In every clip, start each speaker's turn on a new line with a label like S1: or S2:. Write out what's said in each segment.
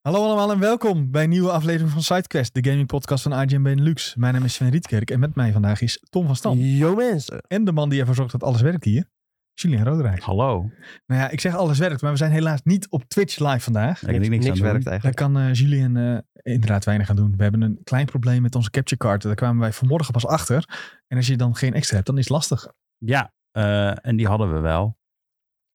S1: Hallo allemaal en welkom bij een nieuwe aflevering van SideQuest, de gaming podcast van AGM Benelux. Mijn naam is Sven Rietkerk en met mij vandaag is Tom van Stam.
S2: Yo mensen.
S1: En de man die ervoor zorgt dat alles werkt hier, Julian Roderijk.
S3: Hallo.
S1: Nou ja, ik zeg alles werkt, maar we zijn helaas niet op Twitch live vandaag.
S3: Ik niks, niks aan doen.
S2: werkt
S1: Daar
S2: eigenlijk.
S1: kan eh, Julian eh, inderdaad weinig aan doen. We hebben een klein probleem met onze capture card. Daar kwamen wij vanmorgen pas achter. En als je dan geen extra hebt, dan is het lastig.
S3: Ja, eh, en die hadden we wel.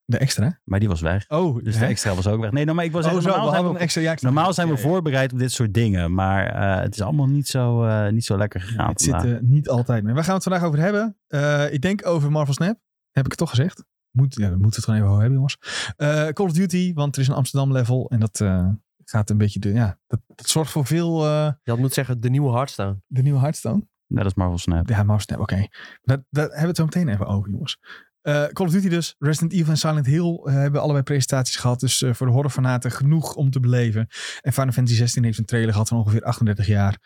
S1: De extra?
S3: Maar die was weg.
S1: Oh,
S3: Dus
S1: hè?
S3: de extra was ook weg. Nee, nou, maar ik was
S1: oh zo, we
S3: normaal,
S1: hadden
S3: zijn
S1: een
S3: we,
S1: extra. Ja, ik snap
S3: normaal
S1: het.
S3: zijn we
S1: Ja, ja.
S3: voorbereid op dit soort dingen. Maar eh, het is allemaal niet zo, eh, niet zo lekker gegaan
S1: Het zit eh,
S3: vandaag.
S1: er niet altijd mee. Waar gaan we het vandaag over hebben? Eh, ik denk over Marvel Snap. Heb ik het toch gezegd? Moet, ja, we moeten het gewoon even over hebben, jongens. Eh, Call of Duty, want er is een Amsterdam level. En dat eh, gaat een beetje... De, ja, dat, dat zorgt voor veel... eh,
S2: Je had moeten zeggen de nieuwe Hearthstone.
S1: de nieuwe Hearthstone.
S3: Net als Marvel Snap.
S1: Ja, Marvel Snap, Nou, oké. Daar, daar hebben we het zo meteen even over, jongens. Eh, Call of Duty dus. Resident Evil en Silent Hill eh, hebben allebei presentaties gehad. Dus eh, voor de horrorfanaten genoeg om te beleven. En Final Fantasy 16 heeft een trailer gehad van ongeveer 38 jaar.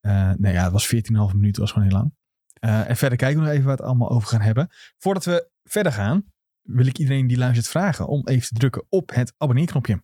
S1: Eh nee, ja, het was 14,5 minuten. Het was gewoon heel lang. Eh, en verder kijken we nog even waar we het allemaal over gaan hebben. Voordat we verder gaan, wil ik iedereen die luistert vragen om even te drukken op het abonneerknopje.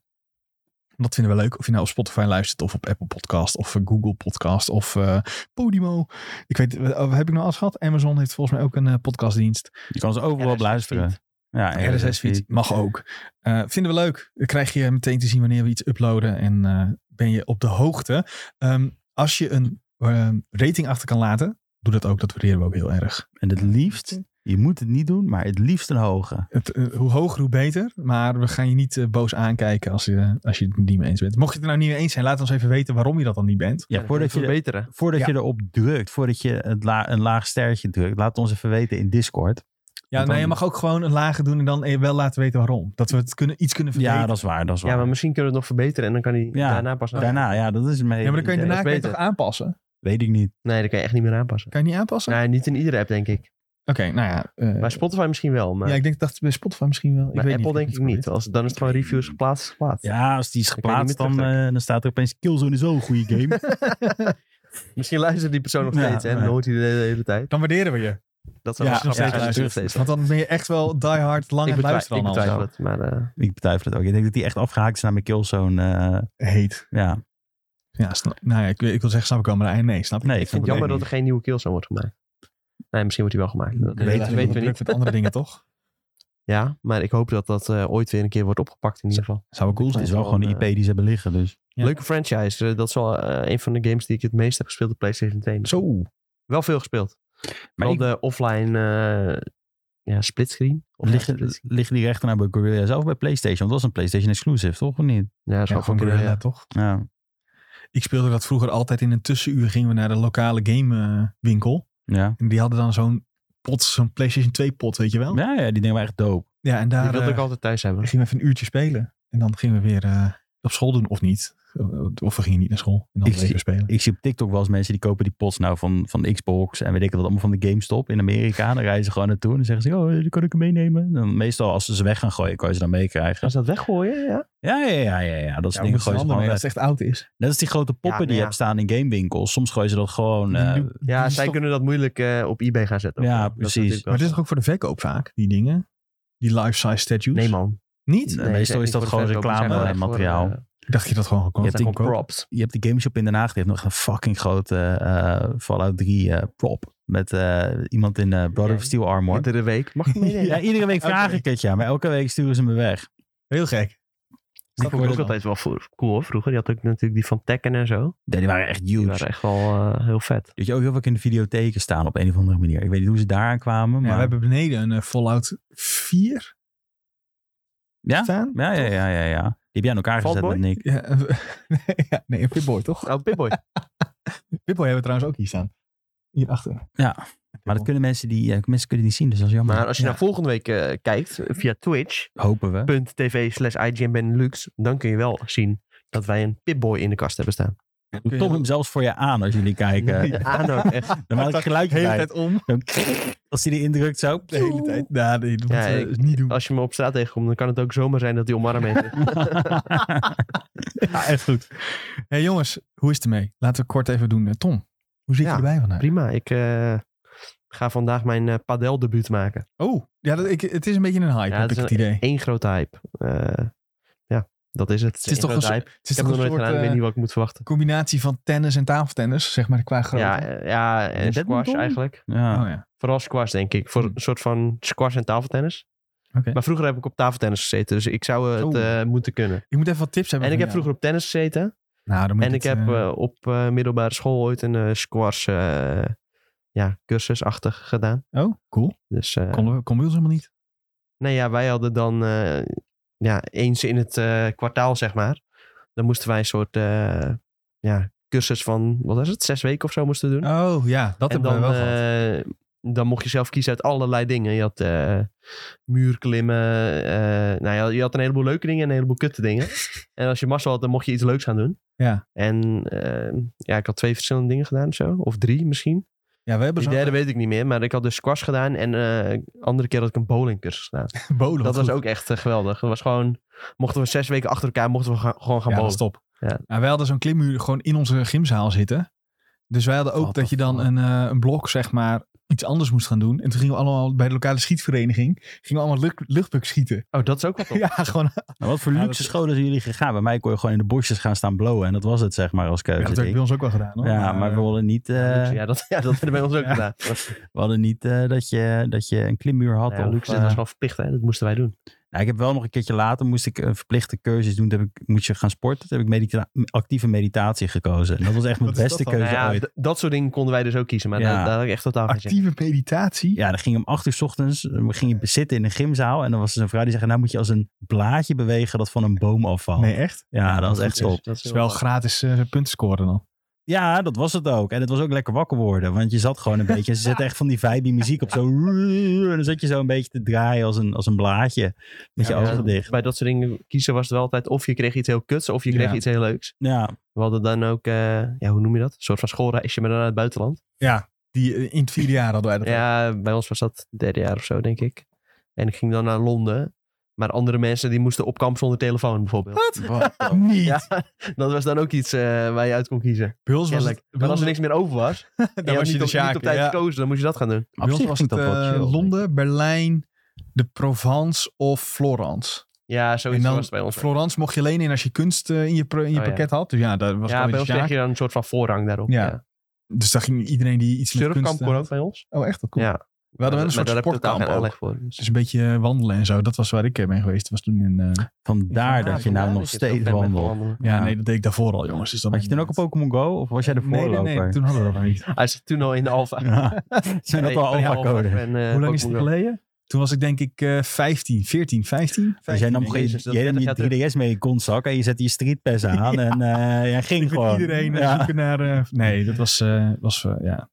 S1: Dat vinden we leuk. Of je nou op Spotify luistert, of op Apple Podcast, of eh, Google Podcast, of eh, Podimo. Ik weet, eh, heb ik nou alles gehad? Amazon heeft volgens mij ook een eh, podcastdienst.
S3: Je kan ze overal op luisteren.
S1: Ah,
S3: Ja,
S1: RSS-feed mag ook. Eh, vinden we leuk. Dan krijg je meteen te zien wanneer we iets uploaden. En eh, ben je op de hoogte. Ehm, als je een ehm, rating achter kan laten, doe dat ook. Dat waarderen we ook heel erg.
S3: En het liefst, je moet het niet doen, maar het liefst een hoge.
S1: Het, eh, hoe hoger, hoe beter. Maar we gaan je niet eh, boos aankijken als je, als je het niet mee eens bent. Mocht je het er nou niet mee eens zijn, laat ons even weten waarom je dat dan niet bent.
S3: Ja, voordat je,
S2: verbeteren.
S3: voordat
S1: Ja.
S3: je erop drukt, voordat je het la- een laag sterretje drukt, laat het ons even weten in Discord.
S1: Ja,
S3: Dan-
S1: nee, je mag ook gewoon een lage doen en dan eh, wel laten weten waarom. Dat we het kunnen, iets kunnen verbeteren.
S3: Ja, dat is waar. Dat is waar.
S2: Ja, maar misschien kunnen we het nog verbeteren en dan kan hij
S3: Ja,
S2: daarna pas aan.
S3: Daarna, ja, dat is mee.
S1: Ja, maar dan kun je
S2: idee.
S1: daarna
S2: Dat
S1: kun
S2: is
S1: je toch
S2: beter.
S1: aanpassen?
S3: Weet ik niet.
S2: Nee, dat kan je echt niet meer aanpassen.
S1: Kan je niet aanpassen?
S2: Nee, niet in iedere app denk ik.
S1: Oké, nou ja. eh,
S2: Bij Spotify misschien wel, maar
S1: ja, ik denk dat bij Spotify misschien wel. Ik
S2: bij
S1: weet
S2: Apple
S1: niet,
S2: denk ik niet. Als, dan is het gewoon reviews geplaatst, is geplaatst.
S3: Ja, als die is
S2: kan je niet
S3: geplaatst,
S2: meer
S3: dan, eh, dan staat er opeens Killzone is ook een goede game.
S2: Misschien luistert die persoon nog
S3: Ja,
S2: steeds hè, en
S3: nee.
S2: dan hoort hij de hele, hele tijd.
S1: Dan waarderen we je.
S2: Dat
S3: Ja,
S2: zou wel grappig
S3: nog steeds
S2: zijn als je nog steeds
S1: Want dan ben je echt wel die hard lang
S2: Ik
S1: aan het luisteren
S2: betwijfel, ik
S1: al.
S2: betwijfel het, maar eh,
S3: ik betwijfel het ook. Ik denk dat die echt afgehaakt is naar mijn Killzone. eh,
S1: Heet.
S3: ja.
S1: Ja, snap- nou ja, ik, ik wil zeggen, snap ik wel, maar eh, nee, snap ik
S3: Nee,
S2: ik vind het jammer dat er geen nieuwe Killzone wordt gemaakt. Nee, misschien wordt die wel gemaakt. Dat
S3: Weet-
S2: weten, weten we niet.
S1: Druk met andere dingen, toch?
S2: Ja, maar ik hoop dat dat eh, ooit weer een keer wordt opgepakt in ieder geval.
S1: Zou wel cool
S3: Het
S1: zijn.
S3: is wel gewoon de IP die ze hebben liggen. Dus.
S1: Ja.
S2: Leuke franchise. Eh, dat is wel eh, een van de games die ik het meest heb gespeeld op PlayStation 1.
S1: Zo.
S2: Wel veel gespeeld.
S3: Maar
S2: wel
S3: ik-
S2: de offline eh ja, splitscreen. Of
S3: liggen,
S2: splitscreen.
S3: liggen die rechten nou bij Guerrilla zelf of bij PlayStation? Want dat is een PlayStation exclusive, toch? Of niet?
S2: Ja,
S1: Ja,
S2: zo
S1: gewoon
S2: van
S1: Guerrilla,
S2: Guerrilla.
S1: toch?
S3: Ja.
S1: Ik speelde dat vroeger altijd in een tussenuur. Gingen we naar de lokale gamewinkel.
S3: Ja.
S1: En die hadden dan zo'n pot, zo'n PlayStation 2 pot, weet je wel? Ja,
S3: Ja, ja, die dingen waren echt dope.
S1: en daar
S2: Die wilde
S1: eh,
S2: ik altijd thuis hebben.
S1: gingen we even een uurtje spelen. En dan gingen we weer eh, op school doen, of niet. Eh, Of we gingen niet naar school. En dan
S3: Ik
S1: bleven we spelen.
S3: Ik zie op TikTok wel eens mensen die kopen die pots nou van, van de Xbox en weet ik wat allemaal van de GameStop in Amerika. Dan reizen ze gewoon naartoe en dan zeggen ze, oh, die kan ik hem meenemen. Dan meestal als ze ze weg gaan gooien, kan je ze dan meekrijgen.
S2: Als ze dat weggooien, ja.
S3: Ja, ja, ja, ja, ja. Dat
S1: Ja,
S3: soort
S1: we
S3: dingen
S1: moeten
S3: gooien ze
S1: een ander
S3: gewoon
S1: mee
S3: weg.
S1: als het echt oud is.
S3: Net als die grote poppen
S2: maar
S3: die
S2: ja.
S3: je hebt staan in gamewinkels. Soms gooien ze dat gewoon. eh,
S1: Die nieuw-
S2: Ja,
S1: die
S2: zij
S1: stop-
S2: kunnen dat moeilijk eh, op eBay gaan zetten.
S3: Ja,
S2: Dat is
S3: precies.
S2: natuurlijk wel
S1: Maar dit is
S2: zo.
S1: toch ook voor de verkoop vaak, die dingen? Die life-size statues?
S2: Nee man.
S1: Niet?
S3: Nee.
S2: Nee,
S3: eh, meestal
S2: ze zijn
S3: is
S2: niet voor
S3: dat
S2: de
S3: gewoon
S2: verkoop, die zijn
S3: reclame,
S2: wel echt voor,
S3: materiaal.
S2: eh,
S1: Dacht je dat gewoon gekocht?
S3: Je
S2: Dat zijn
S3: hebt
S2: gewoon
S1: Goedkoop.
S2: props.
S3: je hebt de GameShop in Den Haag. Die heeft nog een fucking grote eh Fallout 3 eh, prop. Met eh, iemand in eh Brother of
S2: Ja.
S3: Steel armor.
S2: Iedere week. Mag ik meenemen?
S3: Ja, iedere week
S1: Elke
S3: vraag
S1: week.
S3: ik het ja. Maar elke week sturen ze me weg.
S1: Heel gek.
S2: Die vond ik ook
S3: worden dan-
S2: altijd wel vro- cool hoor, vroeger. Die had ook natuurlijk die van Tekken en zo.
S3: Ja, die waren echt
S2: Die
S3: huge.
S2: waren echt wel eh, heel vet.
S3: Dat je ook heel vaak in de videotheken staan op een of andere manier. Ik weet niet hoe ze daaraan kwamen. Maar...
S1: Ja,
S3: Ja,
S1: we hebben beneden een eh, Fallout 4
S3: Ja?
S1: staan.
S3: ja, ja, ja, ja, Die heb jij aan elkaar gezet
S2: Fatboy?
S3: met Nick.
S1: Ja, eh, ja, nee, een Pip-Boy toch?
S2: Oh, Pipboy.
S1: Pip-Boy hebben we trouwens ook hier staan. Hierachter.
S3: Maar dat kunnen mensen, die, ja, mensen kunnen het niet zien. Dus dat is jammer.
S2: Maar als je
S1: Ja.
S2: naar volgende week eh, kijkt, via Twitch,
S3: Hopen we.
S2: .tv slash IGN Benelux, dan kun je wel zien dat wij een Pipboy in de kast hebben staan.
S1: Kun je-
S3: Tom hem zelfs voor je aan als jullie kijken.
S1: Nee.
S2: Ah, nou, echt.
S3: Dan maak ik geluid
S1: de hele
S3: bij.
S1: tijd om.
S3: Zo, Als hij die indrukt zo.
S1: De hele tijd. Nou, nee, dat
S2: Ja,
S1: moeten we
S2: ik-
S1: niet doen.
S2: Als je me op straat tegenkomt, dan kan het ook zomaar zijn dat die omarm heeft.
S3: ja, echt goed.
S1: hey, jongens, hoe is het ermee? Laten we kort even doen. Eh, Tom, hoe zit je
S2: Ja,
S1: erbij vandaag?
S2: Prima, ik eh, ga vandaag mijn eh padeldebuut maken.
S1: Oh, ja, dat, ik, het is een beetje een hype,
S2: Ja,
S1: heb ik
S2: het is
S1: het idee.
S2: Eén grote hype. Eh, ja, Dat is het.
S1: Het is toch een,
S2: een
S1: soort-
S2: hype.
S1: het is
S2: Ik heb
S1: toch
S2: nog
S1: een
S2: nooit
S1: soort
S2: gedaan. Ik weet
S1: eh,
S2: niet wat ik moet verwachten.
S1: combinatie van tennis en tafeltennis, zeg maar, qua grootte.
S2: Ja, eh, ja en
S3: badminton?
S2: squash eigenlijk.
S3: Ja.
S1: Oh, ja.
S2: Vooral squash, denk ik. Voor een soort van squash en tafeltennis.
S1: Hmm. Oké.
S2: Maar vroeger heb ik op tafeltennis gezeten, dus ik zou het
S1: Oeh.
S2: eh, moeten kunnen.
S1: Ik moet even wat tips hebben.
S2: En ik
S1: van jou.
S2: heb vroeger op tennis gezeten.
S1: Nou, dan moet
S2: en
S1: je
S2: ik
S1: het,
S2: heb
S1: eh,
S2: eh, op eh, middelbare school ooit een eh, squash eh, ja, cursusachtig gedaan.
S1: oh, cool.
S2: Dus eh,
S1: Konden we, konden we ons helemaal niet.
S2: nee, ja, wij hadden dan eh, ja, eens in het eh, kwartaal, zeg maar. Dan moesten wij een soort eh, ja, cursus van, wat was het, zes weken of zo moesten we doen.
S1: Oh ja, dat
S2: Hm? en
S1: hebben we
S2: dan,
S1: wel gehad.
S2: eh, dan mocht je zelf kiezen uit allerlei dingen. Je had eh, muurklimmen. eh, nou, je, had, je had een heleboel leuke dingen en een heleboel kutte dingen. en als je mazzel had, dan mocht je iets leuks gaan doen.
S1: Ja.
S2: En eh, ja, ik had twee verschillende dingen gedaan of zo. Of drie misschien.
S1: Ja, we hebben
S2: De
S1: zo'n
S2: derde weet ik niet meer. Maar ik had dus squash gedaan. En eh andere keer had ik een bowlingcursus gedaan.
S1: bowlen. wat
S2: dat was
S1: goed.
S2: ook echt eh, geweldig. Dat was gewoon... Mochten we zes weken achter elkaar mochten we gaan- gewoon gaan
S1: ja, dat
S2: bowlen.
S1: is top.
S2: Ja.
S1: Nou, wij hadden zo'n klimmuur gewoon in onze gymzaal zitten. Dus wij hadden ook
S3: What
S1: dat
S3: the
S1: je dan
S3: fuck?
S1: een, eh, een blok, zeg maar, iets anders moest gaan doen. En toen gingen we allemaal bij de lokale schietvereniging, gingen we allemaal lucht, luchtbuk schieten.
S2: Oh, dat is ook wel top.
S1: Ja, gewoon.
S3: Nou, wat voor
S1: Ja,
S3: luxe
S1: dat-
S3: scholen zijn jullie gegaan? Bij mij kon je gewoon in de bosjes gaan staan blowen. En dat was het, zeg maar, als
S1: Ja, dat oh, heb
S3: keuze. Ik-
S1: ik bij ons ook wel gedaan. Hoor.
S3: ja, maar we wilden niet, eh,
S2: Ja, dat, ja, dat hebben we bij ons ook
S1: Ja.
S2: gedaan.
S3: we hadden niet eh, dat, je, dat je een klimmuur had.
S2: Nou ja,
S3: of,
S2: Luxe, dat
S3: eh,
S2: was gewoon verplicht. Hè? Dat moesten wij doen.
S3: nou, ik heb wel nog een keertje later moest ik een verplichte cursus doen. Toen heb ik, moest je gaan sporten. Toen heb ik medita- actieve meditatie gekozen. En dat was echt mijn
S1: Wat is
S3: beste
S1: dat dan?
S3: keuze
S2: Nou ja,
S3: ooit.
S2: d- dat soort dingen konden wij dus ook kiezen, maar
S3: Ja.
S2: daar, daar had ik echt totaal geen zin in.
S1: Actieve meditatie.
S3: Ja, dan ging je om acht uur 's ochtends eh, ging je zitten in een gymzaal. En dan was er een vrouw die zei, nou moet je als een blaadje bewegen dat van een boom afvalt.
S1: Nee, echt?
S3: ja, dat was echt top.
S2: Dus dat is
S1: Het is wel
S2: heel-
S1: gratis eh, punten scoren dan.
S3: Ja, dat was het ook. En het was ook lekker wakker worden. Want je zat gewoon een beetje. Ze zetten echt van die vibe muziek op. Zo. En dan zat je zo een beetje te draaien als een, als een blaadje. Met je
S1: Ja,
S3: ogen
S2: ja,
S3: dicht.
S2: Bij dat soort dingen kiezen was het wel altijd of je kreeg iets heel kuts of je kreeg
S1: Ja.
S2: iets heel leuks.
S3: Ja,
S2: We hadden dan ook, eh, ja, hoe noem je dat? Een soort van schoolreisje, maar dan naar het buitenland.
S1: Ja, die, eh, in het vierde jaar hadden wij dat. ook.
S2: Ja, bij ons was dat derde jaar of zo, denk ik. En ik ging dan naar Londen. Maar andere mensen die moesten op kamp zonder telefoon bijvoorbeeld.
S1: Oh, Niet.
S2: Ja, dat was dan ook iets eh, waar je uit kon kiezen.
S1: Bij ons was
S2: Kennelijk.
S1: het, bij
S2: Maar als
S1: ons-
S2: er niks meer over was, en
S1: dan
S2: je had
S1: was je de
S2: niet, op, niet
S1: Sjaak,
S2: op tijd
S1: ja.
S2: gekozen, dan moest je dat gaan doen.
S3: Op
S1: Bij ons
S3: zich
S1: was het
S3: klinkt dat wel
S1: eh,
S3: chill, denk
S1: Londen, Berlijn, de Provence of Florence.
S2: Ja,
S1: en
S2: zoiets
S1: dan
S2: was het bij ons.
S1: Florence mocht je alleen in als je kunst eh, in je, pro- in je
S2: Oh, ja.
S1: pakket had. Dus ja, dat was
S2: Ja,
S1: gewoon
S2: bij ons
S1: weer Sjaak.
S2: kreeg je dan een soort van voorrang daarop.
S1: Ja.
S2: ja.
S1: Dus daar ging iedereen die iets met
S2: Surfkamp
S1: kunst...
S2: kon ook bij ons.
S1: Oh, echt? Dat cool.
S2: Ja.
S1: We hadden wel een
S2: Maar
S1: soort
S2: daar heb ik totaal
S1: sportkamp ook.
S2: geen aanleg voor. Dus.
S1: Dus een beetje wandelen en zo. Dat was waar ik eh, ben geweest. Dat was toen in... eh,
S3: Vandaar dat je nou
S2: Ja,
S3: nog
S2: dat zo
S3: steeds
S2: ver bent
S3: wandelt.
S2: gewandeld.
S1: ja,
S3: Ja.
S1: nee, dat deed ik daarvoor al, jongens. Dus dat
S3: Had je toen ook
S1: maakt
S3: op
S1: niet
S3: Pokémon Go? Of was jij de
S1: uit. Nee,
S3: voorloper?
S1: Nee, nee, toen hadden we dat nog niet.
S2: Hij zit toen al in de alfa.
S3: Ja. Zijn dat
S2: Nee,
S3: al
S2: ik ben
S3: alpha
S2: alpha
S3: code?
S2: fan, eh,
S1: Hoe lang is het
S2: Pokémon Go.
S1: geleden? Toen was ik denk ik eh 15, 14, 15.
S3: Dus jij nam
S1: denk ik.
S3: geen,
S2: Jezus, dat is
S3: jij nam
S2: 30 jaar
S3: je 3DS mee in je kontzak en je zette je streetpass aan en eh, jij ging
S1: Ik met
S3: gewoon.
S1: iedereen eh,
S3: Ja.
S1: zoeken naar... eh, nee, dat was... eh, was eh, ja.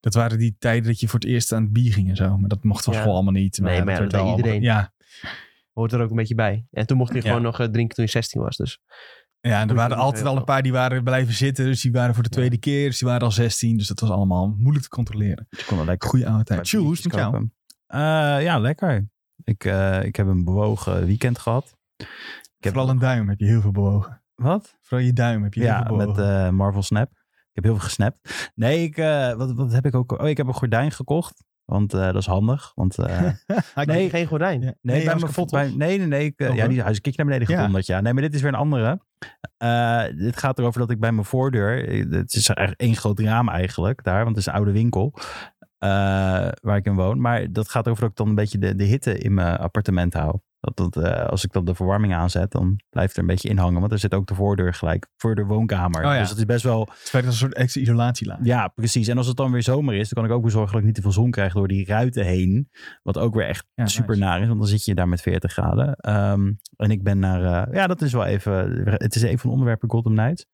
S1: Dat waren die tijden dat je voor het eerst aan het bier ging en zo. Maar dat mocht van
S2: Ja.
S1: school allemaal niet.
S2: Nee, maar ja,
S1: werd
S2: dat
S1: wel
S2: deed
S1: allemaal- Ja,
S2: Hoort er ook een beetje bij. En toen mocht hij
S1: Ja.
S2: gewoon nog eh, drinken toen hij 16 was. Dus
S1: ja en er
S2: Goed,
S1: waren
S2: dat
S1: altijd
S2: is
S1: al een paar die waren blijven zitten. Dus die waren voor de
S2: Ja.
S1: tweede keer. Dus die waren al 16. Dus dat was allemaal moeilijk te controleren.
S3: Je kon er lekker
S1: Goeie oude tijd.
S3: Bij
S1: Tjoe, is het met
S3: biertjes
S1: jou?
S3: kopen. Eh, ja, lekker. Ik, eh, ik heb een bewogen weekend gehad. Ik heb
S1: Vooral een duim heb je heel veel bewogen.
S3: Wat?
S1: Vooral je duim heb je heel
S3: Ja,
S1: veel bewogen.
S3: met eh, Marvel Snap. Ik heb heel veel gesnapt. Nee, ik, eh, wat, wat heb ik ook? Oh, ik heb een gordijn gekocht. Want eh, dat is handig. Want, eh, nee,
S1: Had je-
S2: nee, geen gordijn.
S1: Ja.
S3: bij
S1: hij was
S3: mijn-
S1: kapot,
S3: bij-
S1: toch?
S3: nee, nee, nee. Ik, eh,
S1: Oh,
S3: ja,
S1: hoor.
S3: die huis een kikje naar beneden
S1: Ja.
S3: gedonderd. Ja. Nee, maar dit is weer een andere. Eh, dit gaat erover dat ik bij mijn voordeur. eh, Het is echt één groot raam eigenlijk daar, want het is een oude winkel. eh, waar ik in woon. Maar dat gaat over dat ik dan een beetje de, de hitte in mijn appartement hou. Dat, dat, eh, als ik dan de verwarming aanzet, dan blijft er een beetje in hangen. Want er zit ook de voordeur gelijk voor de woonkamer.
S1: Oh ja.
S3: Dus dat is best wel.
S1: Het werd als een soort extra isolatielaag.
S3: Ja, precies. En als het dan weer zomer is, dan kan ik ook weer zorgen dat ik niet te veel zon krijg door die ruiten heen. Wat ook weer echt
S1: Ja,
S3: super
S1: nice.
S3: naar is, want dan zit je daar met 40 graden. Ehm, en ik ben naar, eh, ja, dat is wel even, het is even een onderwerp in Gotham Knights.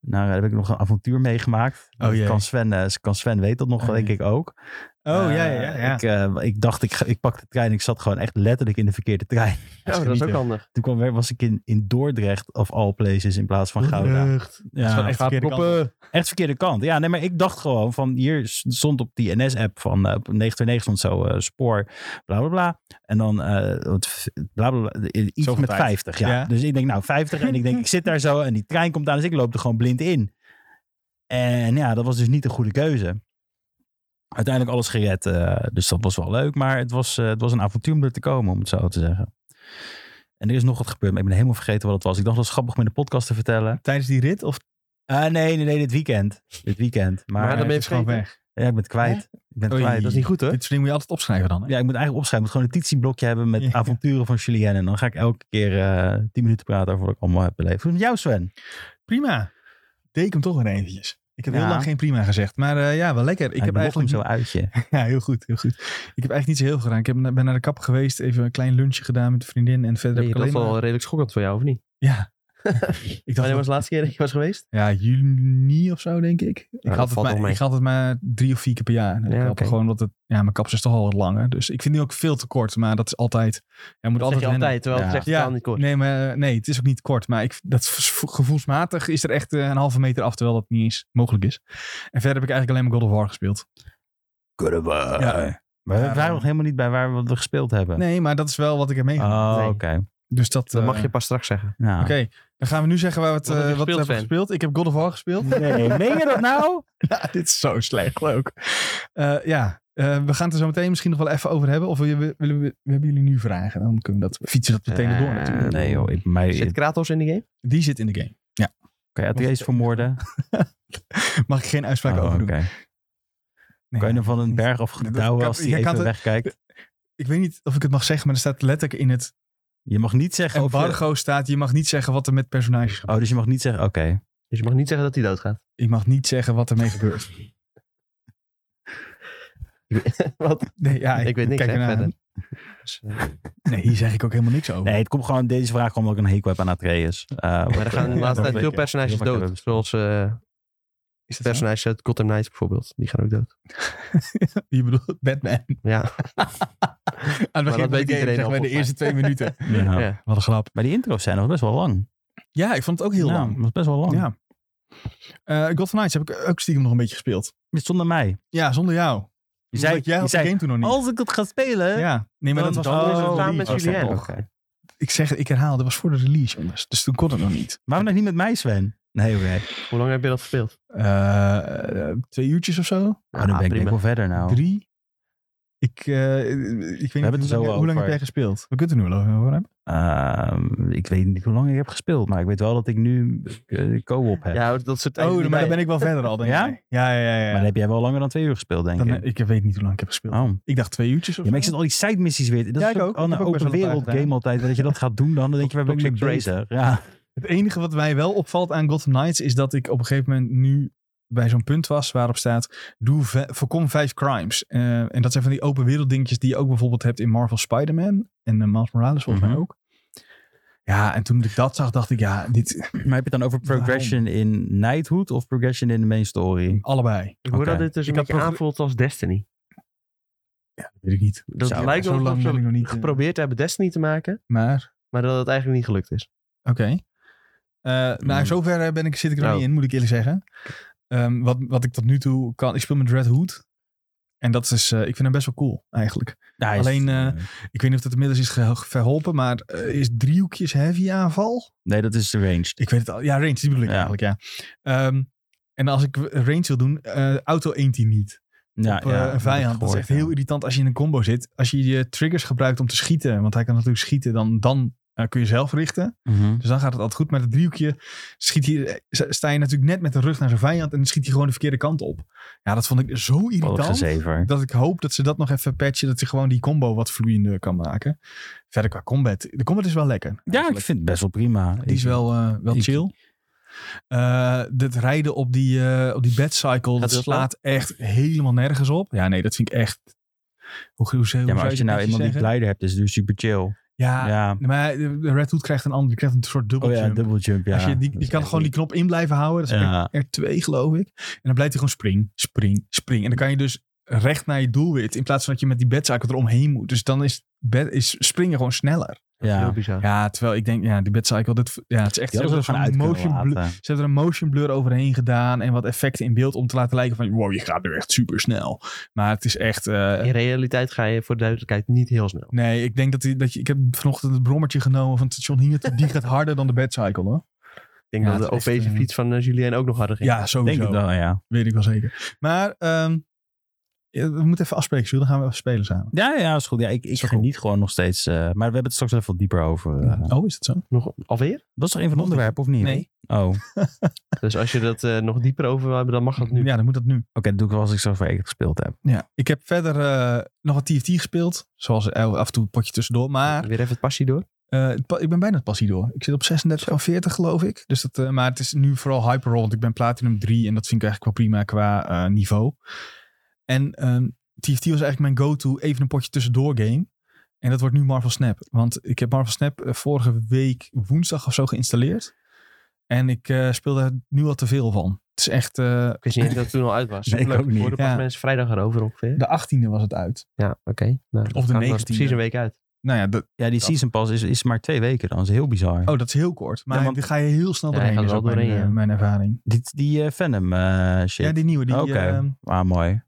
S3: Nou, daar heb ik nog een avontuur meegemaakt.
S1: Oh, jee.
S3: kan, Sven, eh, kan Sven weet dat nog,
S1: Oh,
S3: denk
S1: jee.
S3: ik ook.
S1: Oh,
S3: Eh,
S1: ja, ja, ja. ja.
S3: Ik, eh, ik dacht, ik, ga- ik pak de trein. Ik zat gewoon echt letterlijk in de verkeerde trein.
S2: Oh, dat is
S1: genieten.
S2: ook handig.
S3: Toen kwam, was ik in, in Dordrecht, of all places, in plaats van Gouda. Dus
S2: Lucht.
S1: is wel
S3: Ja,
S1: echt
S2: Gaat
S1: verkeerde kant
S2: poppen.
S3: Echt verkeerde kant. Ja, nee, maar ik dacht gewoon van hier stond op die NS-app van eh, op 929 stond zo eh, spoor, bla bla bla. En dan eh, het f- bla bla, bla eh, iets
S1: Zoveel
S3: met
S1: tijd.
S3: 50. Ja.
S1: Ja.
S3: Dus ik denk nou 50 en ik denk ik zit daar zo en die trein komt aan, dus ik loop er gewoon blind in. En ja, dat was dus niet de goede keuze. Uiteindelijk alles gered, eh, dus dat was wel leuk. Maar het was, eh, het was een avontuur om er te komen, om het zo te zeggen. En er is nog wat gebeurd, maar ik ben helemaal vergeten wat het was. Ik dacht dat was grappig om in de podcast te vertellen.
S1: Eh, Tijdens die rit? Of,
S3: Ah, nee, nee, nee, dit weekend. Dit weekend. Maar, eh,
S2: Maar dan ben je
S1: het is gewoon
S2: vergeten.
S1: weg.
S3: ja, ik ben het kwijt. Ik ben het
S1: Oei.
S3: kwijt.
S2: Dat is niet goed, hè?
S1: Dit soort dingen moet je altijd opschrijven dan. Hè?
S3: Ja, ik moet eigenlijk opschrijven. Ik moet gewoon een notitieblokje hebben met
S1: Ja.
S3: avonturen van Julien. En dan ga ik elke keer eh tien minuten praten over wat ik allemaal heb beleefd. Hoe is het met jou, Sven?
S1: Prima. Deed ik hem toch weer eventjes. Ik heb heel
S3: Ja.
S1: lang geen prima gezegd. Maar eh, ja, wel lekker. Ik
S3: Ja,
S1: heb
S3: mocht hem
S1: eigenlijk...
S3: zo uit je.
S1: Ja, heel goed, heel goed. Ik heb eigenlijk niet zo heel veel gedaan. Ik heb, ben naar de kap geweest, even een klein lunchje gedaan met een vriendin. En verder
S2: Nee,
S1: heb ik
S2: dat
S1: alleen
S2: was wel
S1: maar...
S2: redelijk schokkend voor jou, of niet?
S1: Ja. ik dacht
S2: Wanneer
S1: dat-
S2: was de laatste keer dat je was geweest?
S1: Ja, juni of zo, denk ik. Ik,
S2: dat
S1: had, het
S2: valt nog
S1: maar,
S2: mee.
S1: ik had het maar drie of vier keer per jaar. En
S2: Ja,
S1: ik had
S2: oké.
S1: gewoon dat het, ja, mijn kapsel is toch al wat langer. Dus ik vind nu ook veel te kort, maar dat is altijd. Ja, moet
S2: Dat
S1: altijd
S2: zeg je
S1: wennen.
S2: altijd, terwijl het
S3: Ja.
S2: zegt
S1: Ja.
S2: totaal niet kort.
S1: Nee, maar, eh, nee, het is ook niet kort. Maar ik, dat vo- gevoelsmatig is er echt eh, een halve meter af, terwijl dat niet eens mogelijk is. En verder heb ik eigenlijk alleen maar God of War gespeeld.
S3: Kunnen we.
S1: Ja.
S3: Maar we
S1: Ja,
S3: waren
S1: dan-
S3: nog helemaal niet bij waar we wat we gespeeld hebben.
S1: Nee, maar dat is wel wat ik heb meegemaakt.
S3: Oh,
S2: Nee.
S3: oké.
S1: dus dat,
S2: Dat
S1: eh,
S2: mag je pas straks zeggen.
S3: Nou.
S1: Oké, dan gaan we nu zeggen waar we het,
S2: Wat heb
S1: eh,
S2: je
S1: wat we
S2: gespeeld,
S1: hebben
S2: Sven?
S1: gespeeld. Ik heb God of War gespeeld.
S3: Nee, meen je dat nou?
S1: Ja, dit is zo slecht ook. Eh, ja, eh, we gaan het er zo meteen misschien nog wel even over hebben. Of wil je- willen we, we, hebben jullie nu vragen? Dan kunnen we dat, fietsen dat meteen
S2: Eh,
S1: door natuurlijk.
S3: Nee joh, ik, mij,
S2: Zit Kratos in de game?
S1: Die zit in de game.
S3: kan je Atreus vermoorden?
S1: Mag ik geen uitspraak
S3: Oh,
S1: over doen?
S3: oké.
S1: Nee,
S3: Kan je
S1: ja.
S3: hem van een berg afdouwen
S1: kan-
S3: als hij
S1: jij kan
S3: even
S1: het-
S3: wegkijkt?
S1: Ik weet niet of ik het mag zeggen, maar er staat letterlijk in het
S3: Je mag niet zeggen
S2: eh,
S3: over...
S1: embargo staat. Je mag niet zeggen wat er met personages gebeurt.
S3: Oh, dus je mag niet zeggen... Oké.
S2: Dus je mag niet zeggen dat hij doodgaat.
S1: Je mag niet zeggen wat ermee gebeurt.
S2: Want
S1: Nee, ja,
S2: ik weet niks,
S1: kijk
S2: hè,
S1: ernaar.
S2: verder. Dus, eh,
S1: Nee, hier zeg ik ook helemaal niks over.
S3: Nee, het komt gewoon... Deze vraag komt ook een hekel heb aan Atreus. Eh,
S2: maar er gaan de laatste tijd veel personages
S3: Heel vaak hebben
S2: dood.
S3: we
S2: Zoals eh
S1: Is dat zo?
S2: personages uit Gotham Knights bijvoorbeeld. Die gaan ook dood.
S1: Je bedoelt Batman.
S2: Ja,
S1: Aan het
S2: dat
S1: begin van
S2: weet
S1: de game
S2: iedereen
S1: zeggen
S2: al,
S1: wij de
S2: volgens
S1: eerste twee minuten.
S3: Ja.
S2: ja.
S1: Wat een grap.
S3: Maar die intro's zijn nog best wel lang.
S1: Ja, ik vond het ook heel
S3: ja,
S2: Nou,
S1: lang.
S3: Dat is best wel lang.
S1: Ja. Eh God of Knights heb ik ook stiekem nog een beetje gespeeld.
S3: Dit Zonder mij.
S1: Ja, zonder jou.
S3: Je zei,
S1: Omdat jij
S3: je
S1: had
S3: zei,
S1: de game toen nog niet.
S3: als ik het ga spelen...
S1: ja, nee, maar dat was
S2: dan-
S1: voor de
S2: Oh,
S1: release.
S2: samen met
S1: Oké.
S2: Julien.
S3: Oké.
S1: Ik zeg, het, ik herhaal, dat was voor de release, jongens. Dus toen kon het nog niet.
S3: Waarom nog niet met mij, Sven? Nee, oké.
S2: Hoe lang heb je dat gespeeld? Ah,
S1: Eh, eh, twee uurtjes of zo?
S3: Nou, dan ben ik denk ik
S2: prima.
S3: wel verder nou.
S1: Drie? Ik, eh, ik weet
S3: hebben
S1: niet,
S3: het
S1: hoe,
S3: er zo
S1: lang, hoe lang
S3: over.
S1: heb jij gespeeld? We kunnen het er nu wel over hebben.
S3: Ehm, ik weet niet hoe lang ik heb gespeeld, maar ik weet wel dat ik nu eh, co-op heb.
S2: Ja, dat soort
S1: Oh, maar dan ben ik wel verder al, denk
S3: Ja?
S1: ik. Ja, ja, ja. ja.
S3: Maar dan heb jij wel langer dan twee uur gespeeld, denk
S1: Dan,
S3: ik.
S1: eh, ik weet niet hoe lang ik heb gespeeld.
S3: Oh.
S1: Ik dacht twee uurtjes of
S3: Ja, maar ik
S1: zo.
S3: zit al die side missies weer. Dat
S1: Ja,
S3: is
S1: ik
S3: ook,
S1: ook.
S3: al
S1: Ik
S3: een
S1: heb ook best
S3: open
S1: wel een
S3: wereld
S1: paar gedaan.
S3: game altijd. Dat je dat gaat doen dan, dan denk je, waar ben ik mee
S2: Toxic
S3: bezig? Ja.
S1: Het enige wat mij wel opvalt aan Gotham Knights is dat ik op een gegeven moment nu bij zo'n punt was waarop staat, doe ve- voorkom vijf crimes. Eh, en dat zijn van die open wereld dingetjes die je ook bijvoorbeeld hebt in Marvel Spider-Man en eh, Miles Morales volgens
S3: Mhm.
S1: mij ook. Ja, en toen ik dat zag, dacht ik, ja, dit
S3: Maar heb je het dan over progression in Knighthood of progression in de main story?
S1: allebei.
S2: Hoe
S3: Oké.
S2: dat dit dus
S1: Ik
S2: een
S1: had
S2: beetje
S1: proge-
S2: aanvoelt als Destiny.
S1: Weet ik niet.
S2: Dat
S3: Zou-
S2: lijkt
S1: zo
S2: wel
S1: lang
S2: alsof
S1: ben ik nog niet,
S2: ze
S1: eh.
S2: geprobeerd hebben Destiny te maken,
S1: Maar,
S2: maar dat het eigenlijk niet gelukt is.
S1: oké. Eh, nou,
S3: Mm.
S1: zover ben ik, zit ik er nog
S3: Nou.
S2: Oh.
S1: niet in, moet ik eerlijk zeggen. Ehm, wat, wat ik tot nu toe kan, ik speel met Red Hood. En dat is, eh, ik vind hem best wel cool eigenlijk.
S3: Ja, hij is-
S1: Alleen, eh, Ik weet niet of dat inmiddels is ge- verholpen, maar eh, is driehoekjes heavy aanval?
S3: nee, dat is de range.
S1: Ik weet het al. Ja, range, die bedoel ik
S3: Ja.
S1: eigenlijk, ja. Ehm, en als ik range wil doen, eh, auto eent hij niet.
S3: Ja,
S1: op, eh,
S3: ja, dat heb
S1: een
S3: ik
S1: vijand. Dat is
S3: gehoord,
S1: echt
S3: ja.
S1: heel irritant als je in een combo zit. Als je je triggers gebruikt om te schieten, want hij kan natuurlijk schieten, dan, dan eh, kun je zelf richten.
S3: Mhm.
S1: Dus dan gaat het altijd goed. Maar het driehoekje schiet hij, eh, sta je natuurlijk net met de rug naar zijn vijand en dan schiet hij gewoon de verkeerde kant op. Ja, dat vond ik zo
S3: Wat een
S1: irritant
S3: gezever.
S1: dat ik hoop dat ze dat nog even patchen. Dat ze gewoon die combo wat vloeiender kan maken. Verder qua combat. De combat is wel lekker.
S3: Ja, ik
S1: eigenlijk.
S3: vind het best wel prima.
S1: Die is
S3: Ik-
S1: wel, eh, wel
S3: ik-
S1: chill. Eh dat rijden op die, eh op die bedcycle, dat
S2: dat
S1: slaat echt helemaal nergens op. Ja, nee, dat vind ik echt... Hoe, hoe, hoe zou
S3: Ja, maar
S1: je
S3: als je
S1: dat
S3: nou
S1: netjes
S3: iemand die
S1: zeggen?
S3: leider hebt, is het dus super chill.
S1: Ja,
S3: Ja.
S1: maar de Red Hood krijgt een ander, die krijgt een soort
S3: Oh ja,
S1: dubbeljump.
S3: double jump, ja.
S1: Als je, die
S3: Dat
S1: die
S3: is
S1: kan
S3: echt
S1: gewoon die
S3: niet-
S1: knop in blijven houden. Dat is
S3: Ja.
S1: R- R2 geloof ik. En dan blijft hij gewoon spring, spring, spring. En dan kan je dus recht naar je doelwit. In plaats van dat je met die bedzaken eromheen moet. Dus dan is, bed, is springen gewoon sneller.
S2: Heel
S3: Ja.
S2: bizar.
S1: Ja, terwijl ik denk, ja, die bedcycle, dat, ja, het is echt...
S3: Die hadden ze
S1: hebben
S3: gewoon
S1: er
S3: uit
S1: zo'n
S3: kunnen
S1: motion blur-
S3: laten.
S1: ze hebben er een motion blur overheen gedaan en wat effecten in beeld om te laten lijken van, wow, je gaat nu echt super snel. Maar het is echt... eh,
S2: In realiteit ga je voor de duidelijkheid niet heel snel.
S1: nee, ik denk dat, die, dat je... Ik heb vanochtend het brommertje genomen van het station hier. Die gaat harder dan de bedcycle, hoor.
S2: Ik denk
S1: Ja,
S2: dat de
S1: het is
S2: Europese
S1: echt, eh, Oh,
S2: fiets van eh, Julien ook nog harder ging.
S1: Ja, sowieso.
S3: Denk ik wel, ja.
S1: Weet ik wel zeker. Maar ehm, Ja, We moeten even afspreken, Jules. Dan gaan we even spelen samen.
S3: Ja, ja, is goed. Ja, ik, ik
S1: Is wel
S3: geniet gewoon nog steeds. eh, maar we hebben het straks even wat dieper over. eh.
S1: Oh, is dat zo?
S2: Nog alweer?
S3: Dat is toch een van
S1: Nog
S3: de onderwerpen, of niet?
S1: Nee.
S3: Oh, oké.
S2: Dus als je dat eh, nog dieper over wil hebben, dan mag dat nu.
S1: Ja, dan moet dat nu.
S3: dat doe ik wel als ik zo voor één keer gespeeld heb.
S1: Ja. Ik heb verder eh, nog wat TFT gespeeld. Zoals el- af en toe een potje tussendoor. Maar
S2: Weer even het passie door.
S1: eh, het pa- ik ben bijna het passie door. Ik zit op 36 van 40 geloof ik. Dus dat, eh, maar het is nu vooral Hyperroll. Want ik ben Platinum 3 en dat vind ik eigenlijk wel prima qua eh, niveau. En ehm, TFT was eigenlijk mijn go-to even een potje tussendoor game. En dat wordt nu Marvel Snap. Want ik heb Marvel Snap eh, vorige week woensdag of zo geïnstalleerd. En ik eh, speel daar nu al te veel van. Het is echt... eh,
S2: Ik wist niet eens dat het toen al uit was.
S3: Nee, ik
S2: Leuk,
S3: ook niet.
S2: hoorde pas
S1: Ja.
S2: mensen vrijdag erover ongeveer.
S1: de 18e was het uit.
S2: Ja, oké. Nou,
S1: Of de
S2: dan was het
S1: 19e.
S2: Precies een week uit.
S1: Nou ja, dat,
S3: Ja, die
S2: Dat-
S3: season pass is, is maar twee weken dan. Dat is heel bizar.
S1: oh, dat is heel kort. Maar
S3: Ja, want-
S1: die ga je heel snel
S2: Ja,
S1: doorheen,
S2: hij
S1: is
S2: gaat
S1: ook
S2: wel
S1: mijn,
S2: doorheen,
S1: eh,
S2: ja.
S1: mijn ervaring.
S3: Die, die eh, Venom eh, shit.
S1: Ja, die nieuwe. Die,
S3: Oké.
S1: eh,
S3: Ah, mooi.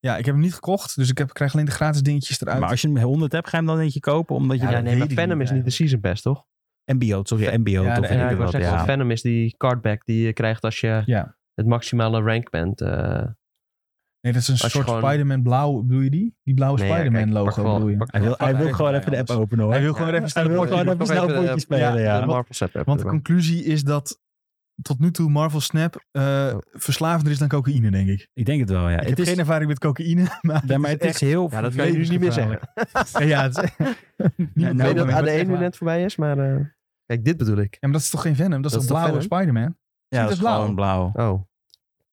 S1: ja, ik heb hem niet gekocht, dus ik heb, krijg alleen de gratis dingetjes eruit.
S3: Maar als je hem 100 hebt, ga je hem dan eentje kopen. Omdat je
S2: Ja,
S1: Ja, dat
S2: nee, maar
S1: weet ik
S2: Venom
S1: niet
S2: is niet de season pass, toch?
S3: MBO, sorry, MBO.
S1: Ja,
S3: of
S1: de-
S3: weet
S2: Ja,
S3: ik
S2: ik
S3: wat,
S2: wou zeggen,
S3: ja.
S2: want Venom is die cardback die je krijgt als je
S1: Ja.
S2: het maximale rank bent. eh.
S1: nee, dat is een
S2: je
S1: soort
S2: gewoon-
S1: Spider-Man blauw, bedoel je die? Die blauwe
S2: Nee, ja,
S1: Spider-Man
S2: kijk, pak
S1: logo
S2: wel-
S1: bedoel je?
S2: pak-
S3: Hij wil, hij wil
S1: Ja,
S3: gewoon
S1: ja,
S3: even de app
S1: alles.
S3: openen hoor.
S1: Hij wil gewoon
S2: Ja,
S1: even
S3: hij
S1: snel
S3: wil
S1: een
S3: gewoon
S1: potje-
S3: even
S2: Nog
S3: snel
S2: even,
S3: een potje
S2: eh,
S3: spelen, ja.
S2: de Marvel Snap app
S1: Want de
S2: erbij.
S1: conclusie is dat tot nu toe Marvel Snap eh,
S2: Oh.
S1: verslavender is dan cocaïne, denk ik.
S3: Ik denk het wel, ja.
S1: ik
S3: Het
S1: heb
S3: is,
S1: geen ervaring met cocaïne, maar...
S3: nee, maar het is heel...
S2: Ja, dat kan je nu niet meer zeggen.
S1: ja, het is-
S3: nou,
S1: Niemand
S2: Ik
S1: wil
S2: weet dat
S1: meer, maar
S2: AD1
S1: echt
S2: nu
S1: waar.
S2: net voorbij is, maar... eh, kijk, dit bedoel ik.
S1: Ja, maar dat is toch geen Venom? Dat is
S2: Dat
S1: toch
S2: is toch
S1: blauwe
S2: Venom?
S1: Spider-Man?
S3: Ja, dat
S1: het
S3: is
S1: blauw?
S3: gewoon blauw.
S2: Oh,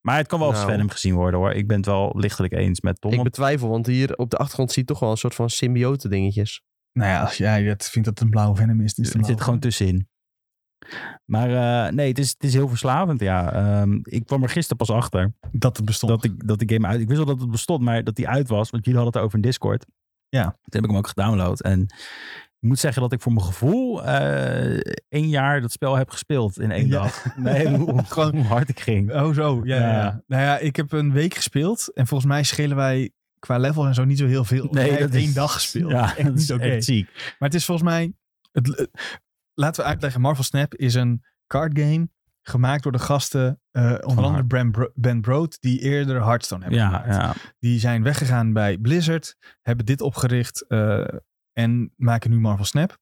S3: Maar het kan wel als
S2: Nou.
S3: Venom gezien worden hoor. Ik ben het wel lichtelijk eens met Tom.
S2: ik
S3: want-
S2: betwijfel, want hier op de achtergrond zie je toch wel een soort van symbiote dingetjes.
S1: Nou ja, als jij dat vindt dat het een blauwe Venom is, dan is het een
S3: Het zit
S1: blauwe
S3: gewoon tussenin. Maar eh, nee, het is, het is heel verslavend, ja. Ehm, ik kwam er gisteren pas achter
S1: Venom. dat het bestond.
S3: dat, ik, dat die game uit... Ik wist al dat het bestond, maar dat die uit was. Want jullie hadden het over in Discord.
S1: Ja.
S3: Toen heb ik hem ook gedownload. En ik moet zeggen dat ik voor mijn gevoel eh één jaar dat spel heb gespeeld in één
S1: Ja.
S3: dag. Nee, hoe,
S1: Gewoon-
S3: hoe hard ik ging.
S1: Oh zo, ja, ja.
S3: Ja.
S1: ja. Nou ja, ik heb een week gespeeld en volgens mij schelen wij qua level en zo niet zo heel veel. Hij heeft één dag gespeeld.
S3: Ja,
S1: echt
S3: dat is
S1: niet oké.
S3: echt ziek.
S1: Maar het is volgens mij, het, eh, laten we uitleggen, Marvel Snap is een card game gemaakt door de gasten, eh, onder andere
S3: Har-
S1: Ben, Bro- ben Brood, die eerder Hearthstone hebben
S3: Ja,
S1: gemaakt.
S3: ja.
S1: Die zijn weggegaan bij Blizzard, hebben dit opgericht eh, en maken nu Marvel Snap.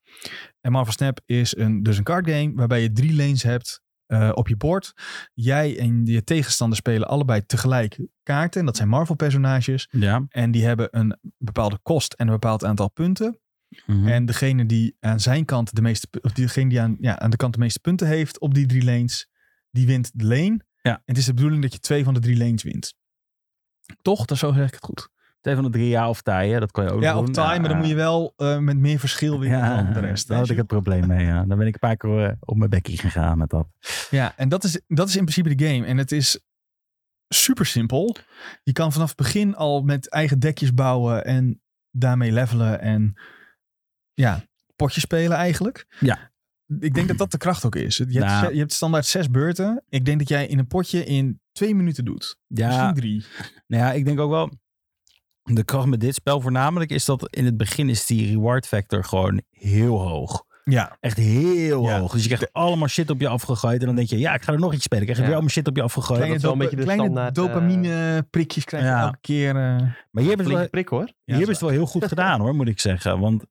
S1: En Marvel Snap is een, dus een card game waarbij je drie lanes hebt eh, op je bord. Jij en je tegenstander spelen allebei tegelijk kaarten. Dat zijn Marvel personages.
S3: ja.
S1: En die hebben een bepaalde kost en een bepaald aantal punten.
S3: Mhm.
S1: En degene die aan zijn kant de meeste, pu- of degene die aan, ja, aan de kant de meeste punten heeft op die drie lanes, die wint de lane.
S3: Ja.
S1: En het is de bedoeling dat je twee van de drie lanes wint. Toch? Dat zo zeg ik het goed.
S3: Twee van de drie jaar of taaien, dat kan je ook
S1: ja,
S3: doen.
S1: op time, maar dan moet je wel eh, met meer verschil winnen dan de rest.
S3: daar
S1: hè,
S3: had ik het probleem mee. Ja. Dan ben ik een paar keer eh, op mijn bekkie gegaan met dat.
S1: Ja, en dat is, dat is in principe de game. En het is super simpel. Je kan vanaf het begin al met eigen dekjes bouwen en daarmee levelen en ja, potjes spelen eigenlijk.
S3: Ja.
S1: Ik denk dat dat de kracht ook is. Je hebt,
S3: Nou.
S1: ze- je hebt standaard zes beurten. Ik denk dat jij in een potje in twee minuten doet. Misschien
S3: Ja,
S1: drie.
S3: nou ja, ik denk ook wel. De kracht met dit spel voornamelijk is dat in het begin is die reward factor gewoon heel hoog.
S1: Ja.
S3: Echt heel
S1: Ja.
S3: hoog. Dus je krijgt allemaal shit op je afgegooid. En dan denk je, ja, ik ga er nog iets spelen. Ik krijg
S2: Ja.
S3: weer allemaal shit op je afgegooid.
S2: dat
S1: Kleine,
S2: is wel een
S1: dopa-
S2: beetje de
S1: kleine
S2: standaard, eh,
S1: dopamine prikjes krijg je
S3: Ja.
S1: elke keer. eh.
S3: Maar hier hebben ze
S2: Flinke
S3: wel,
S2: prik hoor.
S3: hier hebben ze wel heel goed gedaan hoor, moet ik zeggen. Want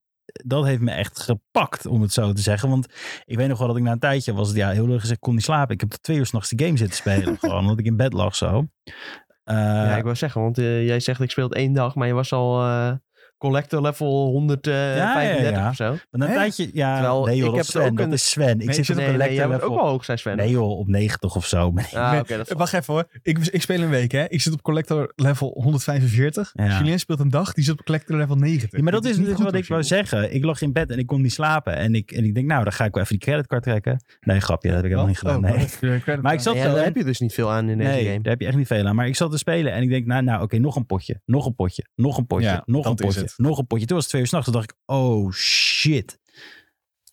S3: dat heeft me echt gepakt, om het zo te zeggen. Want ik weet nog wel dat ik na een tijdje was, het, ja, heel leuk gezegd, kon niet slapen. Ik heb tot twee uur s'nachts de game zitten spelen. gewoon, omdat ik in bed lag zo. Eh,
S2: ja, ik wou zeggen, want eh, jij zegt ik speel het één dag, maar je was al eh, collector level 135
S3: Ja, ja, ja.
S2: of zo.
S3: Maar na een
S1: Hè?
S3: tijdje, ja,
S2: Terwijl
S3: nee
S2: ik
S3: joh, dat
S2: heb
S3: is
S2: er ook
S3: Sven. Dat
S2: een-
S3: is Sven. Ik
S1: Nee,
S3: zit
S1: ik
S3: op
S2: nee,
S3: een
S2: nee, jij
S3: lekker
S2: bent ook
S3: level.
S2: wel hoog, zijn Sven.
S3: Nee joh, op 90 of zo. Nee.
S2: Ah,
S1: Nee,
S2: oké, dat is
S1: Wacht even hoor. Ik, ik speel een week hè. Ik zit op collector level 145.
S3: Ja.
S1: Julien speelt een dag. Die zit op collector level 90.
S3: Ja, maar dat is
S1: niet
S3: dus
S1: goed,
S3: wat ik
S1: hoor,
S3: wou zeggen. Ik lag in bed en ik kon niet slapen. En ik, en ik denk, nou, dan ga ik wel even die creditcard trekken. Nee, grapje, dat heb ik helemaal niet gedaan.
S1: Oh,
S3: Nee.
S1: oh, eh, credit
S3: Maar ik
S1: card.
S3: zat
S2: Ja,
S3: zo
S2: daar
S3: en-
S2: heb je dus niet veel aan in deze
S3: Nee,
S2: game.
S3: daar heb je echt niet veel aan. Maar ik zat te spelen en ik denk, nou, nou oké, nog een potje. Nog een potje. Nog een potje.
S1: Ja,
S3: nog een
S1: dat is
S3: potje.
S1: het.
S3: Nog een potje. Toen was het twee uur s'nachts. Toen dacht ik, oh shit.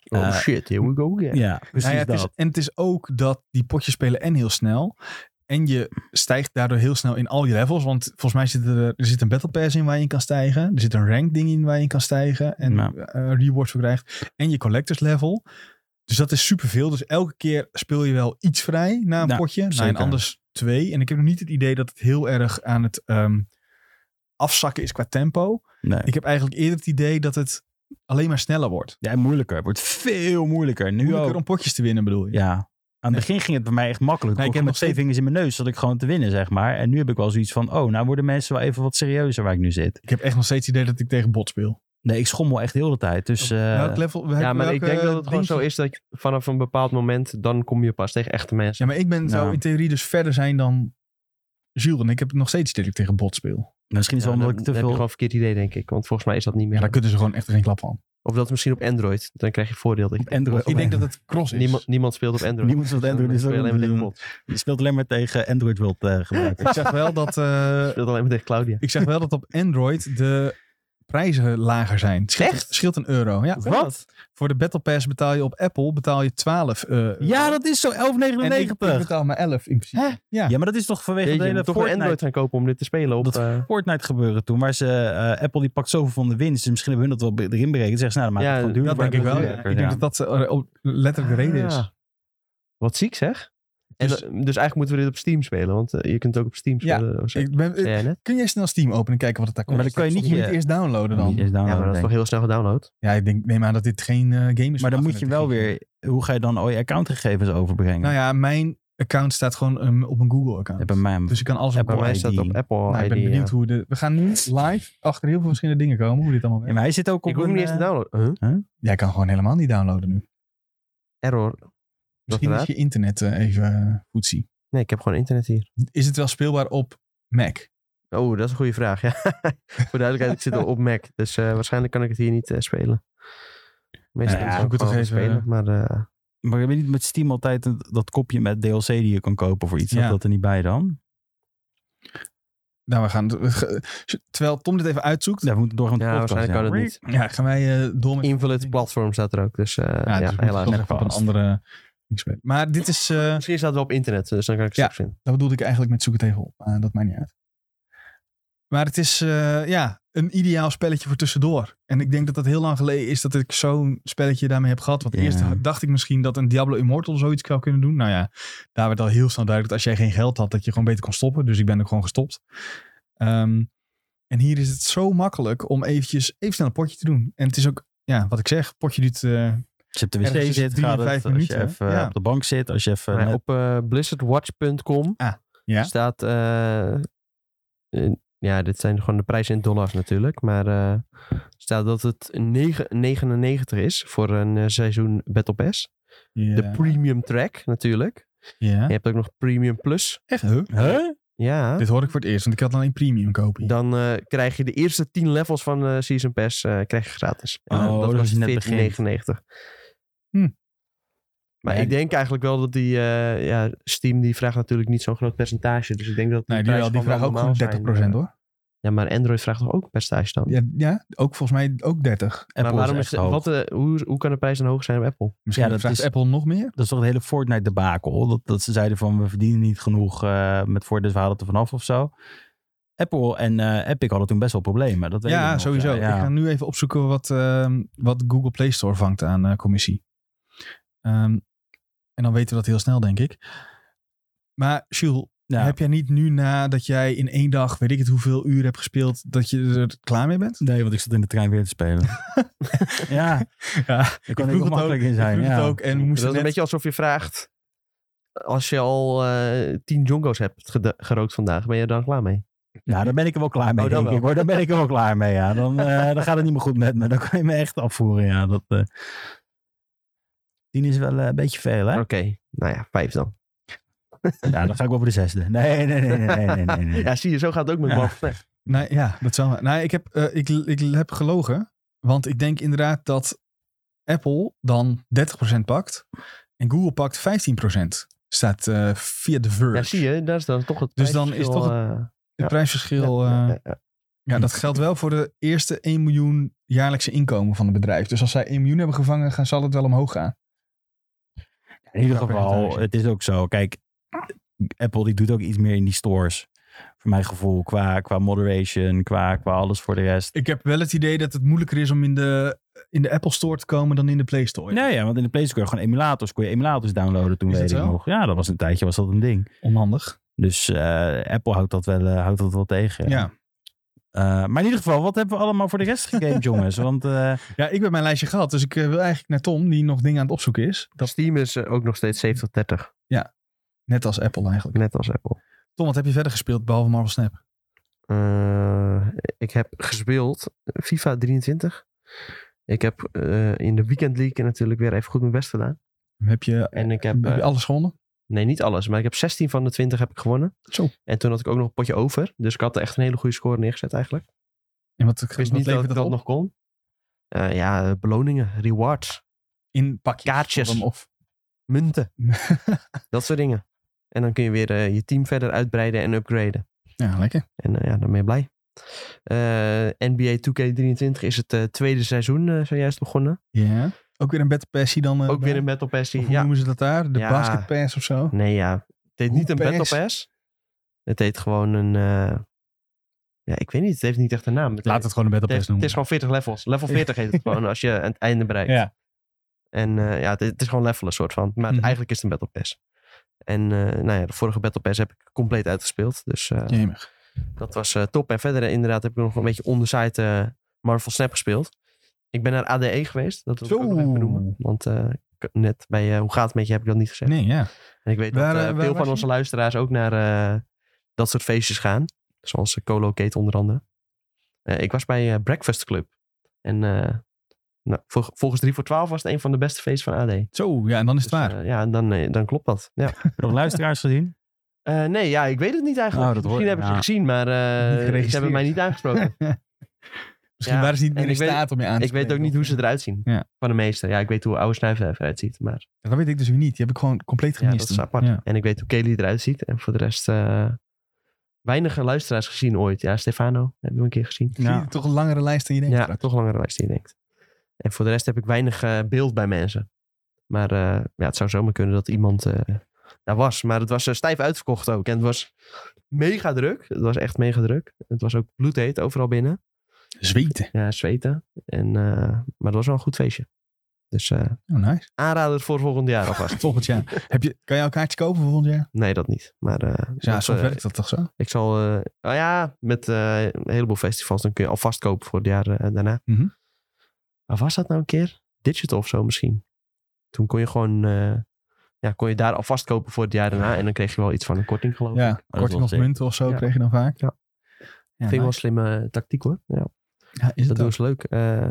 S2: Oh
S3: Eh,
S2: shit, here we go again.
S3: Ja, precies
S1: Nou ja, het
S3: dat.
S1: is, en het is ook dat die potjes spelen en heel snel. En je stijgt daardoor heel snel in al je levels. Want volgens mij zit er, er zit een battle pass in waar je in kan stijgen. Er zit een rank ding in waar je in kan stijgen. En
S3: Ja.
S1: eh, rewards voor krijgt. En je collectors level. Dus dat is superveel. Dus elke keer speel je wel iets vrij na een
S3: Ja,
S1: potje. Nou, Na een
S3: zeker.
S1: anders twee. En ik heb nog niet het idee dat het heel erg aan het... ehm, afzakken is qua tempo.
S3: Nee.
S1: Ik heb eigenlijk eerder het idee dat het alleen maar sneller wordt.
S3: Ja, en moeilijker. Het wordt veel moeilijker. Nu
S1: Moeilijker
S3: ook.
S1: om potjes te winnen bedoel je?
S3: Ja. Aan het begin ging het bij mij echt makkelijk.
S1: Nee, ik
S3: ik
S1: heb
S3: heb
S1: nog
S3: met twee vingers in mijn neus zat ik gewoon te winnen, zeg maar. En nu heb ik wel zoiets van, oh, nou worden mensen wel even wat serieuzer waar ik nu zit.
S1: Ik heb echt nog steeds het idee dat ik tegen bot speel.
S3: Nee, ik schommel echt heel de tijd. Dus
S2: Oh,
S3: eh,
S2: nou,
S1: Welk level, welk-
S2: Ja, maar ik
S1: welke
S2: denk dat het gewoon
S1: ding-
S2: zo is dat je vanaf een bepaald moment, dan kom je pas tegen echte mensen.
S1: Ja, maar ik ben zo
S3: Ja.
S2: Nou.
S1: in theorie dus verder zijn dan Jules. En ik heb nog steeds het idee dat ik tegen bot speel.
S3: misschien is
S2: Ja,
S3: het wel
S2: dan
S3: omdat ik te
S2: heb je
S3: veel...
S2: gewoon een verkeerd idee, denk ik. Want volgens mij is dat niet meer.
S1: Ja, daar kunnen ze gewoon echt geen klap van.
S2: Of dat is misschien op Android. Dan krijg je voordeel. denk ik.
S3: Android.
S1: Ik denk dat het cross is.
S2: Niemand, niemand speelt op Android.
S3: Niemand speelt Android,
S2: Dan
S3: dus dat
S2: speel je alleen maar tegen
S3: doen.
S2: bot.
S3: Je speelt alleen maar tegen Android World eh, gebruikers.
S1: Ik zeg wel dat... eh,
S2: speelt alleen maar tegen Claudia.
S1: Ik zeg wel dat op Android de prijzen lager zijn. Het scheelt, het scheelt een euro. Ja.
S3: Wat?
S1: Voor de Battle Pass betaal je op Apple betaal je 12 euro.
S3: Ja, dat is zo 11,99.
S1: en ik, ik betaal maar 11 in principe. Ja.
S3: Ja, maar dat is toch vanwege
S2: Jeetje,
S3: de
S2: je
S3: hele
S2: moet toch een Android
S3: Fortnite,
S2: gaan kopen om dit te spelen op...
S3: Dat-
S2: eh,
S3: Fortnite gebeuren toen. Maar ze, eh, Apple die pakt zoveel van de winst. Dus misschien hebben hun dat wel be- erin berekend. Zeggen ze, nou, dan maakt
S2: Ja,
S3: het gewoon duurder.
S1: dat denk ik wel. ja.
S3: Duurder,
S1: Ik denk
S3: ja.
S1: dat dat eh, ook letterlijk de reden is.
S2: Ah. Wat ziek zeg. En
S1: Dus-
S2: dus, dus eigenlijk moeten we dit op Steam spelen. Want eh, je kunt het ook op Steam
S1: Ja,
S2: spelen. Ja,
S1: Ik ben, eh, kun jij snel Steam openen en kijken wat het daar kost?
S3: Maar dan kan je
S1: Soms
S3: niet
S1: moet
S3: je-
S1: eerst downloaden
S3: Ja,
S1: dan.
S3: die is downloaden,
S2: ja, maar dat is toch
S3: denk ik.
S2: heel snel gedownload.
S1: Ja, ik denk, neem aan dat dit geen eh, game is.
S3: Maar dan
S1: van
S3: moet je wel
S1: 38 gig.
S3: weer... Hoe ga je dan al je accountgegevens overbrengen?
S1: Nou ja, mijn account staat gewoon ehm, op een Google
S3: Ja,
S1: account.
S3: bij mij...
S1: dus ik kan alles
S2: Ja,
S1: op
S2: bij
S1: Google.
S2: mij
S3: ID.
S2: staat op Apple eh.
S1: Nou, ik ben
S2: ID,
S1: benieuwd
S2: ja.
S1: hoe de... We gaan nu live achter heel veel verschillende dingen komen. Hoe dit allemaal werkt.
S3: Ja, maar hij zit ook op
S2: Ik hoef hem
S3: een,
S2: niet eens te
S3: eh,
S2: downloaden. Huh?
S1: Jij kan gewoon helemaal niet downloaden nu.
S2: Error.
S1: Misschien is
S2: raar.
S1: je internet eh, even goed zien.
S2: Nee, ik heb gewoon internet hier.
S1: Is het wel speelbaar op Mac?
S2: Oh, dat is een goede vraag. Ja. Voor duidelijkheid, ik zit al op Mac. Dus eh, waarschijnlijk kan ik het hier niet eh, spelen. Meestal
S3: Nou ja,
S2: is
S1: ik moet toch
S2: gewoon
S1: even-
S2: spelen. Maar eh,
S3: Maar heb je niet met Steam altijd een- dat kopje met DLC die je kan kopen voor iets?
S1: Ja.
S3: Zat dat er niet bij dan?
S1: Nou, we gaan. we ge- terwijl Tom dit even uitzoekt.
S3: Ja, we moeten doorgaan met de
S2: Ja,
S3: podcast.
S2: waarschijnlijk kan het niet.
S1: Ja, gaan wij eh, door met.
S2: Invalid platform staat er ook. Dus eh, ja,
S1: dus we moeten
S2: helaas.
S1: toch even op een andere. ding spelen. Maar dit is. eh,
S2: Misschien staat het wel op internet. Dus dan kan ik het
S1: Ja.
S2: straks vinden.
S1: dat bedoelde ik eigenlijk met zoek het even op. maar dat maakt niet uit. Maar het is eh, ja, een ideaal spelletje voor tussendoor. En ik denk dat dat heel lang geleden is dat ik zo'n spelletje daarmee heb gehad. Want
S3: Ja.
S1: eerst dacht ik misschien dat een Diablo Immortal zoiets zou kunnen doen. Nou ja, daar werd al heel snel duidelijk dat als jij geen geld had, dat je gewoon beter kon stoppen. Dus ik ben ook gewoon gestopt. Ehm, en hier is het zo makkelijk om eventjes even snel een potje te doen. En het is ook, ja, wat ik zeg, potje duurt eh,
S3: Als je op de
S1: Ergens
S3: wc
S1: tussen
S3: zit,
S1: drie en
S3: gaat het.
S1: vijf
S3: Als
S1: minuten,
S3: je
S1: hè?
S3: even eh,
S1: Ja.
S3: op de bank zit, als je even...
S2: Maar
S3: net-
S2: op eh, blizzardwatch.com
S1: Ah, ja.
S2: staat... eh, eh, ja, dit zijn gewoon de prijzen in dollars natuurlijk. Maar eh, staat dat het 9,99 is voor een eh, seizoen Battle Pass. De premium track natuurlijk.
S1: ja.
S2: Je hebt ook nog premium plus.
S1: Echt, huh?
S3: Huh?
S2: Ja.
S1: Dit hoor ik voor het eerst, want ik had dan een premium kopen.
S2: Dan eh, krijg je de eerste 10 levels van eh, Season Pass eh, krijg je gratis. En, eh,
S3: Oh, dat
S2: kost
S3: is net
S2: 14,99.
S1: Hm.
S2: Maar
S3: Ja,
S2: ik
S3: die-
S2: denk eigenlijk wel dat die eh, ja, Steam die vraagt natuurlijk niet zo'n groot percentage. Dus ik denk dat
S1: nee, die, wel,
S2: prijzen
S1: die
S2: gewoon
S1: vragen ook
S2: wel
S1: gewoon 30%
S2: normaal
S3: eh,
S2: zijn. eh.
S1: hoor.
S2: Ja, maar Android vraagt toch ook een percentage dan?
S1: Ja, ja, ook volgens mij ook 30.
S3: Apple
S2: maar waarom
S3: is
S2: is,
S3: echt hoog.
S2: wat, eh, hoe, hoe kan de prijs dan hoog zijn op Apple?
S1: Misschien
S3: Ja, dat
S1: vraagt
S3: is-
S1: Apple nog meer.
S3: Dat is toch het hele Fortnite debakel. Dat, dat ze zeiden van we verdienen niet genoeg eh, met Fortnite, we halen het er vanaf of zo. Apple en eh, Epic hadden toen best wel problemen. Dat weet ik
S1: Ja,
S3: nog,
S1: sowieso.
S3: ja, ja.
S1: Ik ga nu even opzoeken wat, ehm, wat Google Play Store vangt aan eh, commissie. Ehm, en dan weten we dat heel snel, denk ik. Maar Jules,
S3: Ja.
S1: heb jij niet nu na dat jij in één dag, weet ik het hoeveel uur hebt gespeeld, dat je er klaar mee bent?
S3: Nee, want ik zat in de trein weer te spelen. ja,
S1: Ja,
S3: daar kan ik ook makkelijk in zijn.
S1: vroeg
S3: ja.
S1: het ook en we
S2: Dat is
S1: moesten
S2: een
S1: net-
S2: beetje alsof je vraagt... Als je al eh, 10 jongo's hebt geda- gerookt vandaag, ben je er dan klaar mee?
S3: Ja, Nou, daar ben ik er wel klaar mee,
S2: Oh, dan
S3: denk
S2: wel.
S3: ik. Hoor. Daar ben ik er wel klaar mee, ja. Dan, eh, dan gaat het niet meer goed met me. Dan kan je me echt afvoeren, ja. Dat, eh Tien is wel eh, een beetje veel, hè?
S2: Oké, nou ja, vijf dan.
S3: Ja, dan ga ik wel voor de zesde. Nee, nee, nee, nee, nee, nee, nee. nee.
S2: Ja, zie je, zo gaat het ook met
S3: Ja.
S2: Boba Fett.
S1: Nee, ja, dat zou. Nou, ik heb, eh, ik, ik heb gelogen. Want ik denk inderdaad dat Apple dan 30% pakt. En Google pakt 15%. Staat eh, via de Verge.
S2: Ja, zie je, daar is dan toch het
S1: Dus dan is
S2: prijsverschil,
S1: toch
S2: eh,
S1: Het
S2: Ja.
S1: prijsverschil. eh, Ja,
S2: ja, ja, ja.
S1: dat geldt wel voor de eerste 1 miljoen jaarlijkse inkomen van het bedrijf. Dus als zij 1 miljoen hebben gevangen, gaan, zal het wel omhoog gaan.
S3: In ieder
S1: Qua
S3: geval,
S1: percentage.
S3: het is ook zo. Kijk, Apple die doet ook iets meer in die stores. Voor mijn gevoel, qua, qua moderation, qua, qua alles voor de rest.
S1: Ik heb wel het idee dat het moeilijker is om in de, in de Apple Store te komen dan in de Play Store.
S3: Nee, ja, want in de Play Store kon je gewoon emulators, kon je emulators downloaden toen
S1: Is dat
S3: weet ik
S1: zo?
S3: nog. Ja, dat was een tijdje, was dat een ding.
S1: Onhandig.
S3: Dus eh, Apple houdt dat, wel, eh, houdt dat wel tegen.
S1: Ja.
S3: Eh, maar in ieder geval, wat hebben we allemaal voor de rest gegamed, jongens? Want eh,
S1: Ja, ik ben mijn lijstje gehad, dus ik eh, wil eigenlijk naar Tom, die nog dingen aan het opzoeken is. Dat,
S2: Steam is eh, ook nog steeds 70-30,
S1: net als Apple eigenlijk.
S2: net als Apple.
S1: Tom, wat heb je verder gespeeld, behalve Marvel Snap?
S2: Eh, ik heb gespeeld FIFA 23. Ik heb eh, in de Weekend League natuurlijk weer even goed mijn best gedaan.
S1: Heb je,
S2: En ik heb...
S1: heb
S2: eh,
S1: je alles gewonnen?
S2: Nee, niet alles. Maar ik heb 16 van de 20 heb ik gewonnen.
S1: Zo.
S2: En toen had ik ook nog een potje over. Dus ik had echt een hele goede score neergezet eigenlijk.
S1: En wat,
S2: Ik
S1: wat
S2: wist niet dat
S1: levert
S2: ik dat
S1: op?
S2: nog kon. Eh, ja, eh, beloningen, rewards,
S1: in pakjes?
S2: Kaartjes.
S1: Dan Of,
S2: munten. dat soort dingen. En dan kun je weer eh, je team verder uitbreiden en upgraden.
S1: ja, lekker.
S2: En eh, ja, dan ben je blij. Eh, NBA 2K23 is het eh, tweede seizoen eh, zojuist begonnen.
S1: Ja. Ook weer een Battle Passie dan? eh,
S2: ook
S1: bij?
S2: weer een Battle Pass. die-
S1: Of hoe
S2: Ja.
S1: noemen ze dat daar? De
S2: Ja.
S1: Basket Pass of zo?
S2: Nee, ja. Het heet
S1: Hoe
S2: niet een
S1: pass?
S2: Battle Pass. Het heet gewoon een... eh, Ja, ik weet niet. Het heeft niet echt een naam. Het
S1: Laat het gewoon een Battle
S2: Het,
S1: Pass
S2: heeft- het
S1: noemen.
S2: is gewoon 40 levels. Level 40 heet het gewoon als je aan het einde bereikt.
S3: Ja.
S2: En eh, ja, het, het is gewoon levelen soort van. Maar het-
S1: Mhm.
S2: eigenlijk is het een Battle Pass. En eh, nou ja, de vorige Battle Pass heb ik compleet uitgespeeld. Dus eh,
S1: Jemig.
S2: dat was eh, top. En verder eh, inderdaad heb ik nog een beetje on the side eh, Marvel Snap gespeeld. Ik ben naar ADE geweest. Dat wil ik ook nog even
S1: Zo.
S2: benoemen. Want eh, ik- net bij eh, Hoe gaat het met je heb ik dat niet gezegd.
S1: Nee, ja.
S2: En ik weet
S1: Waar,
S2: dat
S1: eh,
S2: eh,
S1: waar
S2: veel
S1: was
S2: van
S1: je?
S2: onze luisteraars ook naar eh, dat soort feestjes gaan. Zoals eh, Colocate onder andere. Eh, ik was bij eh, Breakfast Club. En eh, nou, vol- volgens 3 voor 12 was het een van de beste feesten van AD.
S1: Zo, ja, en dan is het
S2: Dus,
S1: waar.
S2: eh, ja, dan, eh, dan klopt dat. Ja.
S3: nog luisteraars gezien?
S2: Eh, nee, ja, ik weet het niet eigenlijk.
S1: Nou,
S3: Oh, dat hoor-
S2: Misschien heb ik
S3: ja.
S2: ze gezien, maar
S1: Niet
S2: eh ze hebben
S1: geregistreerd.
S2: mij niet aangesproken.
S1: Misschien
S2: eh, Ja,
S1: waren ze niet
S2: en
S1: meer in
S2: ik weet-
S1: staat om je aan te
S2: ik weet ook
S1: spreken.
S2: niet hoe ze eruit zien.
S1: Ja.
S2: Van de meester. Ja, ik weet hoe oude snuiven eruit ziet. Maar
S1: Ja, Dat weet ik dus weer niet. Die heb ik gewoon compleet
S2: Ja,
S1: gemist.
S2: dat is
S1: toen.
S2: apart.
S1: Ja.
S2: En ik weet hoe Kelly eruit ziet. En voor de rest eh weinig luisteraars gezien ooit. Ja, Stefano hebben we een keer gezien.
S1: Zie je,
S3: Ja.
S1: Toch een langere lijst dan je denkt.
S2: Ja,
S1: straks.
S2: toch een langere lijst die je denkt. En voor de rest heb ik weinig eh, beeld bij mensen. Maar eh, ja, het zou zomaar kunnen dat iemand eh, daar was. Maar het was eh, stijf uitverkocht ook. En het was mega druk. Het was echt mega druk. Het was ook bloedheet overal binnen.
S1: Zweten.
S2: Ja, zweten. En, eh, maar het was wel een goed feestje. Dus eh
S1: Oh, nice.
S2: aanrader voor volgend jaar alvast.
S1: Volgend jaar. heb je, kan je een kaartje kopen voor volgend jaar?
S2: Nee, dat niet. Maar eh,
S1: Ja,
S2: dat,
S1: soms
S2: eh,
S1: werkt dat toch zo?
S2: Ik zal, eh nou ja, met eh, een heleboel festivals, dan kun je alvast kopen voor het jaar eh, daarna.
S1: Mhm.
S2: Maar was dat nou een keer? Digital of zo misschien. Toen kon je gewoon, eh, ja, kon je daar alvast kopen voor het jaar daarna. En dan kreeg je wel iets van een korting geloof ik.
S1: Ja,
S3: wel
S1: korting of
S3: sick.
S1: munten of zo
S2: Ja.
S1: kreeg je dan vaak.
S2: Ja.
S1: Ja,
S2: Vind ik wel een
S1: nice.
S2: slimme eh, tactiek hoor. Ja,
S1: Ja, is
S2: dat
S1: het
S2: doen
S1: ook.
S2: ze leuk. Eh,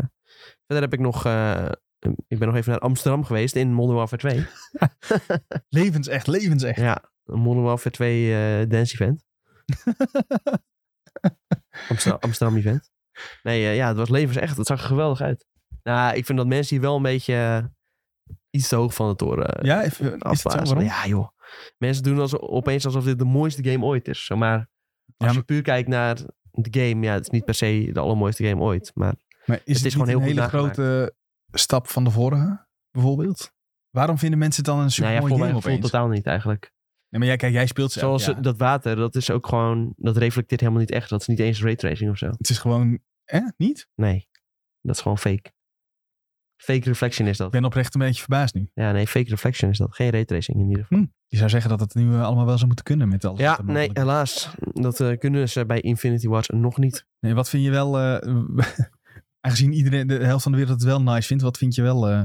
S2: verder heb ik nog, eh, ik ben nog even naar Amsterdam geweest in Modern Warfare 2.
S1: Levensecht, levensecht.
S2: Ja, een Modern Warfare 2 eh, dance event. Amsterdam, Amsterdam event. Nee, eh, ja, het was levensecht. Het zag er geweldig uit. Nou, ik vind dat mensen hier wel een beetje eh, iets te hoog van de toren eh,
S1: Ja, even, is het zo?
S2: afblazen.
S1: Waarom?
S2: Ja, joh. Mensen doen als, opeens alsof dit de mooiste game ooit is. Maar als
S1: Ja,
S2: je
S1: maar-
S2: puur kijkt naar de game, ja, het is niet per se de allermooiste game ooit. Maar
S1: Maar is het,
S2: is
S1: niet
S2: gewoon heel
S1: een
S2: goed
S1: hele
S2: nagemaakt.
S1: grote stap van de vorige, bijvoorbeeld? Waarom vinden mensen het dan een
S2: nou ja,
S1: supermooie
S2: voor mijn
S1: game
S2: gevoel
S1: opeens?
S2: totaal niet eigenlijk.
S1: Nee, maar jij, kijk, jij speelt zelf.
S2: Zoals
S1: ja.
S2: dat water, dat is ook gewoon, dat reflecteert helemaal niet echt. Dat is niet eens raytracing of zo.
S1: Het is gewoon, hè, niet?
S2: Nee, dat is gewoon fake. Fake reflection is
S1: Ik
S2: dat.
S1: ben oprecht een beetje verbaasd nu.
S2: Ja, nee, fake reflection is dat. Geen raytracing in ieder geval.
S1: Je zou zeggen dat het nu eh, allemaal wel zou moeten kunnen met alles. wat
S2: Ja,
S1: er
S2: nee,
S1: mogelijk is.
S2: helaas. Dat eh, kunnen ze bij Infinity Wars nog niet.
S1: nee. Wat vind je wel, eh, aangezien iedereen, de helft van de wereld het wel nice vindt, wat vind je wel, eh,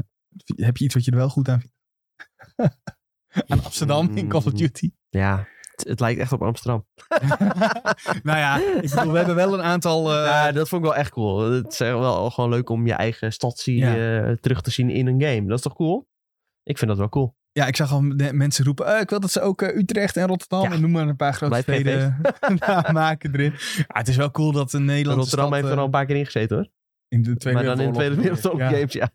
S1: heb je iets wat je er wel goed aan vindt? aan Amsterdam in
S2: Mm.
S1: Call of Duty?
S2: Ja, het, het lijkt echt op Amsterdam.
S1: nou ja, ik bedoel, we hebben wel een aantal... eh,
S2: ja, dat vond ik wel echt cool. Het is echt wel gewoon leuk om je eigen stad zie-
S1: Ja.
S2: eh, terug te zien in een game. Dat is toch cool? Ik vind dat wel cool.
S1: Ja, ik zag al m- mensen roepen. eh, ik wil dat ze ook eh, Utrecht en Rotterdam.
S2: Ja.
S1: En noem maar een paar grote
S2: Blijf geen
S1: steden nou, maken erin. Ja, het is wel cool dat een Nederlandse
S2: Rotterdam
S1: stad,
S2: heeft er
S1: eh,
S2: al een paar keer in gezeten hoor.
S1: in de Tweede
S2: Maar dan in de Tweede Wereldoorlog
S1: Ja.
S2: games, ja.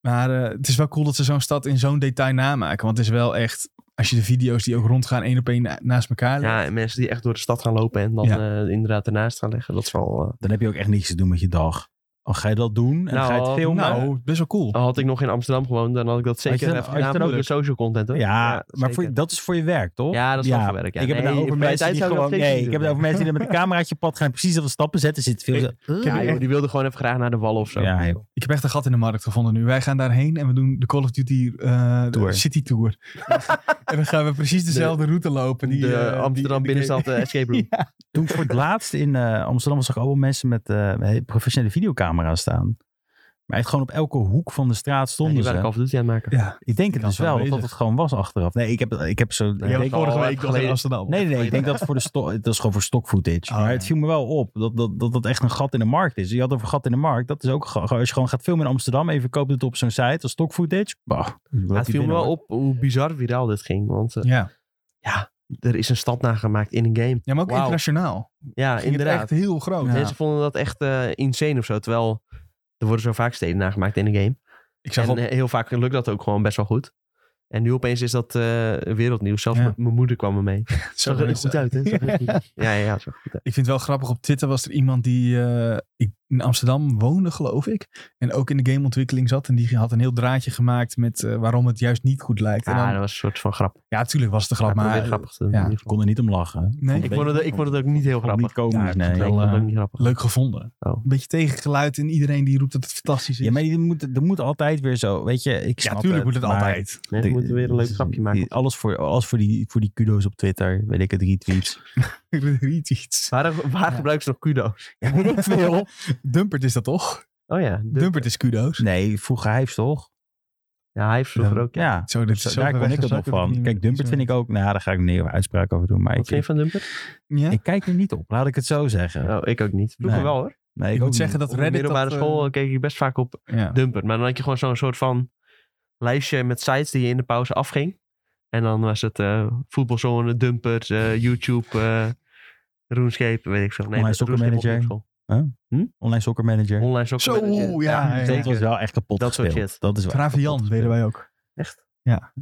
S1: Maar eh, het is wel cool dat ze zo'n stad in zo'n detail namaken. Want het is wel echt, als je de video's die ook rondgaan één op één na- naast elkaar legt.
S2: Ja, en mensen die echt door de stad gaan lopen en dan eh, inderdaad ernaast gaan leggen. Dat is wel... eh,
S3: Dan heb je ook echt niks te doen met je dag. Oh, ga je dat doen? En
S2: Nou,
S3: ga je het filmen?
S1: Nou, best wel cool.
S2: Al had ik nog in Amsterdam gewoond, dan had ik dat
S3: je
S2: zeker
S3: dan-
S2: even
S3: had je
S2: gedaan
S3: dan ook
S2: voor de social content. Hoor.
S3: ja, maar voor,
S2: zeker.
S3: dat is voor je werk, toch?
S2: Ja, dat is wel voor werk, ja.
S3: Ik heb het
S2: Nee,
S3: nou
S2: in
S3: over
S2: vrije
S3: mensen
S2: tijd
S3: die
S2: zou ik dat
S3: gewoon...
S2: steeds
S3: Nee,
S2: niet
S3: ik heb het
S2: doen.
S3: over mensen die dan met een cameraatje op pad gaan. Precies dat stappen zetten. Zit veel...
S2: Ja, joh, die wilde gewoon even graag naar de wal of zo.
S3: Dus, Ja, joh.
S1: Ik heb echt een gat in de markt gevonden nu. Wij gaan daarheen en we doen de Call of Duty eh, de
S3: Tour.
S1: City Tour. en dan gaan we precies dezelfde route lopen. Die,
S2: de
S1: eh, die-
S2: Amsterdam
S1: die-
S2: binnenstad eh, escape room.
S3: Toen ik voor het laatst in eh, Amsterdam zag ik allemaal mensen met eh, professionele videocamera's staan. Maar echt gewoon op elke hoek van de straat
S2: Ja,
S3: stonden
S2: die
S3: ze.
S2: waren Call of Duty aan het maken.
S1: Ja,
S3: Ik denk het
S1: Die
S3: dus
S1: was wel
S3: wel, dat dat
S1: bezig.
S3: het gewoon was achteraf. Nee, ik heb, ik heb zo...
S1: die hebben
S3: ik-
S1: we vorige
S2: al
S1: week nog in
S2: geleden.
S1: Amsterdam.
S3: Nee, nee, nee, ik denk dat voor de sto- dat is gewoon voor stock footage.
S1: Oh,
S3: maar
S1: ja.
S3: het viel me wel op dat dat, dat dat echt een gat in de markt is. Je had over gat in de markt. Dat is ook ge- als je gewoon gaat filmen in Amsterdam, even koopt het op zo'n site als stock footage. Bah,
S2: Maar het viel me wel op hoe bizar viraal dit ging. Want eh,
S1: Ja,
S2: er is een stad nagemaakt in een game.
S1: ja maar ook
S2: Wauw.
S1: internationaal.
S2: Ja,
S1: Ging het
S2: inderdaad.
S1: echt heel groot.
S3: Ja.
S2: Mensen vonden dat echt eh, insane of zo. Terwijl er worden zo vaak steden nagemaakt in een game.
S1: Ik zag
S2: En
S1: op
S2: eh, heel vaak lukt dat ook gewoon best wel goed. En nu opeens is dat eh, wereldnieuws. Zelfs
S1: Ja.
S2: m- mijn moeder kwam er mee.
S1: Zo
S2: Zag er
S1: is-
S2: goed uit, hè? Zag er goed uit. Ja, ja, ja. Zag er goed uit.
S1: Ik vind het wel grappig. Op Twitter was er iemand die eh, ik- in Amsterdam woonde, geloof ik. En ook in de gameontwikkeling zat. En die had een heel draadje gemaakt met eh, waarom het juist niet goed lijkt. En
S2: Ah,
S1: dan-
S2: dat was een soort van grap.
S1: ja, natuurlijk was het een grap.
S2: Ja,
S1: maar
S2: probeer grappig te doen.
S1: ja.
S2: in ieder
S3: Ik
S2: geval.
S3: kon er niet om lachen.
S1: nee,
S2: Ik vond, het, ik vond het ook niet heel
S3: Vond het
S2: grappig.
S3: niet komisch,
S1: Ja,
S3: nee.
S2: Nee, ik vond het eh,
S1: eh,
S2: ook niet grappig.
S1: leuk gevonden.
S2: Oh.
S1: Een beetje tegengeluid en iedereen die roept dat het fantastisch is.
S3: Ja, maar die moet, er moet altijd weer zo, weet je, ik snap
S1: Ja, tuurlijk moet het
S3: maar-
S1: altijd.
S2: Nee, we moeten weer een leuk grapje maken.
S1: oh.
S3: Alles voor, alles voor die, voor die kudo's op Twitter, weet ik het, retweets.
S1: Retweets.
S2: Waar, waar gebruiken ze nog kudo's?
S3: Ja, weet ik veel.
S1: Dumpert is dat toch?
S2: Oh ja, de-
S1: Dumpert is kudo's.
S3: Nee, vroeger hypes toch?
S2: ja hij heeft vroeger
S1: Ja.
S2: ook. Ja.
S3: Ja,
S1: Zo, dit is
S3: Zo,
S1: zo
S3: daar
S1: ver
S3: kon
S1: weg,
S3: ik het
S1: zo
S3: nog
S1: zou het
S3: van.
S1: niet
S3: Kijk,
S1: meer
S3: Dumpert vind ik ook... Nou, daar ga ik niet een uitspraak over doen. Maar
S2: Wat
S3: ik,
S2: vind je
S3: ik,
S2: van Dumper?
S1: Ja?
S3: kijk er niet op. Laat ik het zo zeggen.
S2: Oh, ik ook niet. Vroeger
S3: Nee.
S2: wel hoor.
S3: Nee,
S1: Ik,
S3: ook
S1: moet
S3: niet.
S1: zeggen dat
S2: Op de
S1: Reddit
S2: middelbare
S1: dat, eh,
S2: school keek ik best vaak op
S1: ja.
S2: Dumper. Maar dan had je gewoon zo'n soort van lijstje met sites die je in de pauze afging. En dan was het eh voetbalzone, Dumper, eh, YouTube, eh RuneScape, weet ik veel. Nee, dat-
S3: Online Soccer
S2: RuneScape
S3: Manager.
S2: op school.
S3: Online Soccer Manager.
S2: Online soccer.
S1: Zo,
S2: Manager.
S1: ja, ja, ja.
S3: dat was wel echt kapot
S2: Dat soort
S3: gespeeld.
S2: shit.
S3: Dat is wel echt kapot
S1: Travian
S3: gespeeld.
S1: deden wij ook.
S2: Echt?
S1: Ja.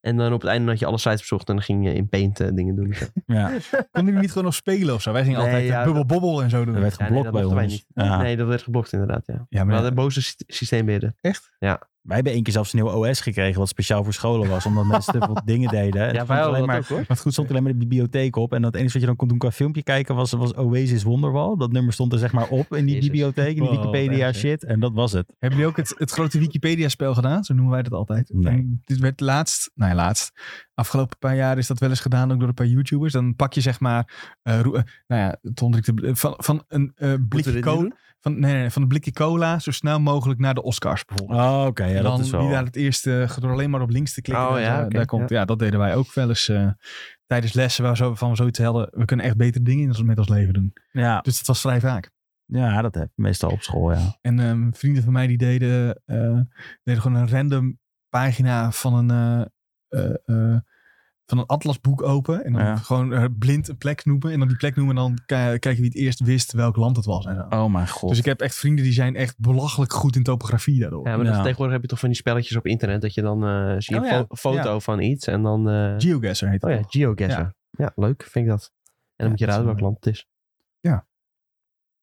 S2: En dan op het einde had je alle sites bezocht en dan ging je in Paint eh, dingen doen. en zo.
S3: Ja,
S1: Konden jullie niet gewoon nog spelen of zo? Wij gingen
S2: Nee,
S1: altijd
S2: ja,
S1: eh, bubbel bobbel en zo doen.
S3: er werd
S2: Ja, nee,
S3: geblokt
S2: dat
S3: bij
S2: mochten wij
S3: ons.
S2: niet.
S3: Ja.
S2: Nee, dat werd geblokt inderdaad, ja.
S1: ja,
S2: We
S1: maar,
S2: hadden boze sy- systeembeheerder.
S1: Echt?
S3: Wij hebben één keer zelfs een nieuw OS gekregen. Wat speciaal voor scholen was. Omdat mensen te veel dingen deden. En
S2: Ja,
S3: het
S2: wij
S3: stond
S2: hadden
S3: alleen
S2: dat
S3: maar,
S2: ook hoor.
S1: wat goed
S3: het stond alleen maar de bibliotheek op. En dat enige wat je dan kon doen qua filmpje kijken was, was Oasis Wonderwall. Dat nummer stond er zeg maar op in die
S2: Jezus.
S3: bibliotheek. In die
S1: Wow, wat
S3: Wikipedia
S1: erg, hè?
S3: shit. En dat was het.
S1: Hebben jullie ook het, het grote Wikipedia-spel gedaan? Zo noemen wij dat altijd.
S3: Nee.
S1: En Dit werd laatst, nou ja, laatst. Afgelopen paar jaar is dat wel eens gedaan, ook door een paar YouTubers. Dan pak je zeg maar, eh, roe- eh, nou ja, het onder- ik de- van, van een eh,
S2: Moeten we
S1: blikje
S2: dit nu
S1: cola,
S2: doen?
S1: van, nee, nee, nee, van een blikje cola zo snel mogelijk naar de Oscars bijvoorbeeld.
S3: Oh, oké. ja,
S1: En
S3: dat
S1: dan
S3: is wel...
S1: wie daar het eerste, eh, door alleen maar op links te klikken,
S2: Oh,
S1: daar-
S2: ja,
S1: daar,
S2: oké,
S1: komt, ja. dat deden wij ook wel eens eh, tijdens lessen waar zo, van we zoiets hadden. We kunnen echt betere dingen in- met ons leven doen.
S3: Ja,
S1: Dus dat was vrij vaak.
S3: Ja, dat heb ik meestal op school, ja.
S1: En ehm, vrienden van mij die deden, eh, deden gewoon een random pagina van een, eh, eh, eh, van een atlasboek open. En dan
S3: Ja.
S1: gewoon eh, blind een plek noemen. En dan die plek noemen en dan ki- kijken wie het eerst wist welk land het was. En zo.
S3: Oh mijn god.
S1: dus ik heb echt vrienden die zijn echt belachelijk goed in topografie daardoor.
S2: Ja, maar dat is-
S3: Ja.
S2: tegenwoordig heb je toch van die spelletjes op internet dat je dan eh, zie je
S1: Oh,
S2: een
S1: ja.
S2: fo- foto van iets en dan... eh,
S1: Geoguessr heet dat.
S2: oh ja,
S1: toch?
S2: geoguesser. Ja. leuk vind ik dat. En dan
S1: Ja,
S2: moet je
S1: dat is wel
S2: raden welk land het is.
S1: Wel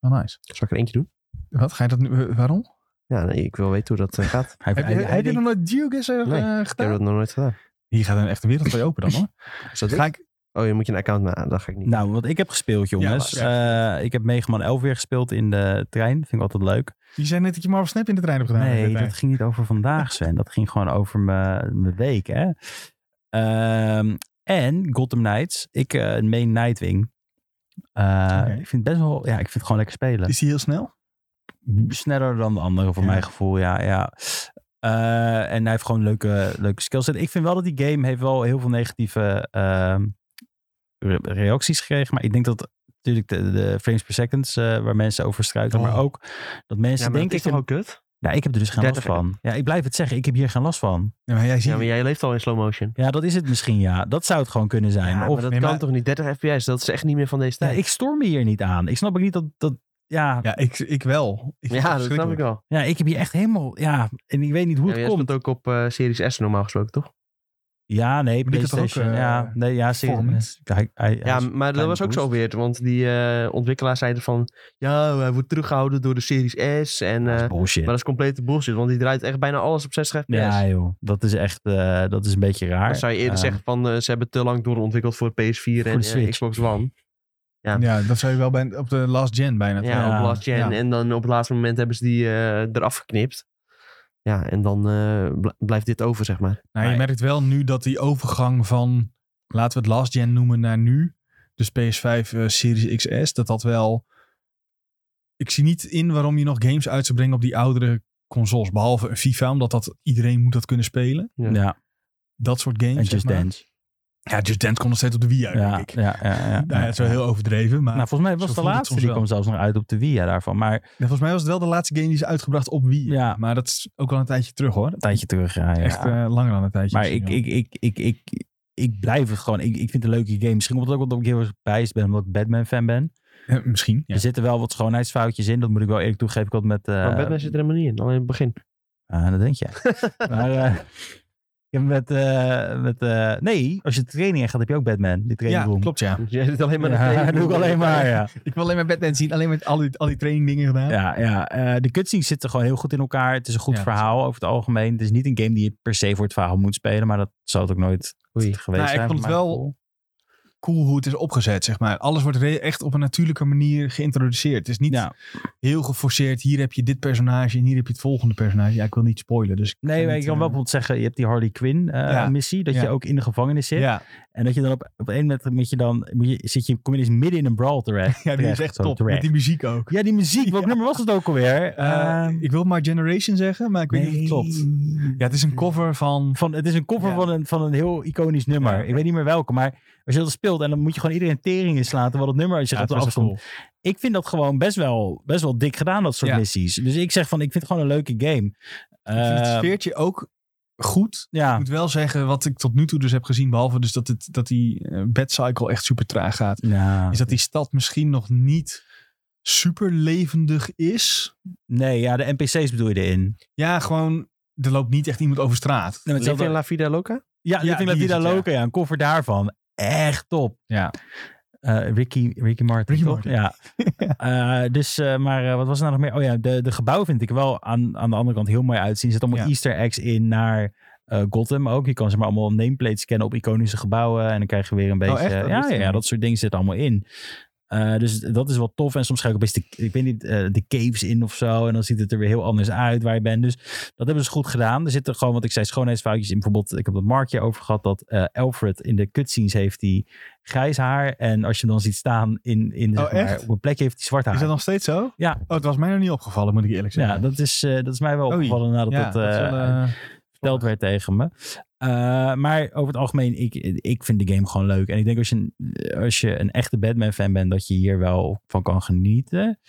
S1: Oh, nice.
S2: Zal ik er eentje doen?
S1: Wat ga je dat nu? eh, waarom?
S2: Ja, nee, ik wil weten hoe dat eh, gaat.
S3: Hij-
S1: Heb je,
S3: hij- hij
S1: heb je nog
S3: denkt-
S1: nooit Geoguessr
S2: Nee,
S1: eh,
S2: Ik heb
S1: gedaan?
S2: dat nog nooit gedaan.
S1: Hier gaat een echte wereld voor je open dan hoor.
S2: Is dat
S1: Ga
S2: ik?
S1: ik,
S2: Oh, je moet je een account maken. Dat ga ik niet.
S3: Nou, wat ik heb gespeeld, jongens.
S1: Ja,
S3: Eh, ik heb Megaman 11 weer gespeeld in de trein. Vind ik altijd leuk.
S1: je zei net dat je Marvel Snap in de trein hebt gedaan.
S3: Nee,
S1: Dit
S3: dat
S1: tijd.
S3: ging niet over vandaag, Sven. Dat ging gewoon over mijn mijn week, hè. Ehm, en Gotham Knights. Ik eh main Nightwing. Eh, Ik vind het best wel... Ja, ik vind het gewoon lekker spelen.
S1: Is die heel snel?
S3: sneller dan de andere, voor
S1: Ja.
S3: mijn gevoel. Ja, ja. Eh, en hij heeft gewoon een leuke, leuke skillset. Ik vind wel dat die game heeft wel heel veel negatieve ehm, re- reacties gekregen. Maar ik denk dat natuurlijk de, de frames per seconds eh, waar mensen over struiken. Maar
S1: Oh.
S3: ook dat mensen
S2: ja, maar
S3: denken...
S2: dat is toch ook kut?
S3: Nou, ik heb er dus geen last
S2: 30
S3: van. Ja, ik blijf het zeggen. Ik heb hier geen last van.
S1: Ja, maar jij ziet
S2: Ja, maar jij leeft al in slow motion.
S3: Ja, dat is het misschien, ja. Dat zou het gewoon kunnen zijn.
S2: Ja,
S3: of,
S2: maar dat
S1: nee,
S2: kan
S1: maar-
S2: toch niet? 30 fps, dat is echt niet meer van deze
S3: Ja,
S2: tijd.
S3: ik storm me hier niet aan. Ik snap ook niet dat... dat ja, ja.
S1: Ja, ik, ik wel. Ik vind
S2: Ja,
S1: het
S2: dat snap ik
S1: verschrikkelijk.
S2: wel.
S3: ik heb hier echt helemaal... Ja, en ik weet niet hoe
S2: Ja,
S3: het
S2: jij
S3: komt.
S2: speelt ook op eh, Series S normaal gesproken, toch?
S3: Ja, nee,
S1: Maar die had toch ook,
S3: PlayStation.
S1: eh,
S3: ja, nee, ja, zeker.
S1: performance?
S3: Hij- hij- hij
S2: Ja,
S3: is een
S2: maar dat
S3: kleine
S2: was ook
S3: boost.
S2: zo weird. Want die eh, ontwikkelaars zeiden van... Ja, hij wordt teruggehouden door de Series S. En, eh,
S3: Dat is
S2: maar
S3: bullshit.
S2: dat is complete bullshit. Want die draait echt bijna alles op 60 fps.
S3: Ja, joh. Dat is echt, eh, dat is een beetje raar.
S2: Dan zou je eerder
S3: Ehm,
S2: zeggen van... eh, ze hebben te lang doorontwikkeld voor PS4
S3: de
S2: en eh,
S3: Switch.
S2: Xbox One. Ja.
S1: Ja, dat zou je wel bij, op de last gen bijna.
S2: Ja,
S1: Ja.
S2: op last gen.
S1: ja.
S2: En dan op het laatste moment hebben ze die eh, eraf geknipt. Ja, en dan eh, bl- blijft dit over, zeg maar.
S1: Nou, je
S3: Nee.
S1: merkt wel nu dat die overgang van, laten we het last gen noemen, naar nu. Dus PS5 eh, Series XS, dat dat wel... Ik zie niet in waarom je nog games uit zou brengen op die oudere consoles. Behalve een FIFA, omdat dat, iedereen moet dat kunnen spelen.
S2: Ja.
S3: Ja,
S1: Dat soort games.
S3: en
S1: zeg
S3: Just
S1: maar.
S3: Dance.
S1: Ja, Just Dance komt nog steeds op de Wii uit,
S3: Ja, ja,
S1: denk ik.
S3: ja, ja, ja.
S1: Nou ja, het is wel heel overdreven, maar
S3: Nou, volgens mij was
S1: Zo
S3: het de
S1: voelt het
S3: laatste.
S1: soms
S3: Die
S1: wel.
S3: kwam zelfs nog uit op de Wii ja, daarvan. Maar
S1: Ja, volgens mij was het wel de laatste game die is uitgebracht op Wii.
S3: Ja.
S1: Maar dat is ook al een tijdje terug hoor.
S3: een tijdje terug. Ja, ja.
S1: Echt eh, langer dan een tijdje.
S3: maar ik,
S1: misschien
S3: ik, ik, ik, ik, ik blijf het gewoon. Ik, ik vind het een leuke game. Misschien komt het ook omdat ik heel erg bijst ben. Omdat ik Batman-fan ben.
S1: wel. Eh, misschien. Ja.
S3: Er zitten wel wat schoonheidsfoutjes in. Dat moet ik wel eerlijk toegeven. Ik had met... eh,
S2: Maar Batman zit er helemaal niet in. Alleen in het begin.
S3: Ah, dat denk je. maar eh, ik heb met... eh, met eh, nee, als je de training in gaat, heb je ook Batman. Die
S1: Ja,
S3: training room.
S1: klopt ja.
S2: Jij zit alleen maar...
S3: Ja, dat doe ik alleen maar, ja.
S1: Ik wil alleen maar Batman zien. Alleen met al die, al die trainingdingen gedaan.
S3: Ja, ja eh, de cutscenes zitten gewoon heel goed in elkaar. Het is een goed
S1: Ja,
S3: verhaal over het algemeen. Het is niet een game die je per se voor het verhaal moet spelen, maar dat zal het ook nooit
S2: Oei.
S3: geweest zijn.
S1: Nou, ik vond het
S3: maar
S1: wel-
S3: cool.
S1: Cool hoe het is opgezet zeg maar. Alles wordt re- echt op een natuurlijke manier geïntroduceerd. Het is niet
S3: Ja.
S1: heel geforceerd. Hier heb je dit personage en hier heb je het volgende personage. Ja, ik wil niet spoilen. Dus
S3: Nee,
S1: ga
S3: maar
S1: niet,
S3: ik kan wel
S1: eh,
S3: bijvoorbeeld zeggen, je hebt die Harley Quinn eh,
S1: Ja.
S3: missie, dat
S1: Ja.
S3: je ook in de gevangenis zit.
S1: Ja,
S3: En dat je dan op, op een moment moet je dan, moet je, zit je, kom je eens midden in een brawl terecht.
S1: ja die
S3: Terecht,
S1: is echt
S3: zo,
S1: top.
S3: terecht.
S1: Met die muziek ook.
S3: Ja, die muziek, welk
S1: Ja.
S3: nummer was het ook alweer?
S1: Eh,
S3: Ehm,
S1: ik wil My Generation zeggen, maar ik weet niet of het klopt. Ja, het is een cover van...
S3: Van, het is een cover
S1: Ja.
S3: van, een, van een heel iconisch nummer.
S1: Ja.
S3: Ik weet niet meer welke, maar als je dat speelt en dan moet je gewoon iedereen tering inslaan terwijl het nummer als je
S1: Ja,
S3: gaat
S1: het was
S3: afkomt.
S1: echt cool.
S3: ik vind dat gewoon best wel, best wel dik gedaan, dat soort
S1: Ja.
S3: missies. Dus ik zeg van, ik vind het gewoon een leuke game.
S1: Ik vind het
S3: Eh,
S1: sfeertje ook goed. Ik
S3: ja,
S1: moet wel zeggen, wat ik tot nu toe dus heb gezien, behalve dus dat, het, dat die eh, bedcycle echt super traag gaat,
S3: ja.
S1: is dat die stad misschien nog niet super levendig is.
S3: Nee, ja, de NPC's bedoel je erin.
S1: Ja, gewoon, er loopt niet echt iemand over straat.
S3: Nee,
S2: Zit in La Vida Loca?
S1: Ja,
S3: ja, Living La
S1: die is
S3: Vida
S1: het, ja.
S3: Loca, ja. een koffer daarvan. Echt top.
S1: Ja.
S3: Eh, Ricky, Ricky Martin.
S1: Ricky
S3: toch?
S1: Martin.
S3: Ja. Eh, dus, eh, maar eh, wat was er nou nog meer? Oh ja, de, de gebouwen vind ik wel aan, aan de andere kant heel mooi uitzien. Er zitten allemaal
S1: Ja.
S3: easter eggs in naar eh, Gotham ook. Je kan ze maar allemaal nameplates scannen op iconische gebouwen. En dan krijg je weer een beetje...
S1: Oh, echt? Dat
S3: ja,
S1: wist ik
S3: ja,
S1: niet.
S3: dat soort dingen zitten allemaal in. Eh, dus dat is wel tof. En soms ga ik ook best de, ik weet niet, eh, de caves in of zo. En dan ziet het er weer heel anders uit waar je bent. Dus dat hebben ze goed gedaan. Er zitten gewoon, wat ik zei, schoonheidsfoutjes in. Bijvoorbeeld, ik heb dat markje over gehad dat eh, Alfred in de cutscenes heeft die grijs haar. En als je hem dan ziet staan in, in
S1: Oh,
S3: zeg maar,
S1: echt?
S3: op een plekje heeft hij zwart haar.
S1: Is dat nog steeds zo?
S3: Ja.
S1: Oh, het was mij nog niet opgevallen, moet ik eerlijk
S3: Ja,
S1: zeggen.
S3: dat is, eh, dat is mij wel
S1: Oei.
S3: opgevallen nadat
S1: Ja,
S3: dat,
S1: dat is
S3: eh,
S1: wel, eh,
S3: verteld werd tegen me. Eh, maar over het algemeen, ik, ik vind de game gewoon leuk. En ik denk als je, een- als je een echte Batman-fan bent, dat je hier wel van kan genieten.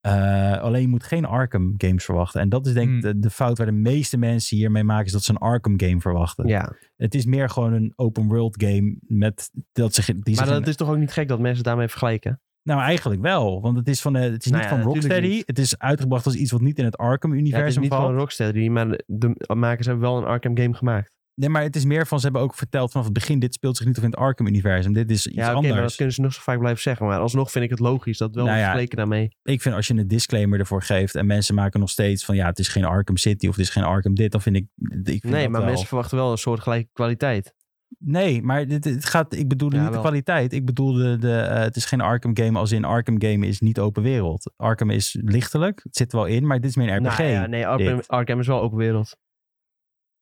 S3: Eh, alleen je moet geen Arkham games verwachten. En dat is denk ik
S1: Hmm.
S3: de, de fout waar de meeste mensen hiermee maken, is dat ze een Arkham game verwachten.
S2: Ja.
S3: Het is meer gewoon een open world game met dat zich die
S2: Maar
S3: zich-
S2: dat is toch ook niet gek dat mensen daarmee vergelijken?
S3: nou eigenlijk wel, want het is van eh, het is
S2: Nou
S3: niet
S2: ja,
S3: van
S2: natuurlijk
S3: Rocksteady.
S2: niet.
S3: Het is uitgebracht als iets wat niet in het Arkham
S2: Ja, het is
S3: universum
S2: niet
S3: valt.
S2: van Rocksteady, maar de makers hebben wel een Arkham game gemaakt.
S3: Nee, maar het is meer van ze hebben ook verteld vanaf het begin dit speelt zich niet of in het Arkham universum. Dit is iets
S2: Ja, oké, maar dat
S3: anders.
S2: kunnen ze nog zo vaak blijven zeggen. Maar alsnog vind ik het logisch dat wel
S3: Nou ja.
S2: vergeleken daarmee.
S3: Ik vind als je een disclaimer ervoor geeft en mensen maken nog steeds van ja, het is geen Arkham City of het is geen Arkham dit, dan vind ik ik vind
S2: Nee,
S3: dat
S2: maar
S3: wel.
S2: mensen verwachten wel een soort gelijke kwaliteit.
S3: Nee, maar dit, het gaat ik bedoelde
S2: Ja,
S3: niet
S2: wel.
S3: de kwaliteit. Ik bedoelde de eh, het is geen Arkham game als in Arkham game is niet open wereld. Arkham is lichtelijk, het zit er wel in, maar dit is meer een RPG.
S2: Nou ja, nee, Arkham,
S3: dit.
S2: Arkham is wel open wereld.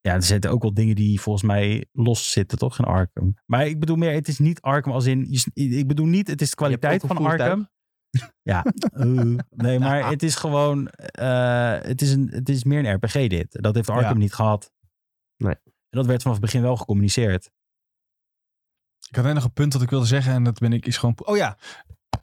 S3: Ja, er zitten ook wel dingen die volgens mij los zitten, toch? In Arkham. Maar ik bedoel meer, het is niet Arkham als in... je s- Ik bedoel niet, het is de kwaliteit
S2: ook een
S3: van
S2: voertuig.
S3: Arkham. Ja. eh, nee, maar het is gewoon... eh, het, is een, het is meer een RPG dit. Dat heeft Arkham
S1: Ja.
S3: niet gehad.
S2: Nee.
S3: En dat werd vanaf het begin wel gecommuniceerd.
S1: Ik had net nog een punt dat ik wilde zeggen en dat ben ik is gewoon... Oh ja,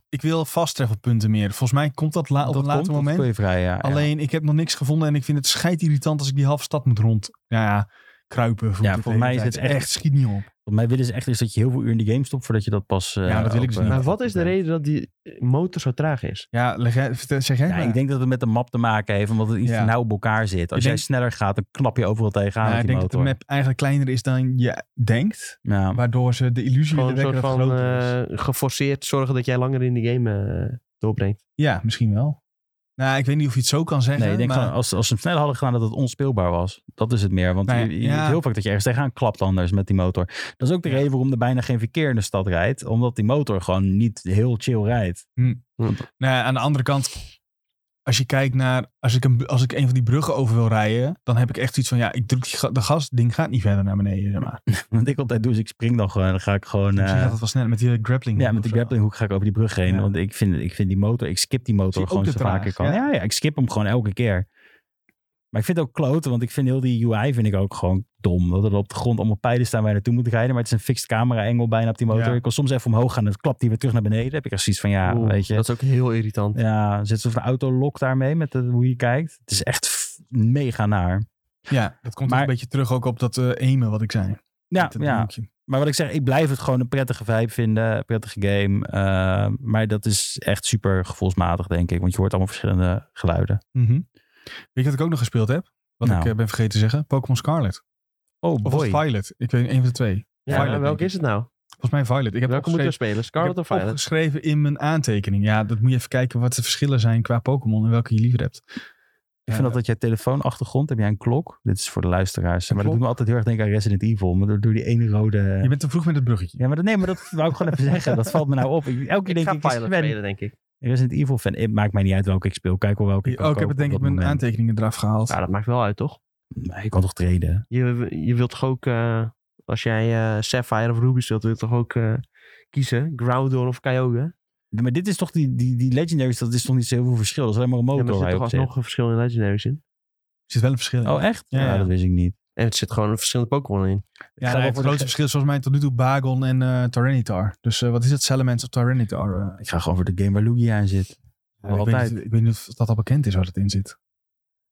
S1: ik wil vasttreffelpunten meer. Volgens mij komt dat la- Ah, op
S3: dat
S1: een later
S3: komt, dat
S1: moment.
S3: speel je vrij, ja. ja.
S1: Alleen, ik heb nog niks gevonden en ik vind het scheidirritant als ik die halve stad moet rond. Nou ja, kruipen. voelt
S3: Ja,
S1: het
S3: volgens
S1: de
S3: mij
S1: hele
S3: is
S1: tijd.
S3: het echt-
S1: schiet niet op.
S3: Volgens mij willen ze echt is dat je heel veel uur in de game stopt voordat je dat pas... eh,
S1: Ja, dat wil ik dus
S3: op, eh,
S1: niet.
S2: Maar wat is de reden dat die eh, motor zo traag is?
S1: Ja, leg jij, vertel- zeg jij
S3: Ja,
S1: maar.
S3: ik denk dat het met de map te maken heeft, omdat het iets
S1: Ja.
S3: nauw op elkaar zit. Als
S1: Ik
S3: jij
S1: denk-
S3: sneller gaat, dan knap je overal tegenaan
S1: Nou,
S3: met
S1: ik
S3: die
S1: denk dat de
S3: motor.
S1: map eigenlijk kleiner is dan je denkt.
S3: Ja.
S1: Waardoor ze de illusie
S2: Gewoon
S1: willen
S2: een
S1: wekken
S2: soort
S1: dat het
S2: van
S1: groter is.
S2: eh, geforceerd zorgen dat jij langer in de game eh, doorbrengt.
S1: Ja, misschien wel. Nou, ik weet niet of je het zo kan zeggen.
S3: Nee, ik denk
S1: maar...
S3: gewoon, als, als ze hem sneller hadden gedaan, dat het onspeelbaar was. Dat is het meer. Want
S1: Nee,
S3: je, je
S1: ja.
S3: ziet heel vaak dat je ergens tegenaan klapt anders met die motor. Dat is ook de
S1: Ja.
S3: reden waarom er bijna geen verkeer in de stad rijdt. Omdat die motor gewoon niet heel chill rijdt.
S1: Nou, ja, aan de andere kant, als je kijkt naar. Als ik, een, als ik een van die bruggen over wil rijden. dan heb ik echt iets van. ja, ik druk die ga- de gas. ding gaat niet verder naar beneden. Zeg maar.
S3: Wat ik altijd doe, is ik spring dan gewoon. Dan ga ik gewoon... eh,
S1: Misschien gaat het wel sneller met die grappling.
S3: ja,
S1: hook
S3: met de
S1: of zo.
S3: grapplinghoek ga ik over die brug heen.
S1: Ja.
S3: Want ik vind, ik vind die motor... Ik skip die
S1: Zie
S3: motor
S1: je
S3: gewoon
S1: ook
S3: zo
S1: de
S3: vaak ik kan.
S1: traag,
S3: Ja. ja, ik skip hem gewoon elke keer. Maar ik vind het ook kloten, want ik vind heel die UI vind ik ook gewoon dom. Dat er op de grond allemaal pijlen staan waar je naartoe moet rijden. Maar het is een fixed camera engel bijna op die motor.
S1: Ja.
S3: Ik kan soms even omhoog gaan en dan klapt die weer terug naar beneden. Dan heb ik echt zoiets van, ja,
S2: Oeh,
S3: weet je.
S2: Dat is ook heel irritant.
S3: Ja, zit zo'n autolok daarmee met de- hoe je kijkt. Het is echt f- mega naar.
S1: Ja, dat komt ook
S3: Maar-
S1: een beetje terug ook op dat eh emen wat ik zei.
S3: Ja,
S1: Met dat
S3: ja,
S1: driehoekje.
S3: maar wat ik zeg, ik blijf het gewoon een prettige vibe vinden. Een prettige game. Eh, maar dat is echt super gevoelsmatig, denk ik. Want je hoort allemaal verschillende geluiden.
S1: Mhm. Weet je wat ik ook nog gespeeld heb? Wat
S3: Nou.
S1: ik eh, ben vergeten te zeggen. Pokémon Scarlet.
S3: Oh
S1: Of was het Violet? Ik weet niet, een van de twee.
S2: Ja,
S1: Violet,
S2: maar
S1: denk
S2: welke
S1: ik.
S2: is het nou?
S1: Volgens mij Violet. Ik heb
S2: welke moeten we spelen? Scarlet of Violet?
S1: geschreven in mijn aantekening. Ja, dat moet je even kijken wat de verschillen zijn qua Pokémon en welke je liever hebt. Eh,
S3: Ik vind dat dat jij telefoonachtergrond, heb jij een klok? Dit is voor de luisteraars.
S1: Een
S3: maar dat doet me altijd heel erg denken aan Resident Evil. Maar door, door die ene rode...
S1: Je bent te vroeg met het bruggetje.
S3: Ja, maar dat, nee, maar dat wou ik gewoon even zeggen. Dat valt me nou op. Ik, elke keer
S2: Ik
S3: denk
S2: ga
S3: ik, het is
S2: Violet
S3: Sven.
S2: spelen, denk ik.
S3: Resident Evil fan. Het maakt mij niet uit welke ik speel. Kijk wel welke ik kan
S1: Oh, ik heb
S3: kopen
S1: het denk ik
S3: op
S1: mijn
S3: dat moment.
S1: aantekeningen eraf gehaald.
S2: Nou, dat maakt wel uit, toch?
S3: Nee, Je kan toch treden?
S2: Je, je wilt toch ook, eh, als jij eh, Sapphire of Ruby speelt, wil je toch ook eh, kiezen? Groudon of Kyogre?
S3: Ja, maar dit is toch die, die, die Legendaries, dat is toch niet zo heel veel verschil. Dat is alleen maar een
S2: Ja,
S3: motor
S2: maar er
S3: waar
S2: zit
S3: je
S2: toch
S3: op zit.
S2: alsnog een verschil in Legendaries in.
S1: Er zit wel een verschil in.
S3: Oh, echt?
S1: Ja,
S3: Ja,
S1: ja.
S3: dat wist ik niet.
S2: En het zit gewoon een verschillende Pokémon in.
S1: ja,
S3: gaat
S1: nou,
S3: wel
S1: het
S3: voor de
S1: grootste
S3: ge-
S1: verschil is volgens mij tot nu toe Bagon en eh Tyranitar. Dus eh, wat is het? Salamence of Tyranitar? eh?
S3: Ik ga gewoon voor de game waar Lugia in zit.
S1: ik, weet
S3: altijd.
S1: niet, ik weet niet of dat al bekend is waar het in zit.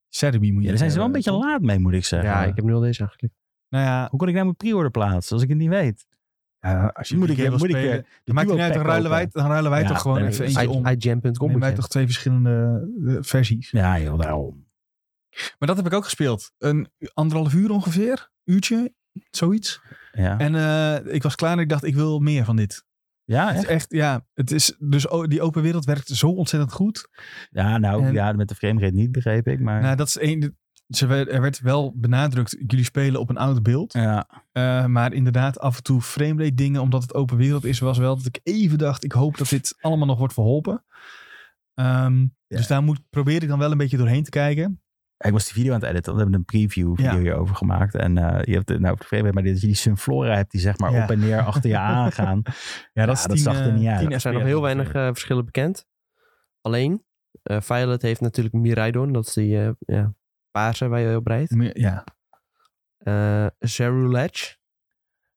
S1: Cerebi moet je
S3: Ja, daar zijn ze wel een
S1: hebben,
S3: beetje
S1: toch?
S3: laat mee, moet ik zeggen.
S2: Ja, ik heb nu al deze eigenlijk.
S1: Nou ja,
S3: Hoe kan ik nou mijn pre-order plaatsen als ik het niet weet?
S1: ja, als je
S3: Moet
S1: die
S3: ik-
S1: game wil
S3: moet ik
S1: spelen,
S3: weer
S1: dan maakt het
S3: duo
S1: niet uit, dan
S3: pack
S1: ruilen wij,
S3: open?
S1: dan ruilen wij
S3: Ja,
S1: toch gewoon
S3: nee,
S1: even
S3: nee.
S1: eentje om.
S2: iGem.com.
S1: Nemen wij toch twee verschillende eh, versies.
S3: Ja, joh, daarom.
S1: Maar dat heb ik ook gespeeld. Een anderhalf uur ongeveer, uurtje, zoiets.
S3: Ja,
S1: En eh, ik was klaar en ik dacht, ik wil meer van dit.
S3: ja,
S1: Het is
S3: echt?
S1: echt, ja. Het is, dus o- die open wereld werkt zo ontzettend goed.
S3: ja nou,
S1: En-
S3: ja, met de framerate niet, begreep ik. Maar
S1: Nou, dat is één. Ze, werd- er werd wel benadrukt, jullie spelen op een oud beeld.
S3: ja,
S1: Eh, maar inderdaad, af en toe framerate dingen, omdat het open wereld is, was wel dat ik even dacht, ik hoop dat dit allemaal nog wordt verholpen. Ehm,
S3: Ja.
S1: Dus daar moet, probeer ik dan wel een beetje doorheen te kijken.
S3: ik was die video aan het editen. We hebben een preview
S1: Ja.
S3: video hierover gemaakt. En eh, je hebt het nou op de framerate, maar dat je die Sunflora hebt die zeg maar
S1: Ja.
S3: op en neer achter je aangaan. Oh,
S1: Ja,
S3: dat is tien,
S1: zag
S3: eh, tien
S2: Er zijn nog heel weinig eh, verschillen bekend. Alleen, eh, Violet heeft natuurlijk Miraidon. Dat is die eh, ja, paarse waar je op rijdt.
S1: Ja.
S2: Eh Zeruledge.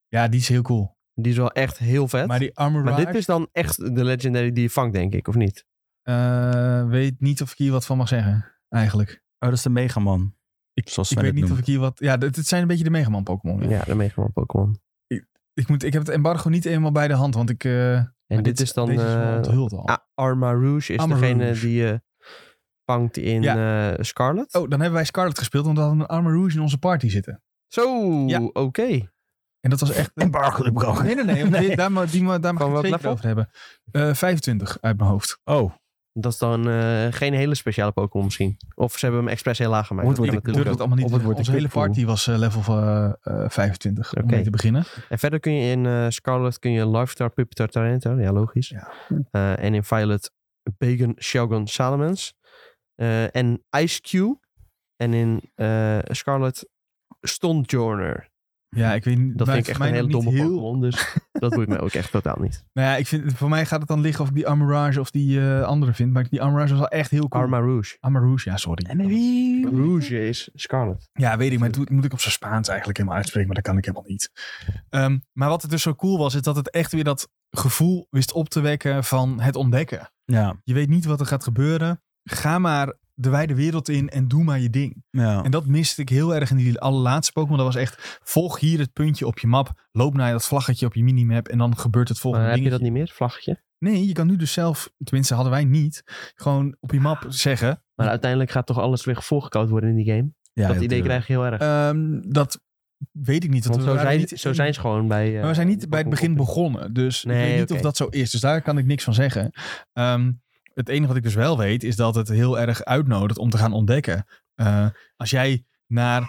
S1: ja, die is heel cool.
S2: Die is wel echt heel vet.
S1: Maar die Armor
S2: Maar dit is dan echt de legendary die je vangt, denk ik, of niet?
S1: eh, weet niet of ik hier wat van mag zeggen, eigenlijk.
S3: Oh, dat is de Megaman. Zoals
S1: Ik
S3: Sven
S1: weet
S3: het
S1: niet
S3: noemt.
S1: of ik hier wat... Ja, dit- het zijn een beetje de Megaman Pokémon. ja.
S2: Ja, de Mega Man Pokémon.
S1: Ik, moet, ik heb het embargo niet eenmaal bij de hand, want ik... eh,
S2: En
S1: maar
S2: dit is dan
S1: Deze is wel
S2: eh
S1: onthuld al.
S2: A- Arma Rouge is
S1: Arma
S2: degene
S1: Rouge.
S2: die je vangt in eh, Scarlet.
S1: Oh, dan hebben wij Scarlet gespeeld, want we hadden een Armor Rouge in onze party zitten.
S2: Zo,
S1: Ja.
S2: oké.
S1: En dat was echt... een-
S3: Embargo gebroken.
S1: Nee, nee, nee. want die- Daar, mag- die, mag- daar mag
S2: Van
S1: ik het
S2: welk
S1: zeker
S2: level?
S1: over hebben. Eh, 25 uit mijn hoofd.
S3: Oh,
S2: Dat is dan eh, geen hele speciale Pokémon misschien. Of ze hebben hem expres heel laag gemaakt.
S3: Moet
S2: Dat
S3: worden
S2: kan
S1: Ik durf
S2: natuurlijk
S1: het allemaal niet
S3: Of
S1: te
S3: het
S1: zeggen.
S3: wordt
S1: Onze
S3: een
S1: hele party
S3: kutpoel.
S1: was eh, level van eh, eh, 25 om
S2: Oké.
S1: mee te beginnen.
S2: ook. En verder kun je in eh, Scarlet kun je Larvitar, Pupitar, Tyranitar. Ja, logisch.
S1: Ja.
S2: Eh, en in Violet Bagon, Shogun, Salamence. Eh, en Ice Cube. En in eh, Scarlet Stonjourner.
S1: Ja, ik weet niet.
S2: Dat
S1: maar
S2: vind ik echt
S1: voor
S2: een
S1: mij
S2: hele
S1: nog
S2: domme
S1: niet
S2: Pokémon. Dus dat boeit mij ook echt totaal niet.
S1: Nou ja, ik vind, voor mij gaat het dan liggen of ik die Armorage of die eh, andere vind. Maar die Armorage was wel echt heel cool.
S2: Arma Rouge.
S1: Armorage, ja, sorry.
S3: en met wie?
S2: Rouge is Scarlet.
S1: Ja, weet ik, maar dat moet- moet ik op zijn Spaans eigenlijk helemaal uitspreken, maar dat kan ik helemaal niet. Ehm, maar wat het dus zo cool was, is dat het echt weer dat gevoel wist op te wekken van het ontdekken.
S3: Ja,
S1: Je weet niet wat er gaat gebeuren. Ga maar de wijde wereld in en doe maar je ding.
S3: Ja.
S1: En dat miste ik heel erg in die allerlaatste Pokémon. Dat was echt, volg hier het puntje op je map, loop naar dat vlaggetje op je minimap en dan gebeurt het volgende
S2: Maar heb je
S1: dingetje. Hm.
S2: dat niet meer, vlaggetje?
S1: Nee, je kan nu dus zelf, tenminste hadden wij niet, gewoon op je map zeggen,
S2: Maar uiteindelijk gaat toch alles weer voorgekoud worden in die game?
S3: Ja,
S2: dat
S3: ja,
S2: idee
S1: eh,
S3: tuurlijk.
S2: krijg je heel erg.
S1: Ehm, dat weet ik niet. want
S2: Want
S1: we
S2: zo
S1: waren
S2: zijn,
S1: niet
S2: zo
S1: in-
S2: zijn ze gewoon bij... eh,
S1: Maar we zijn niet bij het begin
S2: Pokémon Company.
S1: begonnen. Dus ik
S2: Nee,
S1: weet niet
S2: oké.
S1: of dat zo is. Dus daar kan ik niks van zeggen. Ehm, het enige wat ik dus wel weet, is dat het heel erg uitnodigt om te gaan ontdekken. Eh, als jij naar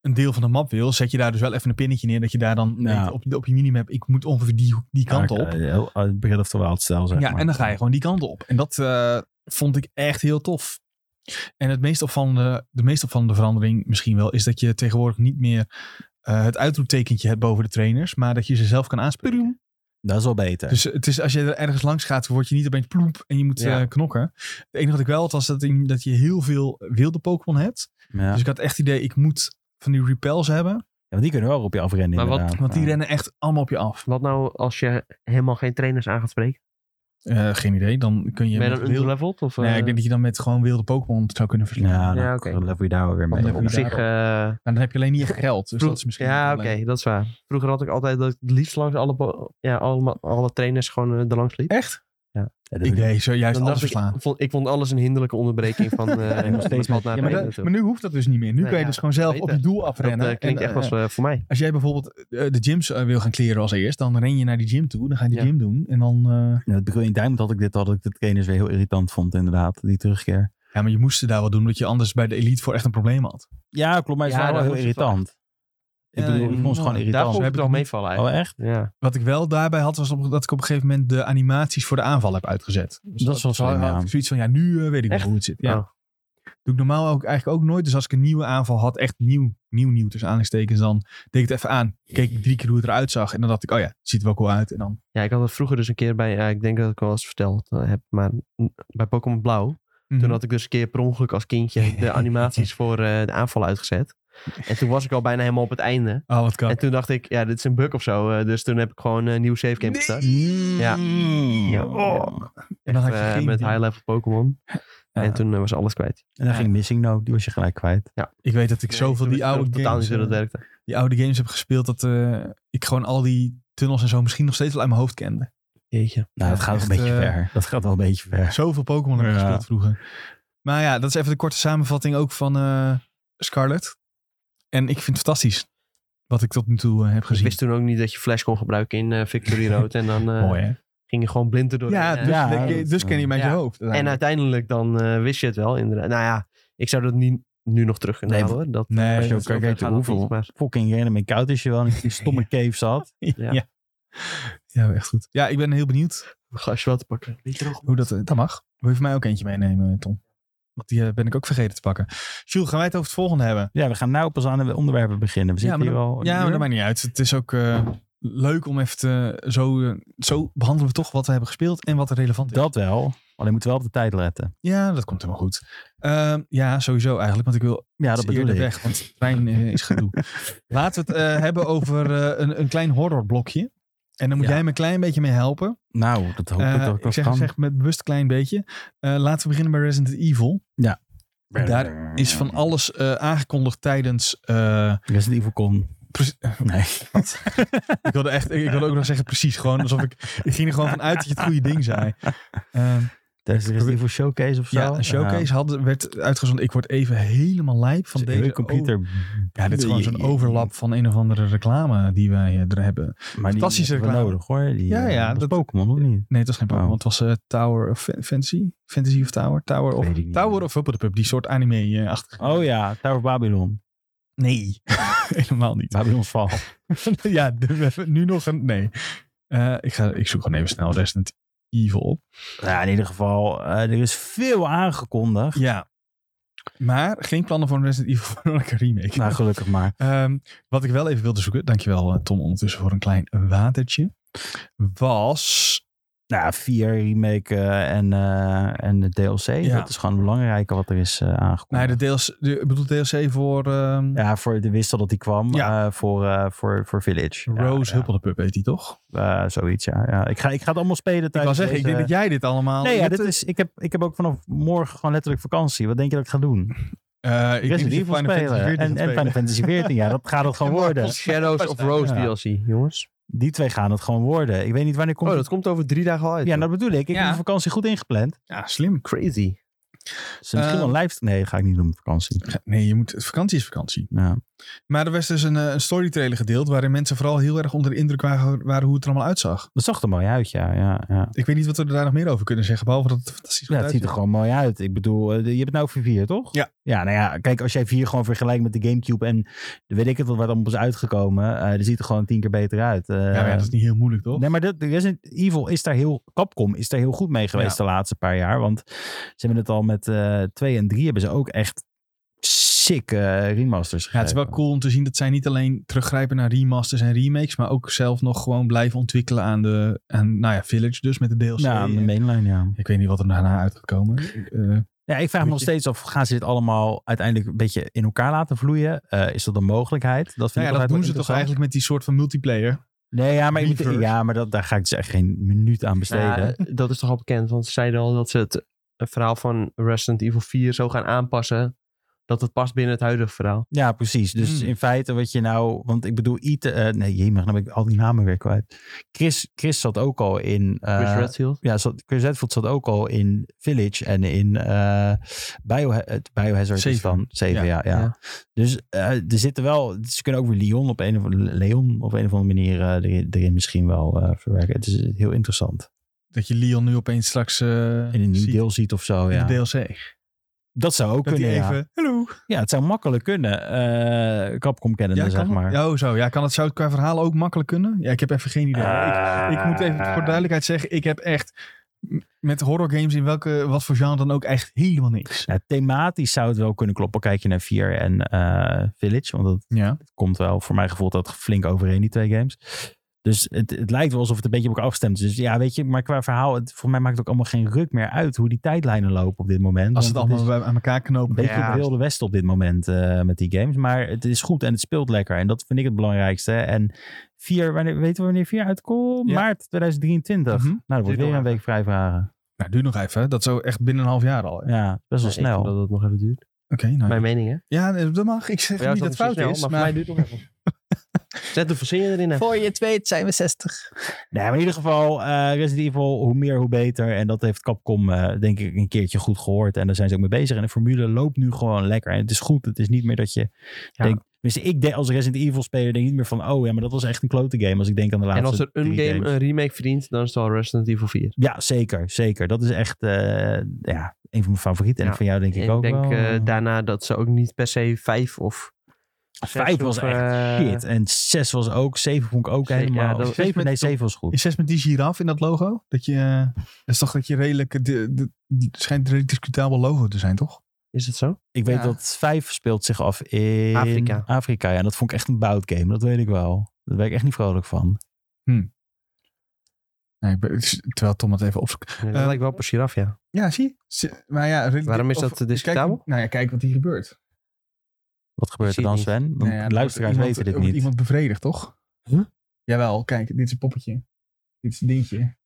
S1: een deel van de map wil, zet je daar dus wel even een pinnetje neer. Dat je daar dan
S3: Ja.
S1: weet op, je- op je minimap, ik moet ongeveer die, die kant
S3: Ja,
S1: op.
S3: eh, Heel, eh, Breath of the Wild stijl, zeg
S1: Ja,
S3: maar.
S1: en dan ga je gewoon die kant op. En dat eh, vond ik echt heel tof. En het meest opvallende, de meest opvallende verandering misschien wel, is dat je tegenwoordig niet meer eh, het uitroeptekentje hebt boven de trainers, maar dat je ze zelf kan aanspreken.
S3: Dat is wel beter.
S1: Dus het is, als je er ergens langs gaat, word je niet opeens ploep en je moet
S2: Ja.
S1: eh, knokken. Het enige wat ik wel had, was dat, in- dat je heel veel wilde Pokémon hebt.
S3: ja.
S1: Dus ik had echt het idee, ik moet van die repels hebben,
S3: Ja, want die kunnen wel op je afrennen
S2: Maar wat-
S3: inderdaad.
S1: want die
S3: Ja.
S1: rennen echt allemaal op je af.
S2: Wat nou als je helemaal geen trainers aan gaat spreken?
S1: Eh, geen idee, dan kun je...
S2: ben
S1: met
S2: je dan
S1: wilde-
S2: underleveled? Of,
S1: Nee,
S2: eh,
S1: ik denk dat je dan met gewoon wilde Pokémon zou kunnen verslaan.
S3: Ja,
S2: Ja,
S3: dan
S2: oké.
S3: level je daar wel weer
S2: want
S3: mee.
S1: dan
S2: op
S1: moet je
S2: zich... eh,
S1: Maar dan heb je alleen niet echt geld. Dus
S2: Vroeg-
S1: dat is misschien
S2: ja,
S1: een
S2: oké,
S1: probleem.
S2: dat is waar. Vroeger had ik altijd dat ik het liefst langs alle, bo- ja, alle, alle trainers gewoon eh, er langs liep.
S1: Echt?
S3: Ja, dat
S1: Ik
S3: doe-
S1: deed zojuist
S2: Dan
S1: alles
S2: dacht ik,
S1: verslaan.
S2: vond, ik vond alles een hinderlijke onderbreking van eh
S3: nog steeds
S2: pad naar
S1: Maar,
S3: niet. nee,
S1: dat-
S2: beneden toe.
S1: maar nu hoeft dat dus niet meer. Nu
S2: Nee,
S1: kan je
S2: ja,
S1: dus gewoon zelf op
S2: beter.
S1: je doel afrennen.
S2: Dat eh, klinkt
S1: En,
S2: echt
S1: eh,
S2: als eh, voor mij.
S1: Als jij bijvoorbeeld eh, de gyms eh, wil gaan kleren als eerst, dan ren je naar die gym toe. Dan ga je die
S2: Ja.
S1: gym doen. En dan. eh,
S3: Ja, het begin in Diamond had ik dit al, dat ik de trainers weer heel irritant vond inderdaad, die terugkeer.
S1: ja, maar je moest er daar wat doen, omdat je anders bij de elite voor echt een probleem had.
S3: Ja, klopt, maar het is
S2: Ja,
S3: wel
S2: dat
S3: heel
S2: is het wel.
S3: irritant. Ik
S1: Ja,
S3: bedoel, ik vond
S1: ja.
S3: het gewoon
S2: Daar
S3: irritant.
S2: vond ik het
S1: hebben
S2: wel
S1: het
S2: meevallen
S3: Oh,
S2: eigenlijk.
S3: echt?
S2: Ja.
S1: Wat ik wel daarbij had, was op- dat ik op een gegeven moment de animaties voor de aanval heb uitgezet. Dus
S3: Dat is wel
S1: zo had
S3: slim, ja.
S1: ik zoiets van, ja, nu eh, weet ik wel
S2: Echt?
S1: hoe het zit. Ja.
S2: Oh.
S1: Doe ik normaal ook, eigenlijk ook nooit. Dus als ik een nieuwe aanval had, echt nieuw, nieuw, nieuw tussen aanhalingstekens, dan deed ik het even aan. Keek ik drie keer hoe het eruit zag. En dan dacht ik, oh ja, het ziet er wel cool uit. En dan
S2: ja, ik had het vroeger dus een keer bij, ja, ik denk dat ik wel eens verteld eh, heb, maar n- bij Pokémon Blauw,
S1: Mhm.
S2: toen had ik dus een keer per ongeluk als kindje de animaties voor eh, de aanval uitgezet. En toen was ik al bijna helemaal op het einde.
S1: Oh, wat kan.
S2: En toen dacht ik, ja, dit is een bug of zo. eh, dus toen heb ik gewoon een nieuw save game gestart. Ja. Ja.
S3: Oh.
S1: En dan had je
S2: Eh,
S1: geen
S2: met
S1: idee.
S2: high level Pokémon.
S1: Ja.
S2: En toen eh, was alles kwijt.
S3: En dan ging Missing No, die was je gelijk kwijt.
S1: Ik weet dat ik zoveel
S2: Toen
S1: die
S2: wist ik ook
S1: oude,
S2: totaal
S1: games,
S2: niet hoe dat
S1: eh,
S2: werkte.
S1: die oude games heb gespeeld. Dat eh, ik gewoon al die tunnels en zo misschien nog steeds wel uit mijn hoofd kende.
S2: Jeetje.
S3: Nou, dat gaat wel
S1: Echt,
S3: een beetje
S1: eh,
S3: ver. Dat gaat wel een beetje ver.
S1: Zoveel Pokémon heb ik
S3: Ja.
S1: gespeeld vroeger. Maar ja, dat is even de korte samenvatting ook van eh, Scarlet. En ik vind het fantastisch. Wat ik tot nu toe eh, heb
S2: Ik
S1: gezien.
S2: wist toen ook niet dat je Flash kon gebruiken in eh, Victory Road. en dan eh,
S1: Mooi hè?
S2: ging je gewoon blind erdoor.
S1: Ja, dus,
S3: Ja,
S1: de-
S3: dat- eh,
S1: dus ken je met
S2: ja.
S1: je hoofd.
S2: En
S1: uiteindelijk.
S2: uiteindelijk dan eh, wist je het wel. Inderdaad. Nou ja, ik zou dat niet nu nog terug kunnen
S3: Nee,
S2: halen. hoor. Dat,
S1: Nee,
S2: als
S1: dat
S3: is
S2: zo
S3: ook
S2: ver
S3: kijkt
S2: gaat, dat
S3: hoeveel.
S2: niet, maar-
S3: Fucking rennen met koud is je wel in die stomme cave zat.
S1: ja.
S2: Ja.
S1: Ja. echt goed. Ja, ik ben heel benieuwd
S2: Een glasje wel te pakken. Niet droog.
S1: hoe dat... eh, Dat mag. Wil je voor mij ook eentje meenemen, Tom? Want die eh, ben ik ook vergeten te pakken. Jules, gaan wij het over het volgende hebben?
S3: Ja, we gaan nou pas aan de onderwerpen beginnen. We
S1: Ja,
S3: zitten
S1: maar
S3: hier al een
S1: Ja, maar
S3: uur.
S1: dat maakt niet uit. Het is ook eh, leuk om even te... Zo, eh, zo behandelen we toch wat we hebben gespeeld en wat er relevant is.
S3: Dat wel. Alleen moeten we wel op de tijd letten.
S1: Ja, dat komt helemaal goed. Eh, ja, sowieso eigenlijk. Want ik wil
S3: Ja, dat
S1: iets
S3: bedoel
S1: eerder
S3: ik.
S1: weg, want de trein eh, is gedoe. Laten we het eh, hebben over eh, een, een klein horrorblokje. En dan moet
S3: Ja.
S1: jij me een klein beetje mee helpen.
S3: Nou, dat hoop ik
S1: Eh,
S3: dat ik
S1: ik
S3: dat
S1: zeg,
S3: kan.
S1: zeg met bewust een klein beetje. Eh, laten we beginnen bij Resident Evil. daar
S3: daar
S1: Is van alles eh, aangekondigd tijdens... eh,
S3: Resident Evil Con.
S1: pres-
S3: Nee.
S1: Ik wilde, echt, ik wilde ook nog zeggen precies. Gewoon alsof ik... Ik ging er gewoon van uit dat je het goede ding zei. Ehm,
S3: Tijdens de Resident Evil Showcase of zo.
S1: Ja, een showcase had, werd uitgezonden. Ik word even helemaal lijp van
S3: Van
S1: deze oh,
S3: de computer.
S1: Ja, dit is gewoon zo'n overlap van een of andere reclame die wij eh, er hebben.
S3: Maar die
S1: Fantastische
S3: hebben we
S1: reclame.
S3: nodig hoor. Die,
S1: Ja,
S3: ja,
S1: ja,
S3: ja. Dat
S1: dat-
S3: is Pokémon of niet?
S1: Nee, het was geen Pokémon.
S3: Oh.
S1: Het was eh, Tower of Fa- Fantasy? Fantasy of Tower? Tower of...
S3: Weet ik niet.
S1: Tower of Huppeldepup, die soort anime-achtig.
S3: Oh ja, Tower of Babylon.
S1: Nee, helemaal niet.
S3: Babylon's Val.
S1: ja, dus we hebben nu nog een... Nee. Eh, ik, ga, ik zoek gewoon even snel Resident Evil op.
S3: ja, in ieder geval, eh, er is veel aangekondigd.
S1: Ja. Maar geen plannen voor een Resident Evil voor een remake.
S3: Nou, gelukkig maar.
S1: Ehm, wat ik wel even wilde zoeken, dankjewel eh, Tom ondertussen voor een klein watertje, was
S3: Nou, ja, vier remake eh, en, eh, en de DLC.
S1: Ja.
S3: Dat is gewoon het belangrijke wat er is eh,
S1: Nee,
S3: aangekomen.
S1: nou de DLC, de, ik bedoel DLC voor ehm,
S3: Ja, voor de wist al dat die kwam
S1: Ja.
S3: eh, voor, eh, voor, voor Village. Ja,
S1: Rose
S3: ja.
S1: Huppeldepup heet die toch?
S3: Eh, zoiets, ja. ja. Ik, ga, ik ga het allemaal spelen
S1: Ik wil
S3: tijdens
S1: zeggen, ik
S3: deze-
S1: denk dat jij dit allemaal...
S3: Nee,
S1: je
S3: ja,
S1: hebt
S3: dit is, ik, heb, ik heb ook vanaf morgen gewoon letterlijk vakantie. Wat denk je dat ik ga doen?
S1: Eh, ik
S3: Resident Evil spelen. En, en Final Fantasy 14, ja, dat gaat het gewoon worden.
S2: Shadows of Rose
S3: Ja.
S2: DLC, jongens.
S3: Die twee gaan het gewoon worden. Ik weet niet wanneer komt.
S2: Oh, dat komt over drie dagen al uit.
S3: ja, nou,
S2: joh.
S3: dat bedoel ik. Ik
S1: Ja.
S3: heb mijn vakantie goed ingepland.
S1: Ja, slim.
S2: crazy.
S3: Dus misschien
S1: Eh.
S3: wel live. Nee, dat ga ik niet doen op vakantie.
S1: Nee, je moet, vakantie is vakantie.
S3: Ja.
S1: Maar er was dus een, eh, een story trailer gedeeld waarin mensen vooral heel erg onder de indruk waren, waren hoe het er allemaal uitzag.
S3: Dat zag er mooi uit, ja. ja, ja.
S1: Ik weet niet wat we daar nog meer over kunnen zeggen, behalve dat het er fantastisch
S3: Ja,
S1: goed
S3: het ziet er
S1: uitziet.
S3: gewoon mooi uit. Ik bedoel, eh, je hebt het nou over vier, toch?
S1: Ja.
S3: Ja, nou ja, kijk, als jij vier gewoon vergelijkt met de Gamecube en de weet ik het wat wat allemaal is uitgekomen, eh dan ziet er gewoon tien keer beter uit. Eh,
S1: Ja, maar ja, dat is niet heel moeilijk, toch?
S3: Nee, maar dat, Resident Evil is daar heel... Capcom is daar heel goed mee geweest de laatste paar jaar. Want ze hebben het al met eh 2 en 3 hebben ze ook echt sick eh, remasters
S1: Ja, het is wel
S3: gegeven.
S1: cool om te zien dat zij niet alleen teruggrijpen naar remasters en remakes, maar ook zelf nog gewoon blijven ontwikkelen aan de, aan, nou ja, Village dus met de DLC.
S3: Ja, aan de mainline, ja.
S1: ik weet niet wat er daarna uit gaat komen. Eh,
S3: Ja, ik vraag me nog
S1: Moet je-
S3: steeds af, gaan ze dit allemaal uiteindelijk een beetje in elkaar laten vloeien? Eh, is dat een mogelijkheid? Dat, vind
S1: nou
S3: ik
S1: ja, dat
S3: altijd
S1: doen
S3: wel
S1: ze toch
S3: interessant.
S1: eigenlijk met die soort van multiplayer.
S3: Nee, ja, maar, je moet-
S1: Reverse.
S3: ja, maar dat, daar ga ik dus echt geen minuut aan besteden.
S2: Nou, dat is toch al bekend, want ze zeiden al dat ze het eh, verhaal van Resident Evil 4 zo gaan aanpassen dat het past binnen het huidige verhaal.
S3: Ja, precies. Dus
S1: Hmm.
S3: in feite wat je nou... Want ik bedoel, Ite... eh, nee, jemig, dan ben ik al die namen weer kwijt. Chris, Chris zat ook al in... eh,
S2: Chris Redfield.
S3: ja, zat, Chris Redfield zat ook al in Village en in eh Bio, het Biohazard is
S1: Zeven.
S3: dan. Zeven, ja.
S1: Ja.
S3: ja,
S2: Ja.
S3: Dus eh, er zitten wel... Ze kunnen ook weer Leon op een of, Leon op een of andere manier eh, erin, erin misschien wel eh, verwerken. Het is heel interessant.
S1: Dat je Leon nu opeens straks eh,
S3: In een nieuw
S1: ziet
S3: deel ziet of zo,
S1: in
S3: ja.
S1: de DLC.
S3: Dat zou ook
S1: Dat hij
S3: kunnen, ja.
S1: even, hallo.
S3: Ja, het zou makkelijk kunnen. eh Capcom kennende,
S1: Ja,
S3: zeg
S1: kan,
S3: maar.
S1: het- oh, zo. Ja, kan het zou het qua verhaal ook makkelijk kunnen? Ja, ik heb even geen idee.
S2: eh,
S1: ik, ik moet even voor duidelijkheid zeggen, ik heb echt m- met horror games in welke, wat voor genre dan ook echt helemaal niks.
S3: Ja, thematisch zou het wel kunnen kloppen. Kijk je naar 4 en eh, Village. Want dat
S1: Ja.
S3: komt wel voor mijn gevoel dat flink overeen, die twee games. Dus het, het lijkt wel alsof het een beetje op elkaar afgestemd is. Dus ja, weet je, maar qua verhaal, het, voor mij maakt het ook allemaal geen ruk meer uit hoe die tijdlijnen lopen op dit moment.
S1: Als ze het
S3: Want
S1: allemaal
S3: is
S1: bij, aan elkaar
S3: een
S1: knopen.
S3: beetje
S2: Ja.
S3: op wilde west op dit moment eh, met die games. Maar het is goed en het speelt lekker. En dat vind ik het belangrijkste. En 4, wanneer, weten we wanneer 4 uitkomt?
S1: Ja.
S3: Maart 2023.
S1: Mhm.
S3: Nou, dat wordt
S2: Duurt
S3: weer
S2: nog
S3: een week vrijvragen.
S1: Nou, duur nog even. hè. Dat zo echt binnen een half jaar al. hè. Oké,
S3: Ja, best wel
S2: Nee, ik
S3: snel.
S2: vind dat het nog even duurt.
S1: nou. ja.
S2: Mijn mening, hè?
S1: Ja, nee, dat mag. Ik zeg
S2: Voor jou
S1: niet dat het fout
S2: misschien
S1: is.
S2: snel,
S1: maar
S2: voor mij duurt het nog even. Zet de verzin erin. hè.
S1: voor je het weet zijn we 60.
S3: Nee, maar in ieder geval, eh, Resident Evil, hoe meer, hoe beter. En dat heeft Capcom, eh, denk ik, een keertje goed gehoord. En daar zijn ze ook mee bezig. En de formule loopt nu gewoon lekker. En het is goed. Het is niet meer dat je
S2: Ja.
S3: denkt... Tenminste, ik denk als Resident Evil speler denk ik niet meer van... Oh ja, maar dat was echt een klote game als ik denk aan de
S2: En
S3: laatste
S2: als er een
S3: drie
S2: game
S3: games.
S2: een remake verdient, dan is het al Resident Evil 4.
S3: Ja, zeker. Zeker. Dat is echt eh, ja, een van mijn favorieten. En
S2: Ja.
S3: van jou denk ik
S2: En
S3: ook
S2: ik denk
S3: wel.
S2: eh, daarna dat ze ook niet per se 5 of
S3: Vijf was
S2: of,
S3: echt
S2: eh,
S3: shit. En zes was ook. Zeven vond ik ook
S2: Zeker,
S3: helemaal...
S2: ja, dat-
S3: zeven, nee, zeven was goed.
S1: Is 6 met die giraf in dat logo? Dat je, eh, dat is toch dat je redelijk, eh, de, de, het schijnt een redelijk discutabel logo te zijn, toch?
S2: Is het zo?
S3: Ik weet
S1: Ja.
S3: dat vijf speelt zich af in
S2: Afrika.
S3: Afrika. Ja, en dat vond ik echt een bout game. Dat weet ik wel. Daar ben ik echt niet vrolijk van.
S1: Nee, ik ben- het is- terwijl Tom het even opzoekt.
S2: Nee, dat
S1: Eh,
S2: lijkt wel op een giraf, ja.
S1: Ja, zie. Ze- Maar ja, redelijk-
S2: Waarom is dat
S1: of-
S2: te discutabel?
S1: Kijk, nou ja, kijk wat hier gebeurt.
S3: Wat gebeurt er
S2: zie
S3: dan,
S2: het
S3: Sven? Want
S1: Nou ja, er
S3: luisteraars
S1: wordt
S3: weten
S1: iemand-
S3: dit
S1: er wordt
S3: niet.
S1: iemand bevredigd, toch?
S2: Huh?
S1: Jawel, kijk, dit is een poppetje. Dit is een dingetje.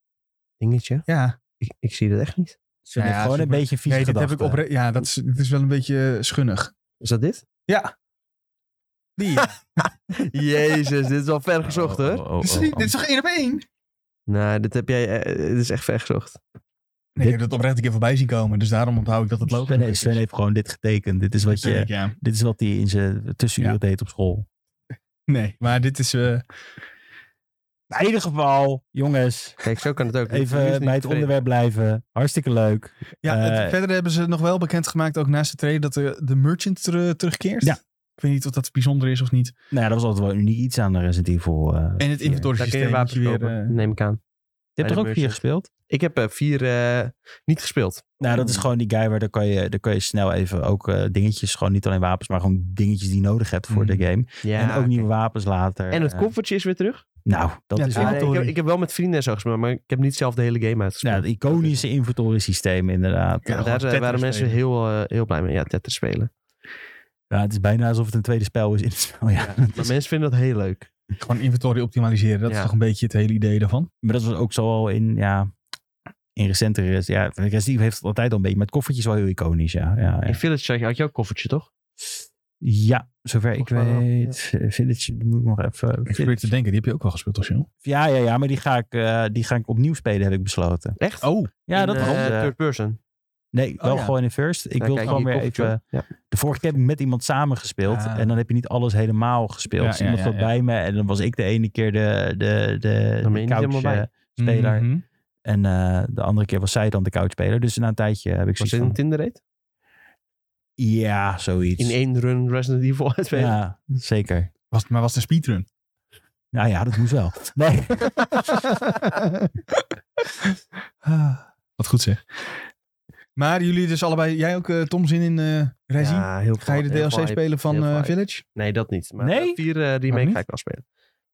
S2: Dingetje.
S1: Ja.
S2: Ik, ik zie dat echt niet.
S3: Sven
S1: Nou
S3: heeft
S1: ja,
S3: gewoon een
S1: super-
S3: beetje vies
S1: Nee, dit heb
S3: gedachten.
S1: ik op. Ja, dat is, dit is wel een beetje schunnig.
S2: Is dat dit?
S1: Die. ja.
S2: Jezus, dit is al ver gezocht,
S3: Oh,
S2: hoor.
S3: oh, oh, oh,
S1: dit, is niet,
S3: oh.
S1: dit is toch één op één?
S2: Nou, dit heb jij... eh, dit is echt ver gezocht.
S1: Nee, ik heb dat oprecht een keer voorbij zien komen. Dus daarom onthoud ik dat het loopt.
S3: Sven, heeft- Sven heeft gewoon dit getekend. Dit is wat, je,
S1: ja.
S3: dit is wat hij in zijn tussenuren
S1: Ja.
S3: deed op school.
S1: Nee, maar dit is... eh,
S3: Nou, in ieder geval, jongens,
S2: Kijk, zo kan het ook.
S3: even
S2: Nu is
S3: bij
S2: niet
S3: het
S2: tevreden.
S3: onderwerp blijven. Hartstikke leuk.
S1: ja, het-
S3: Eh,
S1: verder hebben ze nog wel bekendgemaakt, ook naast de trailer, dat de, de merchant ter- terugkeert.
S3: Ja.
S1: Ik weet niet of dat bijzonder is of niet.
S3: Nou ja, dat was altijd wel een uniek iets aan de Resident Evil. eh.
S1: En het
S3: vier.
S2: Daar kun
S1: inventoriesysteem
S2: je
S1: moet je
S2: wapens
S1: weer...
S2: kopen,
S1: eh,
S2: neem ik aan.
S3: Je
S2: bij de
S3: hebt toch ook vier
S2: merchant.
S3: gespeeld?
S2: Ik heb eh, vier eh, niet gespeeld.
S3: Nou, dat is gewoon die guy waar daar kan je, daar kan je snel even ook eh, dingetjes, gewoon niet alleen wapens, maar gewoon dingetjes die je nodig hebt voor
S1: Mm.
S3: de game.
S2: Ja,
S3: en ook nieuwe wapens later.
S2: En het
S3: Eh,
S2: koffertje is weer terug.
S3: Nou, dat
S1: Ja,
S3: is
S1: het is-
S2: Ja, nee, ik,
S3: wel...
S2: heb,
S1: inventory.
S2: ik heb wel met vrienden en zo gespeeld, maar ik heb niet zelf de hele game
S3: Ja,
S2: uitgespeeld.
S3: het iconische inventory-systeem inderdaad.
S1: Ja.
S3: Ja.
S2: En daar eh,
S1: Tetris
S2: waren mensen
S1: spelen.
S2: heel, eh, heel blij mee. Ja, Tetris spelen.
S3: het is bijna alsof het een tweede spel is in het spel. Ja.
S2: Maar mensen vinden dat heel leuk.
S1: Gewoon inventory optimaliseren. Dat is
S2: Ja.
S1: toch een beetje het hele idee daarvan.
S3: Maar dat was ook zo al in, ja, in recentere... Ja, Resident Evil heeft het altijd al een beetje, maar het koffertje is wel heel iconisch, ja. Ja, ja.
S2: In Village had je- had je ook koffertje, toch?
S3: Ja, zover ik
S2: Volgens mij wel,
S3: weet. eh, Village, die moet ik nog even...
S1: Ik probeer te denken, die heb je ook wel gespeeld als joh.
S3: Ja, ja, ja, maar die ga, ik, eh, die ga ik opnieuw spelen, heb ik besloten.
S2: Echt?
S1: Oh,
S3: Ja,
S2: In,
S3: dat
S2: eh,
S3: was
S2: Third person.
S3: Nee, wel
S1: ja.
S3: gewoon in first. Ik
S2: Dan
S3: wil
S2: Oh kijk
S3: gewoon
S2: je
S3: weer
S2: koffertje.
S3: even...
S2: Ja.
S3: De vorige keer heb ik met iemand samen gespeeld.
S1: Ah.
S3: En dan heb je niet alles helemaal gespeeld.
S1: Ja,
S3: Dus
S1: ja,
S3: iemand
S1: ja,
S3: zat
S1: ja.
S3: bij me. En dan was ik de ene keer de, de, de,
S2: Dan ben je
S3: de
S2: niet
S3: couch
S2: helemaal bij.
S3: eh, speler.
S1: mhm.
S3: En eh, de andere keer was zij dan de couchspeler. Dus na een tijdje heb ik
S2: Was dit
S3: zoiets
S2: een
S3: van...
S2: Tinder date?
S3: Ja, zoiets.
S2: In één run Resident Evil uitspelen?
S3: ja, zeker.
S1: Was, het- maar was het een speedrun?
S3: Nou ja, dat moest wel. Nee.
S1: Ah, Wat goed zeg. Maar jullie dus allebei, jij ook eh, Tom, zin in eh Resi?
S2: heel
S1: Ga je de
S2: heel
S1: DLC
S2: vibe.
S1: spelen van
S2: heel
S1: eh,
S2: vibe.
S1: Village?
S2: Nee, dat niet. Maar
S3: Nee?
S2: nee? vier eh, remake
S1: niet?
S2: ga ik wel spelen.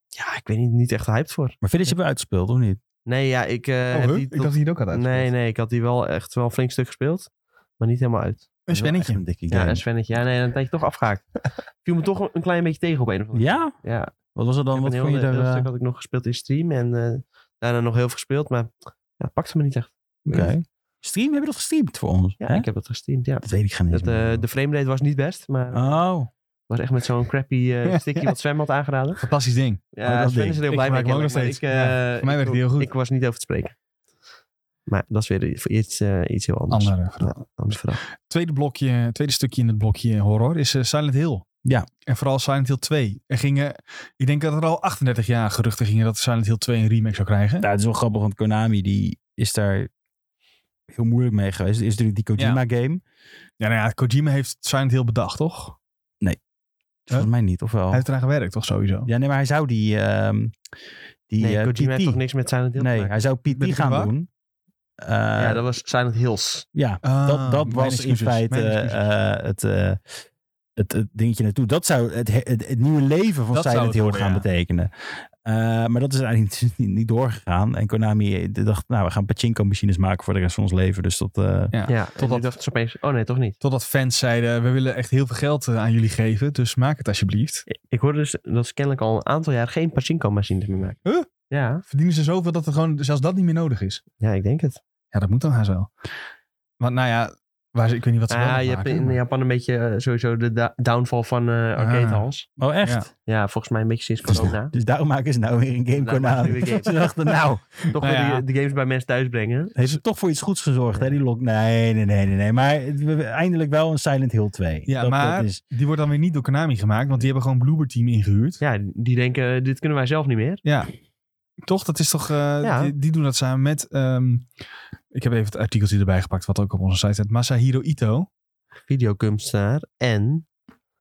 S2: Ja, ik ben niet, niet echt hyped voor.
S3: Maar Village hebben we uitgespeeld, of niet?
S2: Nee, ja, ik eh,
S1: oh,
S2: heb
S1: huh?
S2: die
S1: Ik
S2: tot-
S1: dacht dat hij het ook had uitgespeeld.
S2: Nee, nee, ik had die wel echt wel een flink stuk gespeeld. Maar niet helemaal uit.
S1: Een
S3: Dat is wel echt
S1: spannetje.
S3: Een dikke
S2: Ja,
S3: game.
S2: en Svennetje. Ja, nee, dan ben je toch afgehaakt. Viel me toch een- een klein beetje tegen op een of andere
S3: Ja?
S2: manier. Ja,
S3: Wat was er dan?
S2: ik
S3: Wat
S2: heb een
S3: vond
S2: heel,
S3: je daar...
S2: heel
S3: eh,
S2: stuk had ik nog gespeeld in stream. En eh, daarna nog heel veel gespeeld. Maar ja, het pakte me niet echt.
S3: Oké. Stream, hebben we dat gestreamd voor ons?
S2: Ja,
S3: Hè?
S2: ik heb het gesteamd, ja.
S3: Dat weet ik geen eens
S2: Dat, eh,
S3: meer.
S2: de framerate was niet best, maar het
S3: Oh.
S2: was echt met zo'n crappy eh, stickje wat Sven had aangeraden.
S1: Fantastisch ding.
S2: Ja,
S3: Oh, dat
S2: Sven
S3: ding.
S2: is er heel
S1: Ik
S2: blij mee.
S1: gebruik hem ook nog
S2: kennelijk, maar
S1: steeds.
S2: Ik, eh,
S1: Ja, voor mij werkt
S2: ik-
S1: die heel goed.
S2: Ik was niet over te spreken. Maar dat is weer i- voor iets, eh, iets heel anders.
S1: Andere vraag.
S2: Ja, anders verhaal.
S1: tweede, blokje, tweede stukje in het blokje horror is eh, Silent Hill.
S3: Ja.
S1: En vooral Silent Hill 2. Er gingen, ik denk dat er al 38 jaar geruchten gingen dat Silent Hill 2 een remake zou krijgen.
S3: Nou, het is wel grappig, want Konami die is daar heel moeilijk mee geweest. Het is natuurlijk die Kojima game.
S1: Ja, nou ja, Kojima heeft Silent Hill bedacht, toch?
S3: Oh. Volgens mij niet, of wel?
S1: Hij heeft eraan gewerkt, toch sowieso?
S3: Ja, nee, maar hij zou die... ehm, die
S2: Nee,
S3: eh,
S2: Kojima heeft
S3: PT
S2: toch niks met Silent Hill te
S3: Nee,
S2: maken?
S3: hij zou
S1: Met
S3: PT
S1: de
S3: gaan
S1: Grimbar?
S3: doen. Eh,
S2: ja, dat was Silent Hills.
S3: ja,
S1: Ah,
S3: dat, dat
S1: mijn
S3: was in
S1: excuses,
S3: feite
S1: mijn excuses.
S3: eh, het, eh, het, het dingetje naartoe. Dat zou het, het, het nieuwe leven van
S1: Dat zou
S3: Silent
S1: het
S3: Hill
S1: worden,
S3: gaan
S1: ja.
S3: betekenen. Eh, maar dat is eigenlijk niet, niet, niet doorgegaan. En Konami dacht, nou, we gaan pachinko-machines maken voor de rest van ons leven. Dus dat... eh,
S1: Ja,
S2: Ja,
S1: totdat-
S2: en ik dacht ze opeens, oh nee, toch niet.
S1: Totdat fans zeiden, we willen echt heel veel geld eh, aan jullie geven, dus maak het alsjeblieft.
S2: Ik hoorde dus dat ze kennelijk al een aantal jaar geen pachinko-machines meer maken.
S1: Huh?
S2: Ja,
S1: Verdienen ze zoveel dat er gewoon zelfs dat niet meer nodig is.
S2: ja, ik denk het.
S1: Ja, dat moet dan haast wel. Want nou ja, waar ze, ik weet niet wat ze
S2: Ah,
S1: wel
S2: je hebt
S1: maken,
S2: in
S1: maar-
S2: Japan een beetje eh, sowieso de da- downfall van eh arcade
S1: Ah.
S2: halls.
S3: Oh, echt?
S1: Ja.
S2: Ja, volgens mij een beetje sinds
S3: Dus-
S2: corona.
S3: Dus daarom maken ze nou weer een game
S2: Daarom maken we
S3: Konami.
S2: weer games.
S3: Ze dachten, nou,
S2: Toch
S1: Nou
S2: weer
S1: ja.
S2: de, de games bij mensen thuis brengen.
S3: heeft het toch voor iets goeds gezorgd, hè? Die lock. Nee, nee, nee, nee, nee. Maar het- we- we- eindelijk wel een Silent Hill 2.
S1: Ja, maar-
S3: dat is,
S1: Die wordt dan weer niet door Konami gemaakt, want die hebben gewoon Bloober Team ingehuurd.
S2: Ja, die denken, dit kunnen wij zelf niet meer.
S1: Toch? Dat is toch. eh,
S2: Ja.
S1: die, die doen dat samen met. ehm, ik heb even het artikeltje erbij gepakt, wat ook op onze site staat. Masahiro Ito.
S2: Videokunstenaar en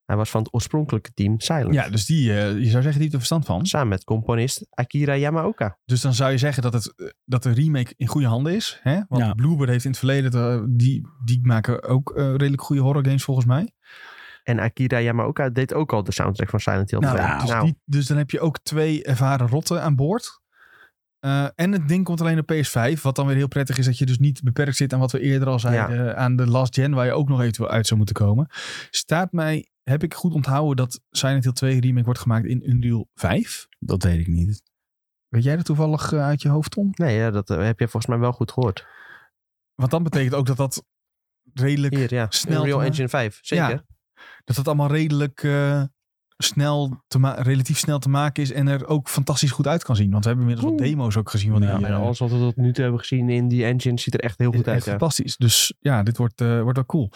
S2: hij was van het oorspronkelijke team Silent.
S1: Ja, dus die, eh, je zou zeggen, die heeft er verstand van.
S2: Samen met componist Akira Yamaoka.
S1: Dus dan zou je zeggen dat, het, eh, dat de remake in goede handen is. Hè? Want
S3: Ja.
S1: Bloober heeft in het verleden, eh, die, die maken ook eh, redelijk goede horror games volgens mij.
S2: En Akira Yamaoka deed ook al de soundtrack van Silent Hill Nou, 2.
S1: dus, die- dus dan heb je ook twee ervaren rotten aan boord. Eh, en het ding komt alleen op PS5. Wat dan weer heel prettig is dat je dus niet beperkt zit aan wat we eerder al zeiden. eh, Aan de last gen waar je ook nog eventueel uit zou moeten komen. Staat mij, heb ik goed onthouden dat Silent Hill 2 remake wordt gemaakt in Unreal 5?
S3: dat weet ik niet.
S1: Weet jij dat toevallig eh, uit je hoofd, Tom?
S2: Nee, ja, dat eh, heb je volgens mij wel goed gehoord.
S1: Want dan betekent ook dat dat redelijk
S2: Hier, ja.
S1: snel te
S2: Unreal
S1: maken.
S2: Engine 5, zeker.
S1: Ja. dat het allemaal redelijk eh, snel, te ma- relatief snel te maken is en er ook fantastisch goed uit kan zien. Want we hebben inmiddels wat
S2: Oeh.
S1: demo's ook gezien van die.
S3: Ja,
S2: Maar
S1: eh,
S2: alles wat we tot nu toe hebben gezien in die engine ziet er echt heel goed
S1: echt
S2: uit. Ja.
S1: fantastisch. Dus ja, dit wordt, eh, wordt wel cool.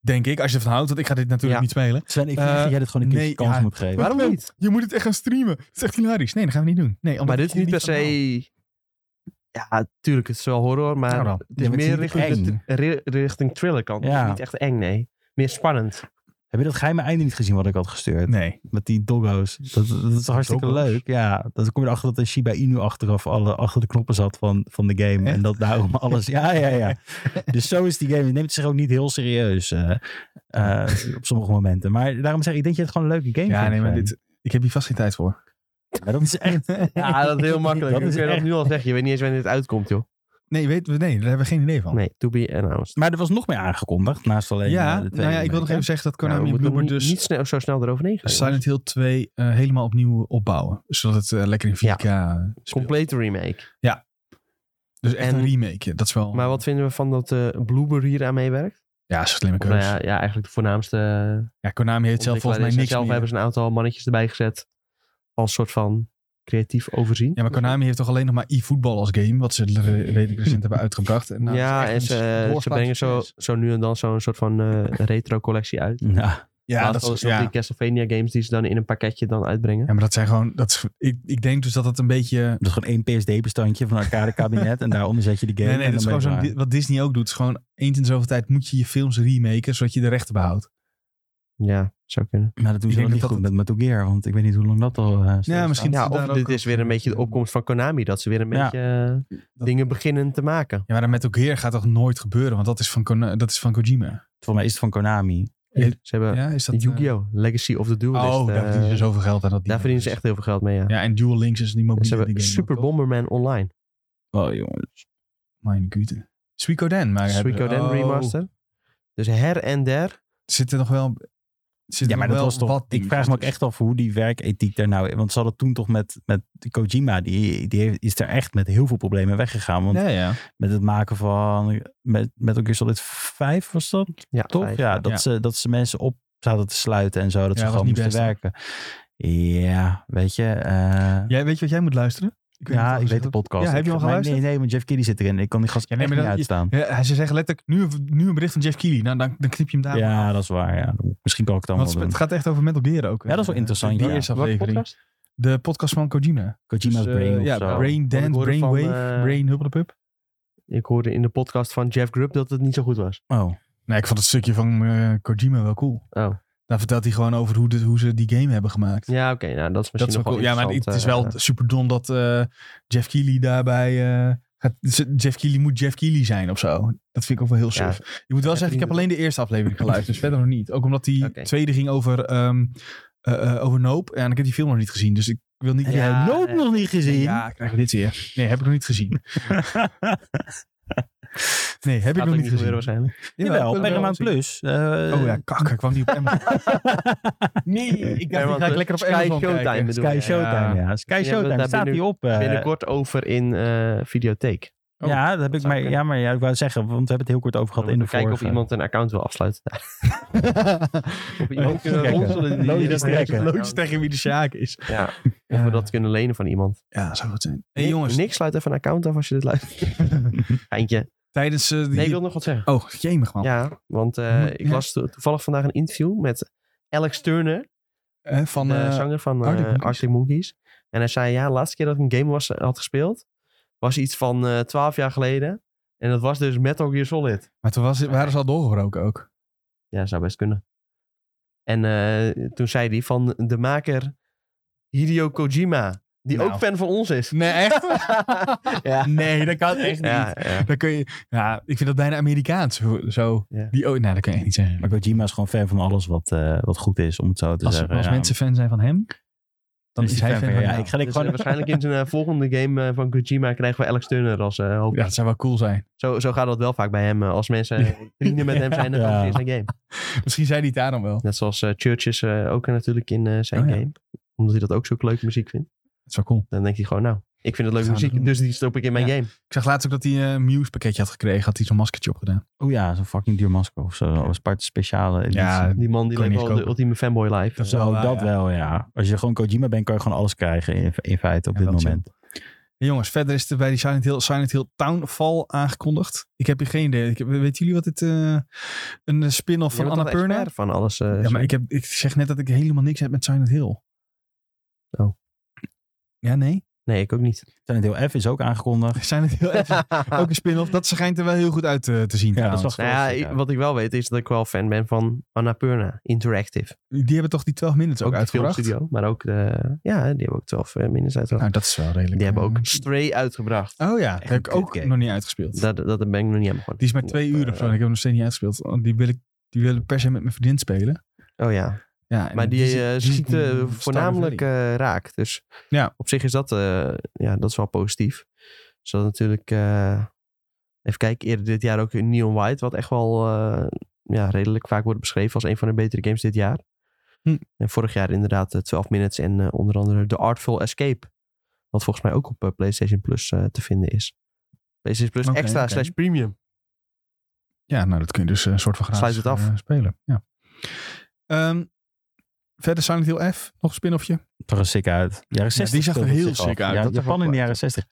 S1: Denk ik, als je ervan houdt, want ik ga dit natuurlijk
S2: Ja.
S1: niet spelen.
S3: Sven, ik vind
S1: Eh,
S3: dat jij dit gewoon een keer
S1: nee,
S3: kans
S1: ja.
S3: moet geven.
S2: Waarom niet?
S1: Je moet het echt gaan streamen. Het is echt hilarisch. Nee, dat gaan we niet doen. Nee, omdat
S2: Maar dit
S1: ik
S2: is niet per
S1: van hou.
S2: se... Ja, tuurlijk, het is wel horror, maar
S1: Nou dan.
S2: het is
S3: Ja, maar het
S2: meer
S3: is niet
S2: richting, de,
S3: eng.
S2: tri- ri- richting thriller kant.
S3: Ja.
S2: Het is niet echt eng, nee. Meer spannend.
S3: Heb je dat geheime einde niet gezien wat ik had gestuurd?
S1: Nee.
S3: Met die doggo's. Dat, dat is hartstikke
S1: Doggo's?
S3: leuk. Ja, dan kom je erachter dat een Shiba Inu achteraf alle, achter de knoppen zat van, van de game.
S1: Echt?
S3: En dat daarom alles... Ja, ja, ja. dus zo is die game. Je neemt zich ook niet heel serieus eh, eh, op sommige momenten. Maar daarom zeg ik, ik denk dat je het gewoon een leuke game
S1: Ja,
S3: vindt,
S1: nee, maar
S3: Sven.
S1: dit, ik heb hier vast geen tijd voor.
S3: Maar dat is echt...
S2: Ja, dat is heel makkelijk.
S3: Dat
S2: Dat
S3: is
S2: kun je
S3: echt-
S2: dat nu al zeggen. Je weet niet eens wanneer het uitkomt, joh.
S1: Nee, weet, nee, daar hebben we geen idee van.
S2: Nee, to be announced.
S3: Maar er was nog meer aangekondigd, naast alleen
S1: ja,
S3: eh, de twee
S1: nou ja, ik wil nog even
S3: elementen.
S1: zeggen dat
S2: Nou, we
S1: Konami
S2: moeten
S1: Bloober
S2: niet,
S1: dus
S2: niet snel, zo snel eroverheen gaan. jongens.
S1: Silent Hill 2 eh, helemaal opnieuw opbouwen. Zodat het eh, lekker in 4K
S2: Ja.
S1: eh, speelt.
S2: Complete remake.
S1: Dus echt
S2: En-
S1: een remake. ja, Dat is wel
S2: Maar wat vinden we van dat eh Bloober hier aan meewerkt?
S1: ja, is een slimme
S2: Of
S1: keuze.
S2: nou ja, ja, eigenlijk de voornaamste eh,
S1: Ja, Konami heeft zelf volgens mij
S2: ontwikkelaar is. En
S1: niks
S2: Zelf
S1: meer.
S2: hebben ze een aantal mannetjes erbij gezet. Als soort van creatief overzien.
S1: Ja, maar Konami heeft toch alleen nog maar e-voetbal als game, wat ze re- redelijk recent hebben uitgebracht. En nou,
S2: ja,
S1: het is
S2: en
S1: echt
S2: ze,
S1: een
S2: eh, ze
S1: doorslaand
S2: brengen zo,
S1: succes.
S2: zo nu en dan zo'n soort van eh, retro collectie uit.
S3: Ja,
S1: Ja,
S2: Laatst
S1: dat
S2: hadden
S1: is,
S2: ze nog
S1: ja.
S2: die Castlevania games die ze dan in een pakketje dan uitbrengen.
S1: ja, maar dat zijn gewoon... Dat is, ik, ik denk dus dat dat een beetje...
S3: dat is gewoon één PSD-bestandje van een arcade-kabinet en daaronder zet je die game.
S1: Nee, nee,
S3: en
S1: dat is
S3: dan
S1: gewoon
S3: ben
S1: zo'n
S3: je
S1: di- wat Disney ook doet. Is gewoon eens in zoveel tijd moet je je films remaken, zodat je de rechten behoudt.
S2: Ja, zou kunnen.
S3: klaar. Maar dat doen
S1: Ik
S3: ze
S1: denk
S3: wel niet
S1: dat
S3: goed
S1: dat-
S3: met Metal Gear, want ik weet niet hoe lang dat al eh, stilstaat.
S1: misschien-
S2: Ja,
S1: Ze daar
S2: of
S1: ook
S2: dit
S1: over-
S2: is weer een beetje de opkomst van Konami. Dat ze weer een
S3: Ja.
S2: beetje eh, dingen beginnen te maken.
S1: Ja, maar dat met ook Gear gaat toch nooit gebeuren, want dat is van, Kon- dat is van Kojima.
S3: Volgens mij is het van Konami.
S1: Ja.
S2: Ze hebben
S1: Ja, is dat... eh,
S2: Yu-Gi-Oh! Legacy of the Duelist.
S1: Oh,
S2: eh,
S1: daar verdienen ze zoveel geld aan. Dat
S2: daar verdienen ze echt heel veel geld mee, ja.
S1: Ja, en Dual Links is die mobiele
S2: ze hebben
S1: die game
S2: Super
S1: ook, toch?
S2: Bomberman Online.
S3: Oh, jongens.
S1: Mijn gute. Suikoden. maar hebben ze-
S2: Suikoden
S1: oh,
S2: Remaster. Dus her en der.
S1: Zit er nog wel... Zit
S3: Ja,
S1: er
S3: maar
S1: nog
S3: dat
S1: wel
S3: was toch...
S1: wat
S3: ik vraag me ook echt af hoe die werkethiek daar nou... Want ze hadden toen toch met, met Kojima... Die, die heeft- is er echt met heel veel problemen weggegaan. Want
S1: Ja, ja.
S3: met het maken van... Met, met ook Solid 5 was dat?
S2: Ja,
S3: Toch?
S2: vijf.
S3: ja, dat, Ze, dat ze mensen op zaten te sluiten en zo. Dat
S1: Ja,
S3: ze
S1: was
S3: gewoon
S1: niet
S3: moesten
S1: best, hè?
S3: werken. Ja, weet je. eh,
S1: Jij weet je wat jij moet luisteren? Ik
S3: ja,
S1: niet of
S3: ik
S1: dat
S3: weet de
S1: gezegd
S3: podcast.
S1: Ja, heb je
S3: Ik-
S1: al
S3: maar
S1: geluisterd?
S3: Nee, nee, want Jeff Kiddy zit erin. Ik kan die gast
S1: Ja, nee,
S3: echt
S1: maar
S3: niet
S1: dan-
S3: uitstaan.
S1: wordt. Ja, hij- ze zeggen letterlijk, nu, nu een bericht van Jeff Keighley. Nou, dan, dan knip je hem daar
S3: Ja,
S1: maar af.
S3: dat is waar. Ja. Misschien kan ik het
S1: Want
S3: dan wel
S1: het,
S3: doen.
S1: het gaat echt over Metal Gear ook.
S3: Ja, dat is wel
S1: Eh,
S3: interessant,
S1: Die
S3: ja.
S1: eerste
S2: Welke
S1: aflevering.
S2: podcast?
S1: De podcast van Kojima.
S3: Kojima's
S1: Dus, eh,
S3: Brain of
S1: ja,
S3: zo.
S1: Brain
S2: Ik
S1: Dance,
S2: hoorde van,
S1: Brainwave,
S2: eh,
S1: Brain Hupplepup.
S2: Ik hoorde in de podcast van Jeff Grubb dat het niet zo goed was.
S3: Oh,
S1: Nee, ik vond het stukje van eh, Kojima wel cool.
S2: Oh.
S1: Daar vertelt hij gewoon over hoe, dit- hoe ze die game hebben gemaakt.
S2: Ja, oké. nou, dat is
S1: dat
S2: misschien
S1: is wel
S2: nog
S1: cool. Ja, maar het is wel
S2: interessant, eh,
S1: super dom dat eh, Jeff Keighley daarbij... eh, gaat, ze- Jeff Keighley moet Jeff Keighley zijn of zo. Dat vind ik ook wel heel
S2: eh,
S1: suf. Je moet wel
S2: Ja,
S1: zeggen, ik heb alleen de eerste aflevering geluisterd. Dus verder nog niet. Ook omdat die
S2: Oké.
S1: tweede ging over, ehm eh, eh, over Nope. En ik heb die film nog niet gezien. Dus ik wil niet...
S2: Ja,
S3: ja, Nope
S2: nee.
S3: nog niet gezien.
S1: eh, Ja, krijgen we dit weer. Nee, heb ik nog niet gezien. Nee, heb ik
S2: Gaat
S1: nog
S2: ook
S1: niet gezien.
S2: waarschijnlijk.
S3: Jawel,
S1: ik wil
S3: op
S1: hem wel
S3: Paramount
S1: zien.
S3: Plus. eh,
S1: Oh ja, kak, ik kwam niet op Amazon. nee, ik dacht, die
S2: Paramount
S1: ga ik
S2: Plus.
S1: lekker op
S2: Sky
S1: Amazon
S2: Showtime
S1: kijken.
S2: bedoel
S3: Sky
S2: je?
S3: Showtime, ja. Sky
S2: hebben we
S3: Showtime,
S2: daar
S3: staat die op. eh,
S2: Binnenkort over in eh, videotheek.
S1: Oh.
S3: ja, dat heb ik
S2: zou
S3: maar,
S2: kunnen.
S3: ja, maar ja, ik wou zeggen, want we hebben het heel kort over
S2: Dan
S3: gehad in de
S2: moeten we kijken
S3: vorige.
S2: of iemand een account wil afsluiten. daar. of we
S3: Even
S2: iemand
S1: eh,
S2: kunnen
S3: kijken.
S2: ronselen. die-
S3: Loodjes
S2: die-
S3: trekken.
S1: Loodjes tegen wie de Sjaak is.
S2: Ja, of
S1: Ja,
S2: we dat kunnen lenen van iemand.
S1: ja zou goed zijn. hey,
S2: Nick-
S1: jongens,
S2: Nick, sluit even een account af als je dit luistert. Eindje.
S1: tijdens... eh, die...
S2: Nee, ik wil nog wat zeggen.
S1: Oh, jemig man.
S2: Ja, want eh, ik
S1: Ja.
S2: las to- toevallig vandaag een interview met Alex Turner,
S1: Eh, van,
S2: de
S1: eh,
S2: zanger van eh,
S1: Arctic Monkeys.
S2: Arctic, Monkeys. En hij zei, ja, de laatste keer dat ik een game was, had gespeeld, was iets van eh 12 jaar geleden. En dat was dus Metal Gear Solid.
S1: maar toen was, waren ze al doorgebroken ook.
S2: Ja, zou best kunnen. En eh, toen zei hij van de maker Hideo Kojima, die
S1: Nou.
S2: ook fan van ons is.
S1: Nee, echt?
S2: ja.
S1: Nee, dat kan echt niet.
S2: Ja, ja.
S1: Dan kun je, ja, ik vind dat bijna Amerikaans. Zo, zo-
S2: Ja.
S1: die, oh, nou, dat kan je echt niet zeggen.
S3: Maar Kojima is gewoon fan van alles wat, eh, wat goed is, om het zo te
S1: als
S3: zeggen.
S1: als
S3: ja.
S1: mensen fan zijn van hem, dan is, hij fan van
S3: ja.
S1: jou.
S3: Ik ga ik
S2: Dus, eh,
S3: gewoon...
S2: waarschijnlijk in zijn eh, volgende game eh, van Kojima krijgen we Alex Turner als eh hoofd.
S1: Ja, dat zou wel cool zijn.
S2: Zo, zo gaat dat wel vaak bij hem. eh, Als mensen eh, vrienden met hem zijn, dan
S3: Ja.
S2: gaan ze in zijn game.
S1: Misschien zei hij het daar dan wel.
S2: Net zoals eh, Churches eh, ook natuurlijk in eh, zijn
S1: Oh ja.
S2: game. Omdat hij dat ook zo leuk muziek vindt.
S1: Dat is wel cool.
S2: Dan denkt hij gewoon, nou, ik vind het leuke
S1: Gaan we
S2: muziek,
S1: doen.
S2: dus die stop ik in mijn
S1: Ja.
S2: game.
S1: Ik zag laatst ook dat hij eh, een Muse pakketje had gekregen. Had hij zo'n maskertje opgedaan.
S3: Oh ja, zo'n fucking duur masker of zo. Of Sparta speciale editie.
S1: Ja,
S2: Die man die
S1: Kan je
S2: leeft
S1: niet
S2: wel de
S1: kopen.
S2: ultieme fanboy life.
S1: Dat is
S2: Eh,
S1: wel
S3: Zo,
S1: waar,
S3: dat
S1: ja.
S3: wel, ja. Als je gewoon Kojima bent, kan je gewoon alles krijgen in, in feite op
S1: Ja,
S3: dit
S1: dat is
S3: moment.
S1: jongens, verder is er bij die Silent Hill, Silent Hill Townfall aangekondigd. Ik heb hier geen idee. Ik heb- weten jullie wat dit... eh, een eh, spin-off
S2: je
S1: van
S2: bent toch
S1: Annapurna?
S2: expert van alles. eh,
S1: Ja, maar ik, heb, ik zeg net dat ik helemaal niks heb met Silent Hill.
S2: Oh.
S1: Ja, nee.
S2: Nee, ik ook niet. Nou
S3: Zijn deel F is ook aangekondigd.
S1: Silent Hill is ook een spin-off. Dat schijnt er wel heel goed uit eh, te zien.
S3: Ja, dat
S1: trouwens.
S3: is wel
S2: nou ja,
S3: Ja.
S2: ik- wat ik wel weet is dat ik wel fan ben van Annapurna Interactive.
S1: Die hebben toch die 12 minutes ook,
S2: de
S1: uitgebracht?
S2: filmstudio, maar ook de... Ja, die hebben ook eh, 12 minuten uitgebracht.
S1: Nou, dat is wel redelijk.
S2: die hebben
S1: eh,
S2: ook Stray uitgebracht.
S1: Oh ja, dat
S3: een
S1: heb ik ook
S3: kutgame.
S1: nog niet uitgespeeld.
S2: Dat, dat ben ik nog niet aan begonnen.
S1: die is maar twee
S2: Dat,
S1: uur of
S2: eh,
S1: zo. En ik heb hem nog steeds niet uitgespeeld. Oh, Die wil ik, die wil ik per se met mijn vriendin spelen.
S2: Oh ja.
S1: Ja, en
S2: Maar die,
S1: zit-
S2: eh,
S1: zit in
S2: schieten
S1: Stardew
S2: voornamelijk
S1: Valley.
S2: eh, raak. Dus
S1: Ja.
S2: op zich is dat, eh, ja, dat is wel positief. Zodat natuurlijk, eh, even kijken, eerder dit jaar ook Neon White, wat echt wel eh, ja, redelijk vaak wordt beschreven als een van de betere games dit jaar.
S1: Hm.
S2: En vorig jaar inderdaad eh, 12 Minutes en eh, onder andere The Artful Escape. Wat volgens mij ook op eh, PlayStation Plus eh, te vinden is. PlayStation Plus
S1: Oké,
S2: extra
S1: oké.
S2: slash premium.
S1: Ja, nou dat kun je dus eh, een soort van gratis
S2: Sluit het af.
S1: eh, spelen. Ja. Ehm, verder Silent Hill F, nog een spin-offje.
S3: Toch een sick uit. Jaren 60
S1: die zag er
S3: speelde het
S1: heel
S3: zich af.
S1: sick uit.
S3: Ja,
S1: Dat
S2: zag
S3: Japan
S2: ook
S3: in de
S2: wel
S3: jaren 60.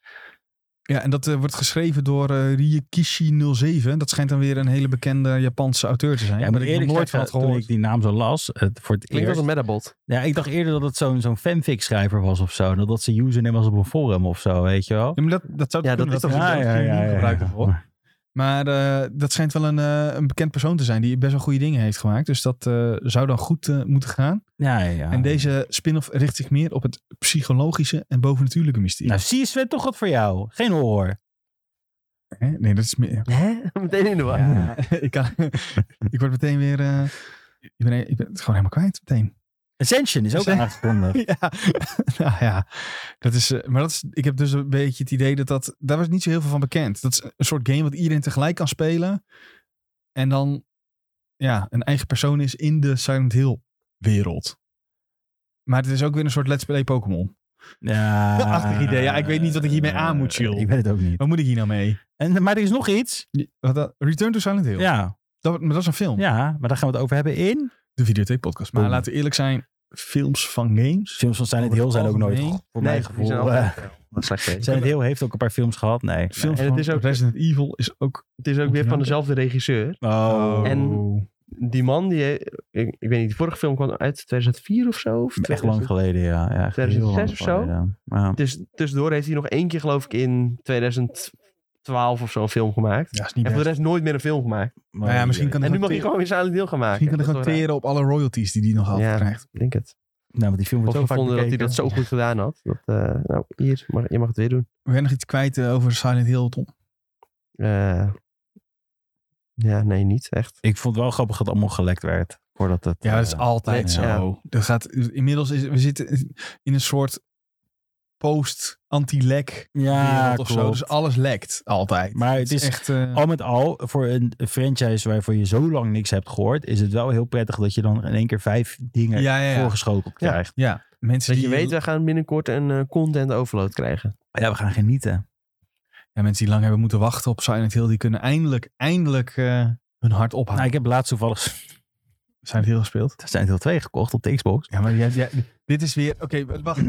S1: Ja, en dat eh, wordt geschreven door eh Riekishi07. Dat schijnt dan weer een hele bekende Japanse auteur te zijn.
S3: Ja, ik
S1: maar
S3: moet
S1: ik heb
S3: eerlijk
S1: nooit
S3: nooit
S1: van
S3: zeggen,
S1: had
S3: toen
S1: gehoord.
S3: ik die naam zo las, het, voor het
S2: Klinkt als
S3: eerst...
S2: een metabot.
S3: Ja, ik dacht eerder dat het zo'n zo'n fanfic schrijver was of zo. en Dat dat zijn username was op een forum of zo, weet je wel.
S1: Ja, maar dat, dat zou
S2: Ja, dat
S1: kunnen,
S2: is toch-
S1: we die zelfs niet gebruiken voor.
S3: ja.
S1: Maar eh, dat schijnt wel een, eh, een bekend persoon te zijn die best wel goede dingen heeft gemaakt. Dus dat eh, zou dan goed eh, moeten gaan.
S3: Ja, ja, ja.
S1: En deze spin-off richt zich meer op het psychologische en bovennatuurlijke mysterie.
S3: Nou, zie je Sven, toch wat voor jou. Geen horror.
S1: Hè? Nee, dat is meer...
S2: Hè? Meteen in de war.
S3: Ja.
S1: ik, kan, ik word meteen weer... eh, ik, ben, ik ben het gewoon helemaal kwijt meteen.
S3: Ascension is ook
S1: Ascension.
S3: aangekondigd.
S1: ja, nou ja. Dat is, eh, maar dat is, ik heb dus een beetje het idee dat dat... Daar was niet zo heel veel van bekend. Dat is een soort game wat iedereen tegelijk kan spelen. En dan ja, een eigen persoon is in de Silent Hill wereld. Maar het is ook weer een soort Let's Play Pokémon.
S3: Ja.
S1: Achtig idee. Ja, ik weet niet wat ik hiermee aan moet, joh.
S3: Ik weet het ook niet.
S1: Wat moet ik hier nou mee?
S3: En, maar er is nog iets.
S1: Wat dat- Return to Silent Hill.
S3: Ja.
S1: Dat, maar dat is een film.
S3: ja, maar daar gaan we het over hebben in...
S1: De videotheek podcast. Maar
S3: Boom.
S1: laten we eerlijk zijn. Films van games.
S3: Films van Silent Hill zijn ook nooit
S1: Algemeen.
S3: goed, voor
S2: Nee,
S3: mijn
S2: die zijn
S3: gevoel.
S2: altijd
S3: Eh,
S2: wel wat slecht bezig.
S3: Silent Hill heeft ook een paar films gehad. Nee.
S1: Films
S2: en
S1: van
S2: het is ook-
S1: Resident Evil is ook...
S2: Het is ook weer van dezelfde regisseur.
S3: Oh.
S2: En- Die man, die, he- ik, ik weet niet, die vorige film kwam uit 2004 of zo. Of
S3: Echt lang
S2: 2000.
S3: geleden, ja. ja echt heel
S2: 2006
S3: lang
S2: of zo?
S3: geleden.
S1: Nou
S3: Ja.
S2: Dus tussendoor heeft hij nog één keer, geloof ik, in 2012 of zo een film gemaakt.
S1: Ja, is niet
S2: En voor
S1: best.
S2: de rest nooit meer een film gemaakt.
S1: Nou ja, misschien kan
S2: en nu
S1: hij
S2: mag hij
S1: gewoon
S2: gewoon weer zijn deel gaan maken.
S1: misschien kan hij
S2: Dat
S1: gewoon
S2: is wel raar.
S1: teren op alle royalties die hij nog altijd
S2: Ja.
S1: krijgt.
S2: Ik denk het.
S3: Nou, want die film
S2: Ik
S3: wordt
S2: vond
S3: zo vaak
S2: dat hij
S3: bekeken.
S2: dat zo goed gedaan had. Dat, eh, nou, hier, mag, je mag het weer doen.
S1: We zijn nog iets kwijt eh, over Silent Hill, Tom.
S2: Eh, ja, nee, niet echt.
S3: Ik vond het wel grappig dat het allemaal gelekt werd. Voordat het,
S1: Ja, dat is
S3: eh,
S1: altijd
S3: ja.
S1: zo. Dat gaat, inmiddels is, we zitten in een soort post-anti-lek
S3: ja,
S1: wereld of zo.
S3: klopt.
S1: Dus alles lekt altijd.
S3: Maar het is-
S1: echt... eh,
S3: Al met al, voor een franchise waarvoor je zo lang niks hebt gehoord, is het wel heel prettig dat je dan in één keer vijf dingen
S1: ja, ja, ja.
S3: voorgeschoteld
S2: Ja.
S3: krijgt.
S1: ja, mensen
S2: Dat je
S1: die,
S2: weet, we gaan binnenkort een eh, content overload krijgen.
S3: Ja, we gaan genieten.
S1: ja, mensen die lang hebben moeten wachten op Silent Hill, die kunnen eindelijk, eindelijk eh, hun hart ophalen.
S3: Nou, ik heb laatst toevallig
S1: Silent Hill gespeeld.
S3: Silent Hill 2 gekocht op de Xbox.
S1: Ja, maar jij, jij- dit is weer... Oké, wacht.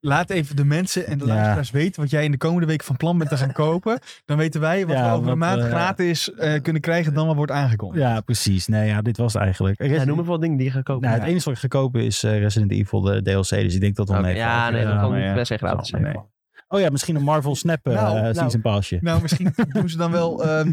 S1: Laat even de mensen en de
S3: Ja.
S1: luisteraars weten wat jij in de komende week van plan bent te gaan kopen. Dan weten wij wat
S3: Ja,
S1: we over een
S3: wat,
S1: maand
S3: eh,
S1: gratis eh, kunnen krijgen dan wat wordt aangekondigd.
S3: Ja, precies. Nee, ja, dit was het eigenlijk.
S2: Ja,
S3: Resident-
S2: noem maar wat dingen die je gaat kopen.
S3: nou, het
S2: Ja.
S3: enige wat ik ga kopen is eh, Resident Evil, de DLC. Dus ik denk dat wel
S2: Oké,
S3: nee.
S2: ja, nee, dat
S1: ja,
S2: kan
S1: maar ja.
S2: niet best echt gratis zijn.
S3: Nee. Oh ja, misschien een Marvel Snap eh
S1: Nou, nou.
S3: Season Passje.
S1: Nou, misschien doen ze dan wel ehm,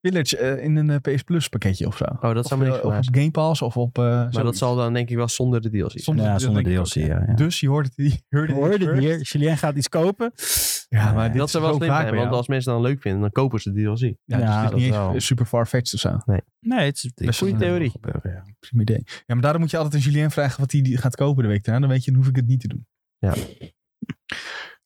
S1: Village eh, in een eh, PS Plus pakketje of zo.
S2: Oh, dat zou me
S1: of,
S2: niks
S1: eh, of
S2: verbazen.
S1: op Game Pass of op... eh,
S2: Maar
S1: zoiets.
S2: dat zal dan denk ik wel zonder de DLC. zijn.
S1: Zonder-
S3: ja,
S1: dat
S3: zonder
S1: denk ik
S3: DLC,
S1: ook,
S3: ja. ja.
S1: Dus je hoort het, je hoorde
S3: Je
S1: het
S3: hoorde het
S1: first.
S3: hier. Julien gaat iets kopen. Eh,
S1: Ja, maar dit
S2: dat
S1: is
S2: zou wel
S1: zo
S2: slim
S1: vaak
S2: zijn,
S1: bij
S2: want
S1: jou.
S2: als mensen dan leuk vinden, dan kopen ze de DLC.
S1: Ja,
S3: Ja,
S1: dus dit
S3: dat
S1: is niet
S3: wel.
S1: eens super far-fetched of zo.
S3: Nee, het is
S1: Best
S2: goede
S3: het is-
S2: theorie.
S3: gebeuren, ja.
S1: Prima idee. Ja, maar daarom moet je altijd aan Julien vragen wat hij die gaat kopen de week daarna. Dan weet je, dan hoef ik het niet te doen.
S2: Ja.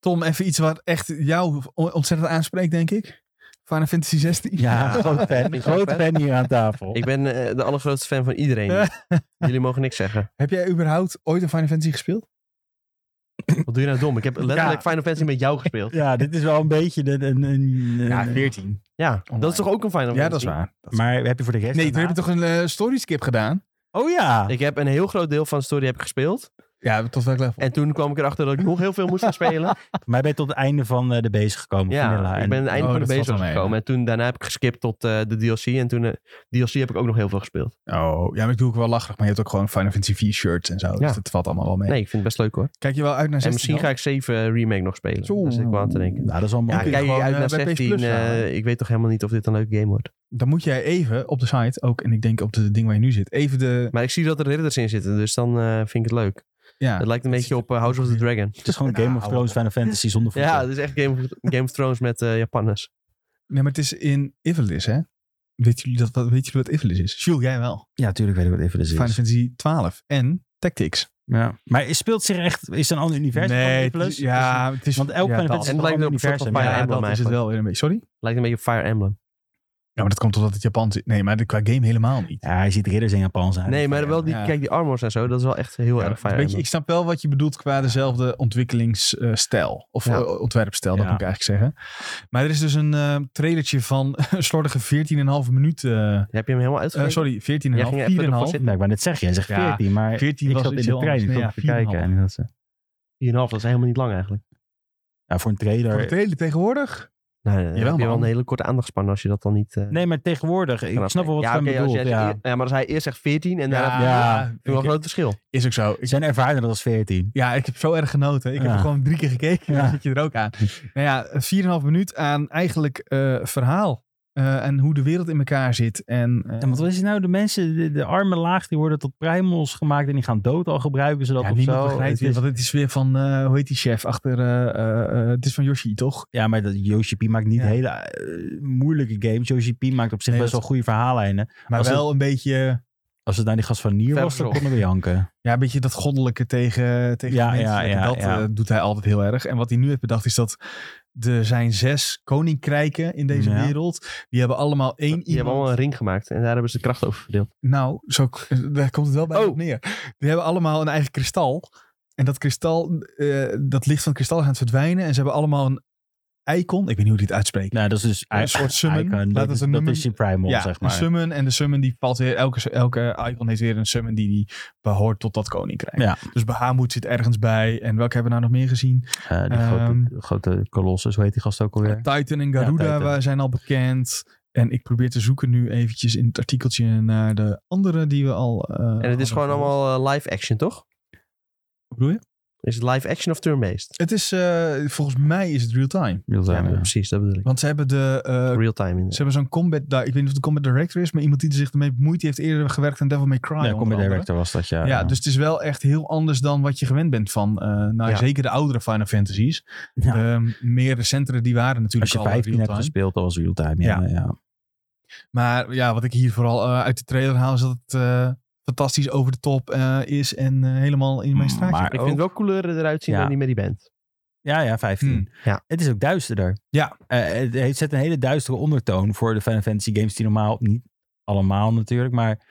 S1: Tom, even iets wat echt jou ontzettend aanspreekt, denk ik. Final Fantasy 16.
S3: Ja, groot fan.
S2: Ik
S3: Groot
S2: ook, hè?
S3: fan hier aan tafel.
S2: Ik ben eh, de allergrootste fan van iedereen. Jullie mogen niks zeggen.
S1: Heb jij überhaupt ooit een Final Fantasy gespeeld?
S2: Wat doe je nou dom? Ik heb letterlijk
S3: Ja.
S2: Final Fantasy met jou gespeeld.
S3: Ja, dit is wel een beetje een... een, een- een-
S1: 14.
S2: Ja, dat
S1: Online.
S2: is toch ook een Final Fantasy?
S1: Ja, dat is waar. Dat is-
S3: Maar heb je voor de rest...
S1: Nee, toen
S3: daarna-
S1: heb je toch een eh, story skip gedaan?
S3: Oh ja!
S2: Ik heb een heel groot deel van de story heb ik gespeeld.
S1: Ja, tot welk level?
S2: En toen kwam ik erachter dat ik nog heel veel moest gaan spelen.
S3: Voor mij ben je tot het einde van eh, de bezig gekomen. Vanilla.
S2: Ja,
S3: En-
S2: ik ben aan het einde
S1: Oh,
S2: van de
S1: dat valt
S2: bezig
S1: wel mee,
S2: gekomen. En toen, daarna heb ik geskipt tot eh, de DLC. En toen eh, DLC heb ik ook nog heel veel gespeeld.
S1: Oh, ja, maar ik doe ook wel lacherig. Maar je hebt ook gewoon Final Fantasy 4 shirts en zo. Dus
S2: Ja.
S1: dat valt allemaal wel mee.
S2: Nee, ik vind het best leuk hoor.
S1: Kijk je wel uit naar 16?
S2: En misschien ga ik 7 Remake nog spelen.
S1: Zo.
S2: Daar zit ik wel aan te denken.
S3: Nou, dat is wel
S2: Ja,
S3: mooi.
S1: kun je
S2: kijk
S1: gewoon,
S2: uit
S1: eh,
S2: naar
S1: bij PS
S2: 16.
S1: Plus
S2: eh,
S1: halen.
S2: ik weet toch helemaal niet of dit een leuke game wordt.
S1: Dan moet jij even op de site ook, en ik denk op de ding waar je nu zit, even de...
S2: Maar ik zie dat er ridders in zitten, dus dan eh, vind ik het leuk.
S1: Ja,
S2: het lijkt een
S1: dat
S2: beetje
S1: ziet
S2: op eh, House of the Dragon.
S3: Het is gewoon Game of
S1: Nou.
S3: Thrones Final Fantasy zonder voeten.
S2: Ja, het is echt Game of, Game of Thrones met eh, Japanners.
S1: nee, maar het is in Ivalis, hè? Weet jullie, dat, wat, weet jullie wat Ivalis is? Jules, jij wel.
S3: Ja, tuurlijk weet ik wat even dit
S1: Final
S3: is.
S1: Fantasy 12. En Tactics.
S3: Ja. Maar het speelt zich echt... Is het een ander universum van Play Plus?
S1: ja, het is,
S3: Want elk
S1: ja,
S3: Planet
S1: dat-
S3: Pets is
S2: en
S3: toch
S2: het
S3: een
S2: lijkt
S3: ander
S2: erop soort
S3: universum?
S2: van
S1: ja, dat
S2: Fire Emblem
S1: is het
S2: eigenlijk.
S1: wel weer een beetje. Sorry?
S2: Lijkt een beetje op Fire Emblem.
S1: Ja, maar dat komt omdat het Japans is. Nee, maar dit- qua game helemaal niet.
S3: Ja, hij ziet ridders in Japan zijn.
S2: Nee, maar wel die,
S1: Ja.
S2: kijk, die armors en zo, dat is wel echt heel
S1: Ja,
S2: erg
S1: een
S2: Fire
S1: beetje,
S2: Emblem.
S1: ik snap wel wat je bedoelt qua dezelfde ontwikkelingsstijl. of
S2: Ja.
S1: eh, ontwerpstijl, dat
S3: Ja.
S1: moet ik eigenlijk zeggen. Maar er is dus een eh trailertje van een slordige 14,5 minuten. eh,
S2: Heb je hem helemaal
S1: eh,
S2: uitgelegd?
S1: sorry, 14,5.
S2: Jij ging even ervoor
S1: 4,5.
S2: zitten.
S3: Nou, ik wou net zeggen, jij zegt
S1: Ja,
S3: 14, maar
S1: 14
S3: ik
S1: was
S3: zat in
S1: iets
S3: de
S1: heel
S3: trein, ik
S1: anders.
S3: stond
S1: Nee,
S3: te
S1: ja, 4,5.
S3: kijken. En dat ze,
S2: 4,5, dat is helemaal niet lang eigenlijk.
S3: ja, voor een trailer...
S1: Voor de trailer tegenwoordig?
S2: Nee, nee, nee, dan
S1: Jawel,
S2: heb je wel
S1: man.
S2: een hele korte aandachtspan als je dat dan niet... eh,
S3: Nee, maar tegenwoordig, ik
S2: kan
S3: snap wel wat je
S2: afleggen.
S3: van
S2: oké, als
S3: bedoelt.
S2: jij
S3: Ja.
S2: zegt- ja, maar als hij eerst zegt 14 en daarna...
S3: ja.
S2: Wel een
S1: ik-
S2: groot verschil.
S1: is ook zo. Ik,
S3: Zijn ervaring dat als 14.
S1: ja, ik heb zo erg genoten. Ik
S3: Ja.
S1: heb er gewoon drie keer gekeken.
S3: Ja.
S1: Dan zit je er ook aan. Nou ja, 4,5 minuut aan eigenlijk eh, verhaal. eh, en hoe de wereld in elkaar zit. En, eh,
S3: Ja, want wat is het nou? De mensen, de, de arme laag, die worden tot primals gemaakt en die gaan dood al gebruiken ze dat
S1: ja,
S3: of
S1: niemand
S3: zo.
S1: begrijpt
S3: Het
S1: weer,
S3: is-
S1: want het is weer van, eh, hoe heet die chef achter, eh, eh, eh, het is van Yoshi, toch?
S3: ja, maar dat, Yoshi P maakt niet
S1: Ja.
S3: hele eh, moeilijke games. Yoshi P maakt op zich
S1: Nee,
S3: best
S1: dat-
S3: wel goede verhaallijnen.
S1: Maar
S3: Als
S1: wel een beetje,
S3: Als het naar die gast van Nier was, dan
S2: Verderop.
S3: konden we janken.
S1: ja, een beetje dat goddelijke tegen, tegen
S3: Ja,
S1: de mensen.
S3: ja, ja,
S1: dat
S3: ja.
S1: eh, doet hij altijd heel erg. En wat hij nu heeft bedacht is dat er zijn zes koninkrijken in deze
S3: Ja.
S1: wereld. Die hebben allemaal één
S2: Die hebben
S1: iemand.
S2: allemaal een ring gemaakt en daar hebben ze de kracht over verdeeld.
S1: Nou, zo, daar komt het wel bij
S2: Oh.
S1: op neer. Die hebben allemaal een eigen kristal. En dat kristal, eh, dat licht van het kristal gaat verdwijnen. En ze hebben allemaal een icon. Ik weet niet hoe die het uitspreekt.
S3: Nou, dat is dus
S1: Een soort summon.
S3: icon.
S1: Laten we
S3: Dat,
S1: het
S3: is,
S1: een
S3: dat
S1: nummer-
S3: is die primal,
S1: ja,
S3: zeg
S1: een
S3: maar.
S1: summon. En de summon die valt weer, elke, elke icon heeft weer een summon die, die behoort tot dat koninkrijk.
S3: Ja.
S1: Dus Bahamut zit ergens bij. En welke hebben we nou nog meer gezien?
S3: Eh, die
S2: Ehm,
S3: grote, grote kolossus, hoe heet die gast ook alweer?
S1: Titan en Garuda
S3: Ja, Titan.
S1: waar zijn al bekend. En ik probeer te zoeken nu eventjes in het artikeltje naar de andere die we al... eh,
S2: En het
S1: hadden
S2: is gewoon
S1: gehoord.
S2: allemaal eh, live action, toch?
S1: Wat bedoel je?
S2: Is het live action of turn-based?
S1: Het is, eh, volgens mij is het real-time.
S2: Ja,
S3: eh, Ja,
S2: precies, dat bedoel ik.
S1: Want ze hebben de... eh,
S2: Real time. In
S1: ze hebben zo'n combat... di- Ik weet niet of de combat director is, maar iemand die er zich ermee bemoeit, die heeft eerder gewerkt aan Devil May Cry.
S3: Ja,
S1: onder
S3: Combat
S1: andere.
S3: Director was dat, ja.
S1: Ja, dus het is wel echt heel anders dan wat je gewend bent van, eh, nou
S2: Ja.
S1: zeker de oudere Final Fantasies.
S3: Ja.
S1: De meer recentere die waren
S3: Als
S1: natuurlijk
S3: je
S1: al
S3: 15 hebt dus-
S1: real-time.
S3: gespeeld, dat was real-time. Ja,
S1: Ja.
S3: ja.
S1: Maar ja, wat ik hier vooral eh, uit de trailer haal is dat het eh, fantastisch over de top eh, is en eh, helemaal in mijn straatje.
S3: Mm, Maar
S2: Ik vind
S3: ook-
S2: wel couleuren eruit zien
S3: Ja.
S2: dan die met die band.
S3: Ja, ja, 15.
S1: Hmm.
S2: Ja.
S3: Het is ook duisterder.
S1: Ja.
S3: Eh, het heeft, zet een hele duistere ondertoon voor de Final Fantasy games die normaal niet allemaal natuurlijk, maar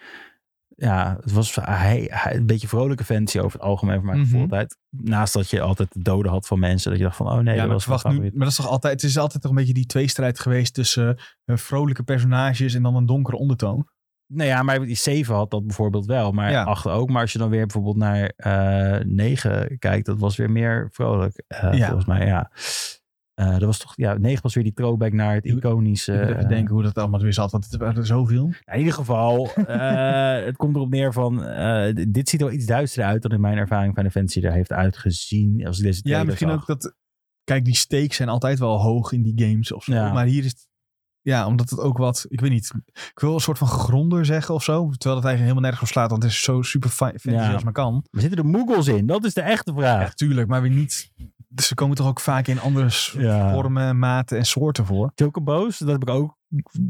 S3: ja, het was hij, hij- een beetje vrolijke fantasy over het algemeen voor mijn gevoel
S1: Mhm.
S3: altijd. Naast dat je altijd de doden had van mensen, dat je dacht van, oh nee,
S1: ja,
S3: dat
S1: maar,
S3: was
S1: ik verwacht
S3: mijn
S1: nu, maar
S3: favoriet.
S1: dat is toch altijd, het is altijd toch een beetje die tweestrijd geweest tussen eh, vrolijke personages en dan een donkere ondertoon.
S3: Nou ja, maar die 7 had dat bijvoorbeeld wel, maar
S1: Ja.
S3: 8 ook. Maar als je dan weer bijvoorbeeld naar eh 9 kijkt, dat was weer meer vrolijk, eh,
S1: Ja.
S3: volgens mij, ja. Eh, dat was toch, ja, 9 was weer die throwback naar het
S1: Ik moet-
S3: iconische.
S1: ik moet even
S3: eh,
S1: denken hoe dat allemaal weer zat, want het waren er zoveel.
S3: Ja, in ieder geval, eh, het komt erop neer van, eh, d- dit ziet er wel iets duisterder uit dan in mijn ervaring van de fantasy er heeft uitgezien. Als ik deze
S1: Ja,
S3: trailer
S1: misschien
S3: zag.
S1: ook dat. Kijk, die stakes zijn altijd wel hoog in die games of zo.
S3: Ja.
S1: Maar hier is het. Ja, omdat het ook wat. Ik weet niet. Ik wil een soort van gegronder zeggen of zo. Terwijl het eigenlijk helemaal nergens op slaat. Want het is zo super fi- fantasy
S3: Ja.
S1: als maar kan.
S3: Maar zitten er moogles in? Dat is de echte
S1: Ja,
S3: vraag.
S1: tuurlijk. Maar weer niet. Dus ze komen toch ook vaak in andere s-
S3: Ja.
S1: vormen, maten en soorten voor.
S3: Chocobo's, dat heb ik ook.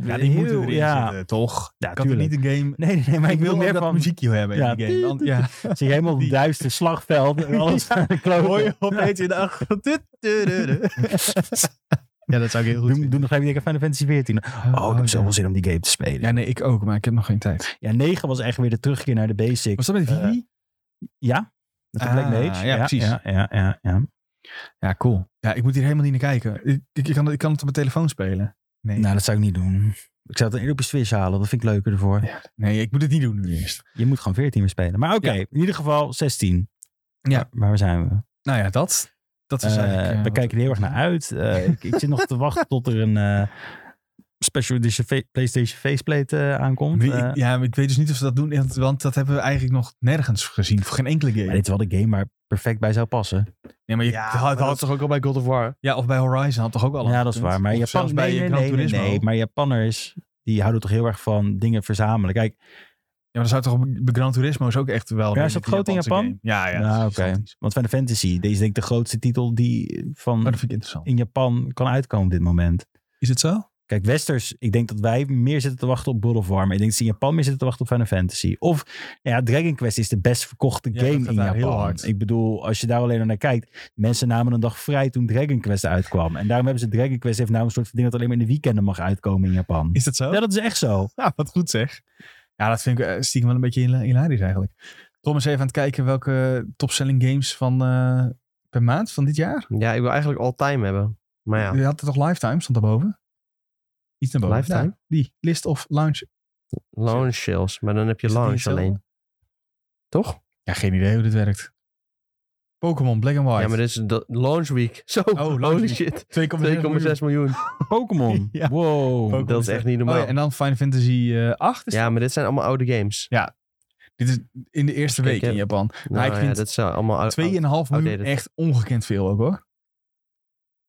S1: Ja, die
S3: heel-
S1: moeten erin
S3: ja.
S1: zitten, toch?
S3: Ja,
S1: ik had het
S3: tuurlijk.
S1: niet een game.
S3: Nee, nee, nee, maar
S1: Maar
S3: ik,
S1: ik
S3: wil
S1: wil
S3: meer
S1: meer
S3: van,
S1: dat muziekje hebben in
S3: Ja.
S1: die game. Dan- ja.
S3: zie je helemaal een
S1: die-
S3: duister slagveld en alles aan de kloot.
S1: Hoor je opeens in de achtergrond. Tut, tut, tut, tut. Ja, dat zou ik heel goed
S3: Doe,
S1: vinden.
S3: doe nog even denken aan Final Fantasy 14. Oh, ik heb zoveel zin om die game te spelen.
S1: Ja,
S3: Ja,
S1: nee, ik ook. Maar ik heb nog geen tijd.
S3: 9 was echt weer de terugkeer naar de basics.
S1: Was dat
S3: eh,
S1: met Vivi?
S3: Ja, met de
S1: Ah,
S3: Black Mage.
S1: ja, precies.
S3: Ja, ja, ja, ja.
S1: Ja, cool. Ja, ik moet hier helemaal niet naar kijken. Ik, ik, ik kan, ik kan het op mijn telefoon spelen. Nee,
S3: Nou, dat zou ik niet doen. Ik zou het een op je Switch halen. Dat vind ik leuker ervoor.
S1: nee ik moet het niet doen nu eerst.
S3: Je moet gewoon 14 weer spelen. Maar oké,
S1: Ja.
S3: in ieder geval 16.
S1: Ja.
S3: Maar waar zijn we?
S1: Nou ja, dat. Dat is
S3: Eh,
S1: eigenlijk... eh,
S3: we
S1: wat-
S3: kijken er heel erg naar uit. Eh, ik, ik zit nog te wachten tot er een eh, special edition fa- PlayStation faceplate eh, aankomt.
S1: Wie- ik-
S3: Eh,
S1: ja, maar ik weet dus niet of ze dat doen, want- want dat hebben we eigenlijk nog nergens gezien. Voor geen enkele game.
S3: maar dit is wel de game waar perfect bij zou passen.
S1: nee, maar je had, had toch,
S2: ook al bij God of War?
S1: ja, of bij Horizon had toch ook al. een
S3: ja, dat is
S1: punt?
S3: waar. Maar
S1: Of
S3: Japan,
S1: zelfs
S3: nee, nee,
S1: bij Gran
S3: nee, nee,
S1: Turismo.
S3: nee,
S1: maar...
S3: maar Japanners die houden toch heel erg van dingen verzamelen. Kijk,
S1: Ja, maar dat zou toch op- bij Gran Turismo is ook echt wel.
S3: Ja,
S1: een
S3: is dat
S1: hele
S3: groot in
S1: Japanse
S3: Japan?
S1: game. Ja, ja.
S3: nou,
S1: dat
S3: oké.
S1: is gigantisch.
S3: Want Final Fantasy, deze is denk ik de grootste titel die
S1: Maar
S3: van
S1: dat vind Oh, ik interessant.
S3: in Japan kan uitkomen op dit moment.
S1: Is het zo?
S3: Kijk, Westers, ik denk dat wij meer zitten te wachten op World of War. Maar ik denk dat ze in Japan meer zitten te wachten op Final Fantasy. Of, ja, Dragon Quest is de best verkochte
S1: Ja, dat
S3: game
S1: gaat
S3: in
S1: daar
S3: Japan.
S1: heel hard.
S3: Ik bedoel, als je daar alleen maar naar kijkt. Mensen namen een dag vrij toen Dragon Quest uitkwam. En daarom hebben ze Dragon Quest heeft nou een soort van ding dat alleen maar in de weekenden mag uitkomen in Japan.
S1: Is dat zo?
S3: Ja, dat is echt zo.
S1: Ja, wat goed zeg. Ja, dat vind ik eh, stiekem wel een beetje hila- hilarisch eigenlijk. Tom is even aan het kijken welke topselling games van eh, per maand van dit jaar.
S2: Ja, ik wil eigenlijk all time hebben. Maar ja,
S1: Je had er toch Lifetime, stond daarboven? Iets naar boven.
S2: Lifetime?
S1: Ja, die, List of Launch.
S2: launch sales. Maar dan heb je
S1: Is dat niet Oh,
S2: launch
S1: hetzelfde?
S2: alleen. Toch?
S1: Ja, geen idee hoe dit werkt. Pokémon Black and White.
S2: Ja, maar dit is de launch week. Zo,
S1: Oh, launch
S2: holy
S1: week.
S2: shit.
S1: 2,6
S2: 2,6
S1: miljoen.
S2: miljoen.
S3: Pokémon.
S1: Ja.
S3: Wow.
S1: Pokémon
S2: Dat is echt niet
S1: Oh
S2: normaal.
S1: ja, en dan Final Fantasy eh, 8. is-
S2: Ja, maar dit zijn allemaal oude games.
S1: Dit is in de eerste
S2: Kijk,
S1: week
S2: ja.
S1: in Japan.
S3: Oh,
S2: Nou,
S1: ik
S2: ja,
S1: vind
S2: dat zijn allemaal oude
S1: 2,5 miljoen.
S2: outdated.
S1: Echt ongekend veel ook hoor.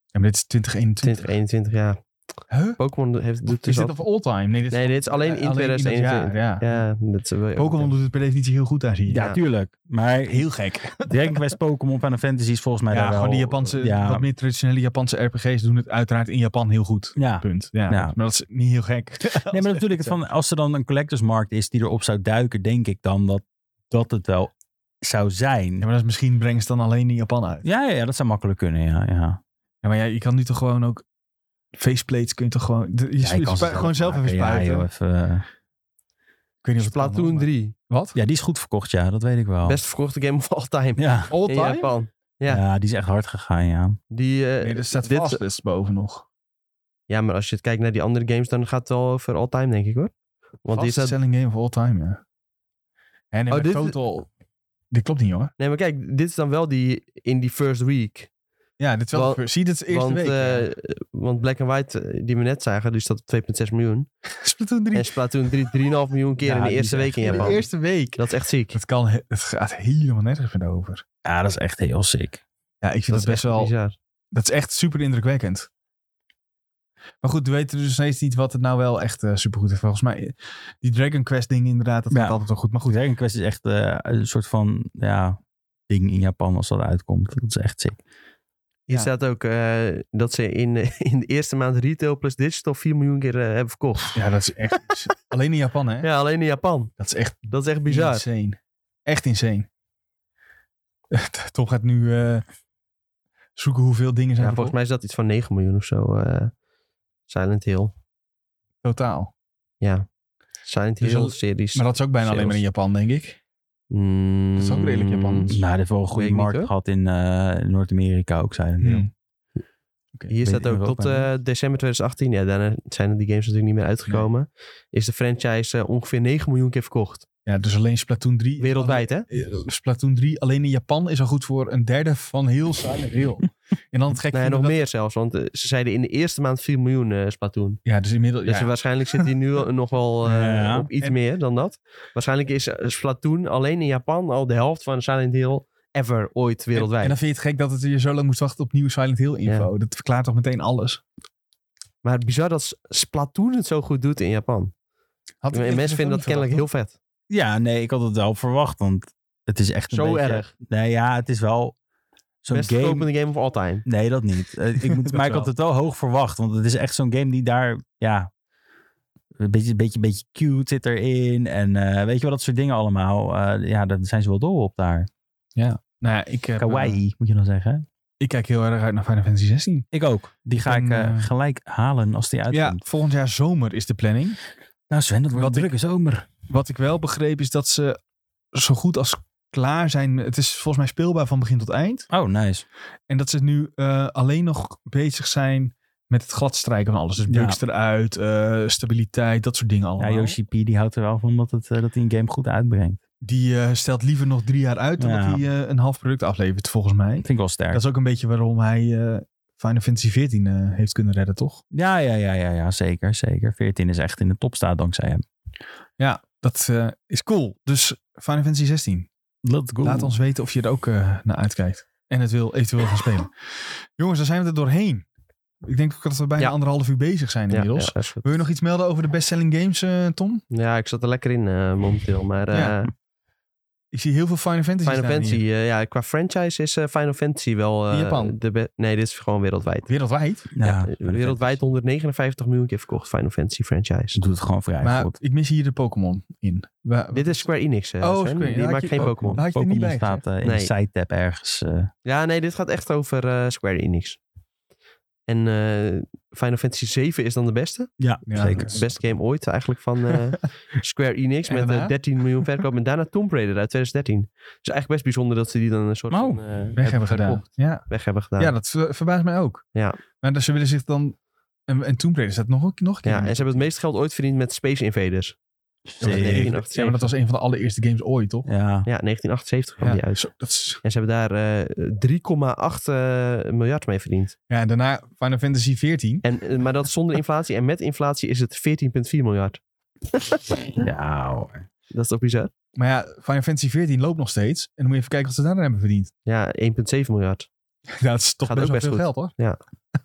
S1: Ja, maar dit is 2021.
S2: 2021, ja.
S1: Huh?
S2: Pokémon heeft, doet
S1: Is
S2: dus
S1: dit
S2: al-
S1: of all time? Nee, dit is,
S2: Nee, dit is alleen in
S1: dat
S2: 2021.
S1: jaar, ja.
S2: Ja, dat is wel...
S1: Pokémon doet het per definitie heel goed daar, zie je.
S3: Ja,
S2: Ja.
S3: tuurlijk. Maar
S1: Heel gek.
S3: Dragon Quest, Pokémon, Final Fantasy is volgens mij
S1: Ja,
S3: daar wel...
S1: gewoon die Japanse,
S3: Ja,
S1: wat meer traditionele Japanse RPG's doen het uiteraard in Japan heel goed.
S3: ja.
S1: Punt. Ja,
S3: Ja.
S1: Maar dat is niet heel gek.
S3: Nee, maar natuurlijk, het van, als er dan een collectorsmarkt is die erop zou duiken, denk ik dan dat dat het wel zou zijn.
S1: Ja,
S3: Ja,
S1: maar dat is, misschien brengen ze het dan alleen in Japan uit.
S3: ja, ja, dat zou makkelijk kunnen, ja. ja.
S1: Ja, maar ja, je kan nu toch gewoon ook... Faceplates kun je toch gewoon... de- Je
S3: ja
S1: spu-
S3: je kan ze
S1: spu- gewoon zelf even
S3: maken,
S1: spuiten.
S3: Ja, joh, even, eh.
S1: Ik weet niet of het kan,
S2: Splatoon
S1: maar-
S2: 3.
S1: Wat?
S3: ja, die is goed verkocht, ja. Dat weet ik wel.
S2: Best verkochte game of all time.
S3: Ja.
S1: All
S2: In
S1: time?
S2: Japan.
S3: Ja.
S2: Ja.
S3: die is echt hard gegaan, ja.
S2: Die,
S1: Nee,
S2: eh,
S1: dus er staat
S2: dit-
S1: Fastlist boven nog.
S2: Ja, maar als je het kijkt naar die andere games, dan gaat het wel over all time, denk ik hoor. Want die
S1: Fastest
S2: staat...
S1: selling game of all time, ja. En
S2: Oh,
S1: oh,
S2: dit-
S1: total... Dit klopt niet, hoor.
S2: Nee, maar kijk, dit is dan wel die in die first week.
S1: Ja, dit is wel...
S2: Want-
S1: de fir- zie, dit is de eerste
S2: want,
S1: week.
S2: eh,
S1: ja.
S2: want Black and White, eh, die we net zagen, die staat op 2,6 miljoen.
S1: Splatoon 3.
S2: En Splatoon 3, 3,5 miljoen keer
S3: Ja,
S2: in de
S3: die
S2: eerste
S3: is
S2: week in
S3: echt-
S2: Japan.
S1: De eerste week.
S2: Dat is echt ziek.
S1: Het, kan, he- het gaat helemaal nergens meer over.
S3: Ja, dat is echt heel sick.
S1: Ja, ik vind dat,
S2: is
S1: best
S2: echt
S1: wel...
S2: bizar.
S1: Dat is echt super indrukwekkend. Maar goed, we weten dus steeds niet wat het nou wel echt eh, supergoed is. Volgens mij, eh, die Dragon Quest ding inderdaad, dat
S3: Ja.
S1: gaat altijd wel goed. Maar goed,
S3: Dragon Quest is echt eh, een soort van, ja, ding in Japan als dat uitkomt. Dat is echt sick.
S2: Hier
S1: Ja.
S2: staat ook eh, dat ze in, eh, in de eerste maand retail plus digital 4 miljoen keer eh, hebben verkocht.
S1: ja, dat is echt... alleen in Japan, hè?
S2: Ja, alleen in Japan.
S1: Dat is echt
S2: Dat is echt bizar.
S1: Insane. Echt insane. Tom gaat nu eh, zoeken hoeveel dingen
S2: Ja,
S1: zijn
S2: volgens mij is dat iets van 9 miljoen of zo. eh, Silent Hill.
S1: mij totaal.
S2: Ja. Silent
S1: Dus
S2: Hill
S1: al-
S2: series.
S1: Maar dat is ook bijna alleen maar in Japan, denk ik.
S2: Mm,
S1: dat is ook redelijk Japans.
S3: Nou, dit heeft wel een goede
S2: Weet ik niet,
S3: markt
S2: hoor.
S3: gehad in eh, Noord-Amerika ook, zijn
S1: Hmm.
S2: Hier staat ook
S3: Europa
S2: tot eh, december 2018. Ja, daarna zijn die games natuurlijk niet meer uitgekomen. Is de franchise eh, ongeveer 9 miljoen keer verkocht.
S1: Ja, dus alleen Splatoon 3.
S2: Wereldwijd, hè?
S1: Eh, Splatoon 3 alleen in Japan is al goed voor een derde van heel Silent Hill. en dan het gek
S2: Nou
S1: vinden
S2: ja, nog
S1: dat-
S2: meer zelfs. Want eh, ze zeiden in de eerste maand 4 miljoen eh, Splatoon.
S1: Ja, dus inmiddels...
S2: Dus
S1: ja.
S2: waarschijnlijk zit hij nu al- nog wel eh,
S3: Ja.
S2: op iets
S1: En-
S2: meer dan dat. Waarschijnlijk is eh, Splatoon alleen in Japan al de helft van Silent Hill ever ooit
S1: En, en
S2: wereldwijd.
S1: dan vind je het gek dat het je zo lang moest wachten op nieuwe Silent Hill info. Dat verklaart toch meteen alles.
S2: Maar het bizar dat S- Splatoon het zo goed doet in Japan.
S1: Had ik
S2: En
S1: eerlijk
S2: mensen vinden dat
S1: gezegd ook
S2: kennelijk
S1: niet
S2: heel vet.
S3: Ja, nee, ik had het wel verwacht, want het is echt een
S2: Zo
S3: beetje-
S2: erg.
S3: Nee, ja, het is wel zo'n
S2: Best
S3: game.
S2: verkopende game of all time.
S3: Nee, dat niet. Eh, Ik moet,
S1: Dat
S3: maar ik
S1: wel.
S3: had het wel hoog verwacht, want het is echt zo'n game die daar, ja, een beetje, beetje, beetje cute zit erin en eh, weet je wel, dat soort dingen allemaal. Eh, ja, daar zijn ze wel dol op daar.
S1: Nou ja, ik, heb, eh,
S3: Kawaii, moet je dan zeggen.
S1: ik kijk heel erg uit naar Final Fantasy 16.
S3: Ik ook. Die ga
S1: En,
S3: ik eh,
S1: eh,
S3: gelijk halen als die
S1: Ja,
S3: uitkomt.
S1: volgend jaar zomer is de planning.
S3: Nou Sven, dat wordt
S1: Wat
S3: een drukke zomer.
S1: Wat ik wel begreep is dat ze zo goed als klaar zijn. Het is volgens mij speelbaar van begin tot eind.
S3: Oh, nice.
S1: En dat ze nu eh, alleen nog bezig zijn met het gladstrijken van alles. Dus
S3: Ja.
S1: bugs eruit, eh, stabiliteit, dat soort dingen allemaal.
S3: Ja, Yoshi P, die houdt er wel van dat, het, eh, dat hij een game goed uitbrengt.
S1: Die eh, stelt liever nog drie jaar uit dan
S3: Ja.
S1: dat hij eh, een half product aflevert, volgens mij.
S3: Dat vind ik wel sterk.
S1: Dat is ook een beetje waarom hij eh, Final Fantasy XIV eh, heeft kunnen redden, toch?
S3: Ja, ja, ja, ja, ja, zeker, zeker. 14 is echt in de top staat dankzij hem.
S1: Ja, dat eh, is cool. Dus Final Fantasy 16.
S3: Let's go.
S1: Laat ons weten of je er ook eh, naar uitkijkt. En het wil eventueel gaan spelen. Jongens, daar zijn we er doorheen. Ik denk ook dat we bijna
S2: Ja.
S1: anderhalf uur bezig zijn
S2: Ja,
S1: inmiddels.
S2: ja, dat is goed.
S1: Wil je nog iets melden over de bestselling games, eh, Tom?
S2: Ja, ik zat er lekker in eh, momenteel. Maar eh,
S1: Ja. Ik zie heel veel Final Fantasy
S2: Final Fantasy, eh, ja, qua franchise is eh, Final Fantasy wel... eh,
S1: nou, In Japan?
S2: De be- nee, dit is gewoon wereldwijd.
S1: Wereldwijd.
S2: Ja, eh,
S3: Final
S2: wereldwijd 159 miljoen keer verkocht Final Fantasy franchise.
S3: Fantasy. Doet het gewoon vrij
S1: maar
S3: goed.
S1: ik mis hier de Pokémon in. Wa-
S2: Dit is Square Enix. eh,
S1: Oh,
S2: Sven.
S1: Square,
S2: Die
S1: ja,
S2: maakt
S1: had
S2: geen
S1: je-
S2: Pokémon.
S1: Daar had je er niet
S3: Pokémon
S1: bij
S3: staat
S1: gezegd.
S3: eh, in
S2: Nee.
S3: de sidetab ergens. eh,
S2: Ja, nee, dit gaat echt over eh, Square Enix. En eh, Final Fantasy 7 is dan de beste.
S3: ja,
S1: Ja,
S3: zeker.
S1: dat is-
S2: Beste Ah, game ooit eigenlijk van eh, Square Enix.
S1: En
S2: Met eh,
S1: daarna?
S2: 13 miljoen verkoop. En daarna Tomb Raider uit 2013. Dus eigenlijk best bijzonder dat ze die dan een soort
S3: Oh,
S2: van, eh,
S1: Weg hebben gedaan.
S2: verkocht,
S1: Ja.
S2: weg hebben gedaan.
S1: ja,
S2: Ja,
S1: dat ver- verbaast mij ook.
S2: Ja.
S1: Maar dat ze willen zich dan... En, en Tomb Raider staat nog, een- nog een keer.
S2: en ze hebben het meeste geld ooit verdiend met Space Invaders.
S3: Zeker.
S1: ja, maar dat was een van de allereerste games ooit, toch?
S3: Ja,
S2: Ja, 1978 kwam die uit.
S1: Zo, dat is-
S2: En ze hebben daar eh, 3,8 eh, miljard mee verdiend.
S1: ja, en daarna Final Fantasy 14.
S2: En, eh, maar dat is zonder inflatie. En met inflatie is het 14,4 miljard.
S3: ja hoor.
S2: Dat is toch bizar?
S1: Maar ja, Final Fantasy 14 loopt nog steeds. En dan moet je even kijken wat ze daarna hebben verdiend.
S2: Ja, 1,7 miljard.
S1: Dat is toch
S2: Gaat
S1: best
S2: ook
S1: wel veel
S2: best goed.
S1: geld, hoor.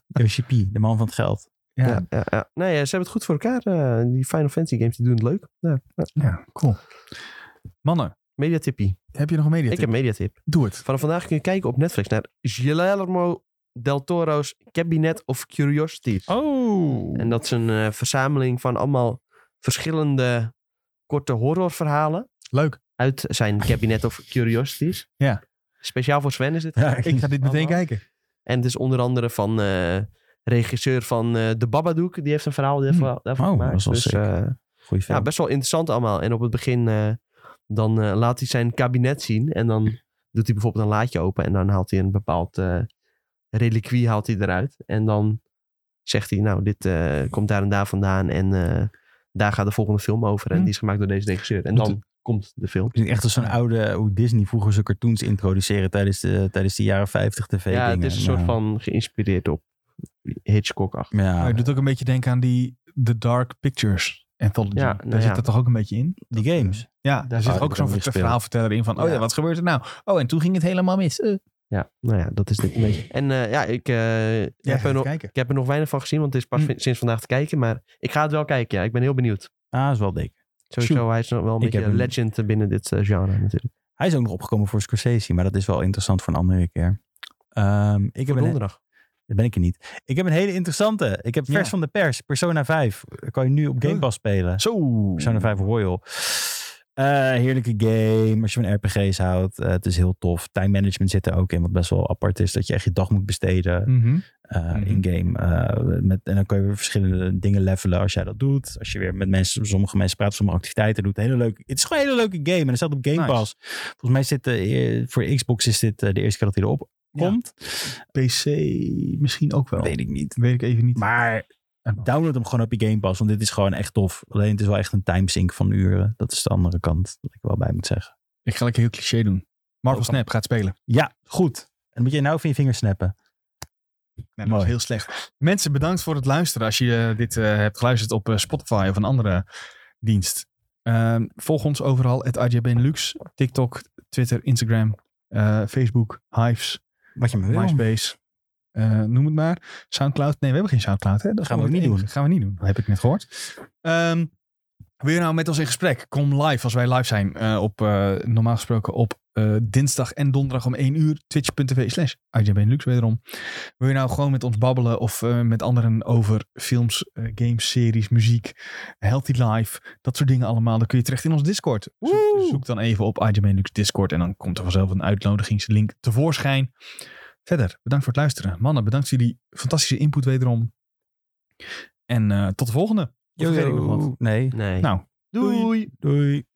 S3: Yoshi P, de man van het geld.
S1: Ja,
S2: Ja, ja, ja. Nee, eh, ze hebben het goed voor elkaar. eh, die Final Fantasy games die doen het leuk. Ja. ja.
S1: ja, cool. Mannen,
S2: Mediatippie.
S1: heb je nog een media?
S2: Ik heb mediatip.
S1: Doe het.
S2: Vanaf vandaag kun je kijken op Netflix naar Guillermo del Toro's Cabinet of Curiosities.
S3: Oh!
S2: En dat is een eh, verzameling van allemaal verschillende korte horrorverhalen
S1: Leuk.
S2: uit zijn Cabinet of Curiosities.
S1: Ja.
S2: Speciaal voor Sven is dit.
S3: Ja,
S1: Ik ga dit meteen
S2: Allemaal.
S1: kijken.
S2: En het is onder andere van eh, regisseur van eh, De Babadook. Die heeft een verhaal daarvoor, daarvoor
S3: Oh,
S2: gemaakt.
S3: dat is wel
S2: dus,
S3: sick.
S2: eh,
S3: Goeie film.
S2: ja, best wel interessant allemaal. En op het begin eh, dan eh, laat hij zijn kabinet zien. En dan doet hij bijvoorbeeld een laadje open. En dan haalt hij een bepaald eh, reliquie haalt hij eruit. En dan zegt hij, nou, dit eh, komt daar en daar vandaan. En eh, daar gaat de volgende film over. En
S1: Hm.
S2: die is gemaakt door deze regisseur. En
S3: Moet-
S2: dan komt de film.
S3: Het is echt als zo'n oude, hoe Disney vroeger zijn cartoons introduceren tijdens de, tijdens de jaren 50 tv
S2: Ja, het is een soort van geïnspireerd op Hitchcock-achtig.
S1: Maar
S3: Ja,
S1: het doet ook een beetje denken aan die The Dark Pictures Anthology.
S2: Ja,
S1: daar
S2: nou
S1: zit
S2: ja.
S1: dat toch ook een beetje in?
S3: die games.
S1: Ja, daar
S2: zou
S1: zit
S3: ik
S1: ook zo'n
S3: wel gespeeld.
S1: verhaalverteller in van, oh ja,
S2: Ja.
S1: wat gebeurt er nou? Oh, en toen ging het helemaal mis. Eh.
S2: Ja, nou ja, dat is dit een beetje. En eh, ja, ik, eh,
S1: Jij
S2: heb
S1: gaat
S2: er
S1: het
S2: nog,
S1: kijken.
S2: ik heb er nog weinig van gezien, want het is pas
S1: Hm.
S2: vi- sinds vandaag te kijken. Maar ik ga het wel kijken, ja. Ik ben heel benieuwd.
S3: Ah, is wel dik.
S2: Sowieso,
S3: Shoot.
S2: hij is nog wel een
S3: Ik
S2: beetje
S3: heb
S2: een
S3: hem.
S2: legend eh, binnen dit eh, genre natuurlijk.
S3: Hij is ook nog opgekomen voor Scorsese, maar dat is wel interessant voor een andere keer. Ehm, ik heb
S2: Voor
S3: een,
S2: donderdag.
S3: dat ben ik er niet. Ik heb een hele interessante. Ik heb vers
S1: Ja. Oh.
S3: van de pers, Persona 5. Kan je nu op Game Pass spelen.
S1: Zo.
S3: Persona 5 Royal. Eh, heerlijke game. Als je van RPG's houdt. eh, het is heel tof. Time management zit er ook in. Wat best wel apart is. Dat je echt je dag moet besteden.
S1: Mhm.
S3: eh,
S1: Mhm.
S3: in-game. eh, met, en dan kun je weer verschillende dingen levelen als jij dat doet. Als je weer met mensen, sommige mensen praat, sommige activiteiten doet. Hele leuke, het is gewoon een hele leuke game. En dat staat op Game
S1: Nice.
S3: Pass. Volgens mij zit eh, eh, voor Xbox is dit eh, de eerste keer dat hij erop
S1: Ja.
S3: komt.
S1: PC misschien ook wel.
S3: Weet ik niet.
S1: Weet ik even niet.
S3: Maar download hem gewoon op je Game Pass. Want dit is gewoon echt tof. Alleen het is wel echt een timesink van uren. Dat is de andere kant. Dat ik er wel bij moet zeggen.
S1: Ik ga lekker heel cliché doen. Marvel
S3: Oh,
S1: Snap gaat spelen.
S3: Ja, goed. En moet je nou van je vingers snappen.
S1: Nee, dat was
S3: Mooi.
S1: heel slecht. Mensen, bedankt voor het luisteren. Als je eh, dit eh, hebt geluisterd op eh, Spotify of een andere dienst. Ehm, volg ons overal. Het IJ Benelux. TikTok, Twitter, Instagram, eh, Facebook, Hives,
S3: Wat je me wil.
S1: MySpace. eh, noem het maar. Soundcloud. Nee, we hebben geen Soundcloud. Hè? Dat
S3: Gaan we
S1: is
S3: ook niet
S1: het
S3: doen.
S1: enige. Gaan we niet doen. Dat heb ik net gehoord. Ehm weer nou met ons in gesprek. Kom live als wij live zijn. eh, op, eh, normaal gesproken op eh, dinsdag en donderdag om 1 uur. Twitch.tv slash IJBenelux wederom. Wil je nou gewoon met ons babbelen of eh, met anderen over films, eh, games, series, muziek, healthy life, dat soort dingen allemaal. Dan kun je terecht in ons Discord. Zoek,
S2: Woe!
S1: zoek dan even op IJBenelux Discord en dan komt er vanzelf een uitnodigingslink tevoorschijn. Verder, bedankt voor het luisteren. Mannen, bedankt voor jullie fantastische input wederom. En eh, tot de volgende. Of vergeet ik nog wat?
S3: Nee.
S2: Nee.
S1: Nou,
S2: Doei.
S3: Doei.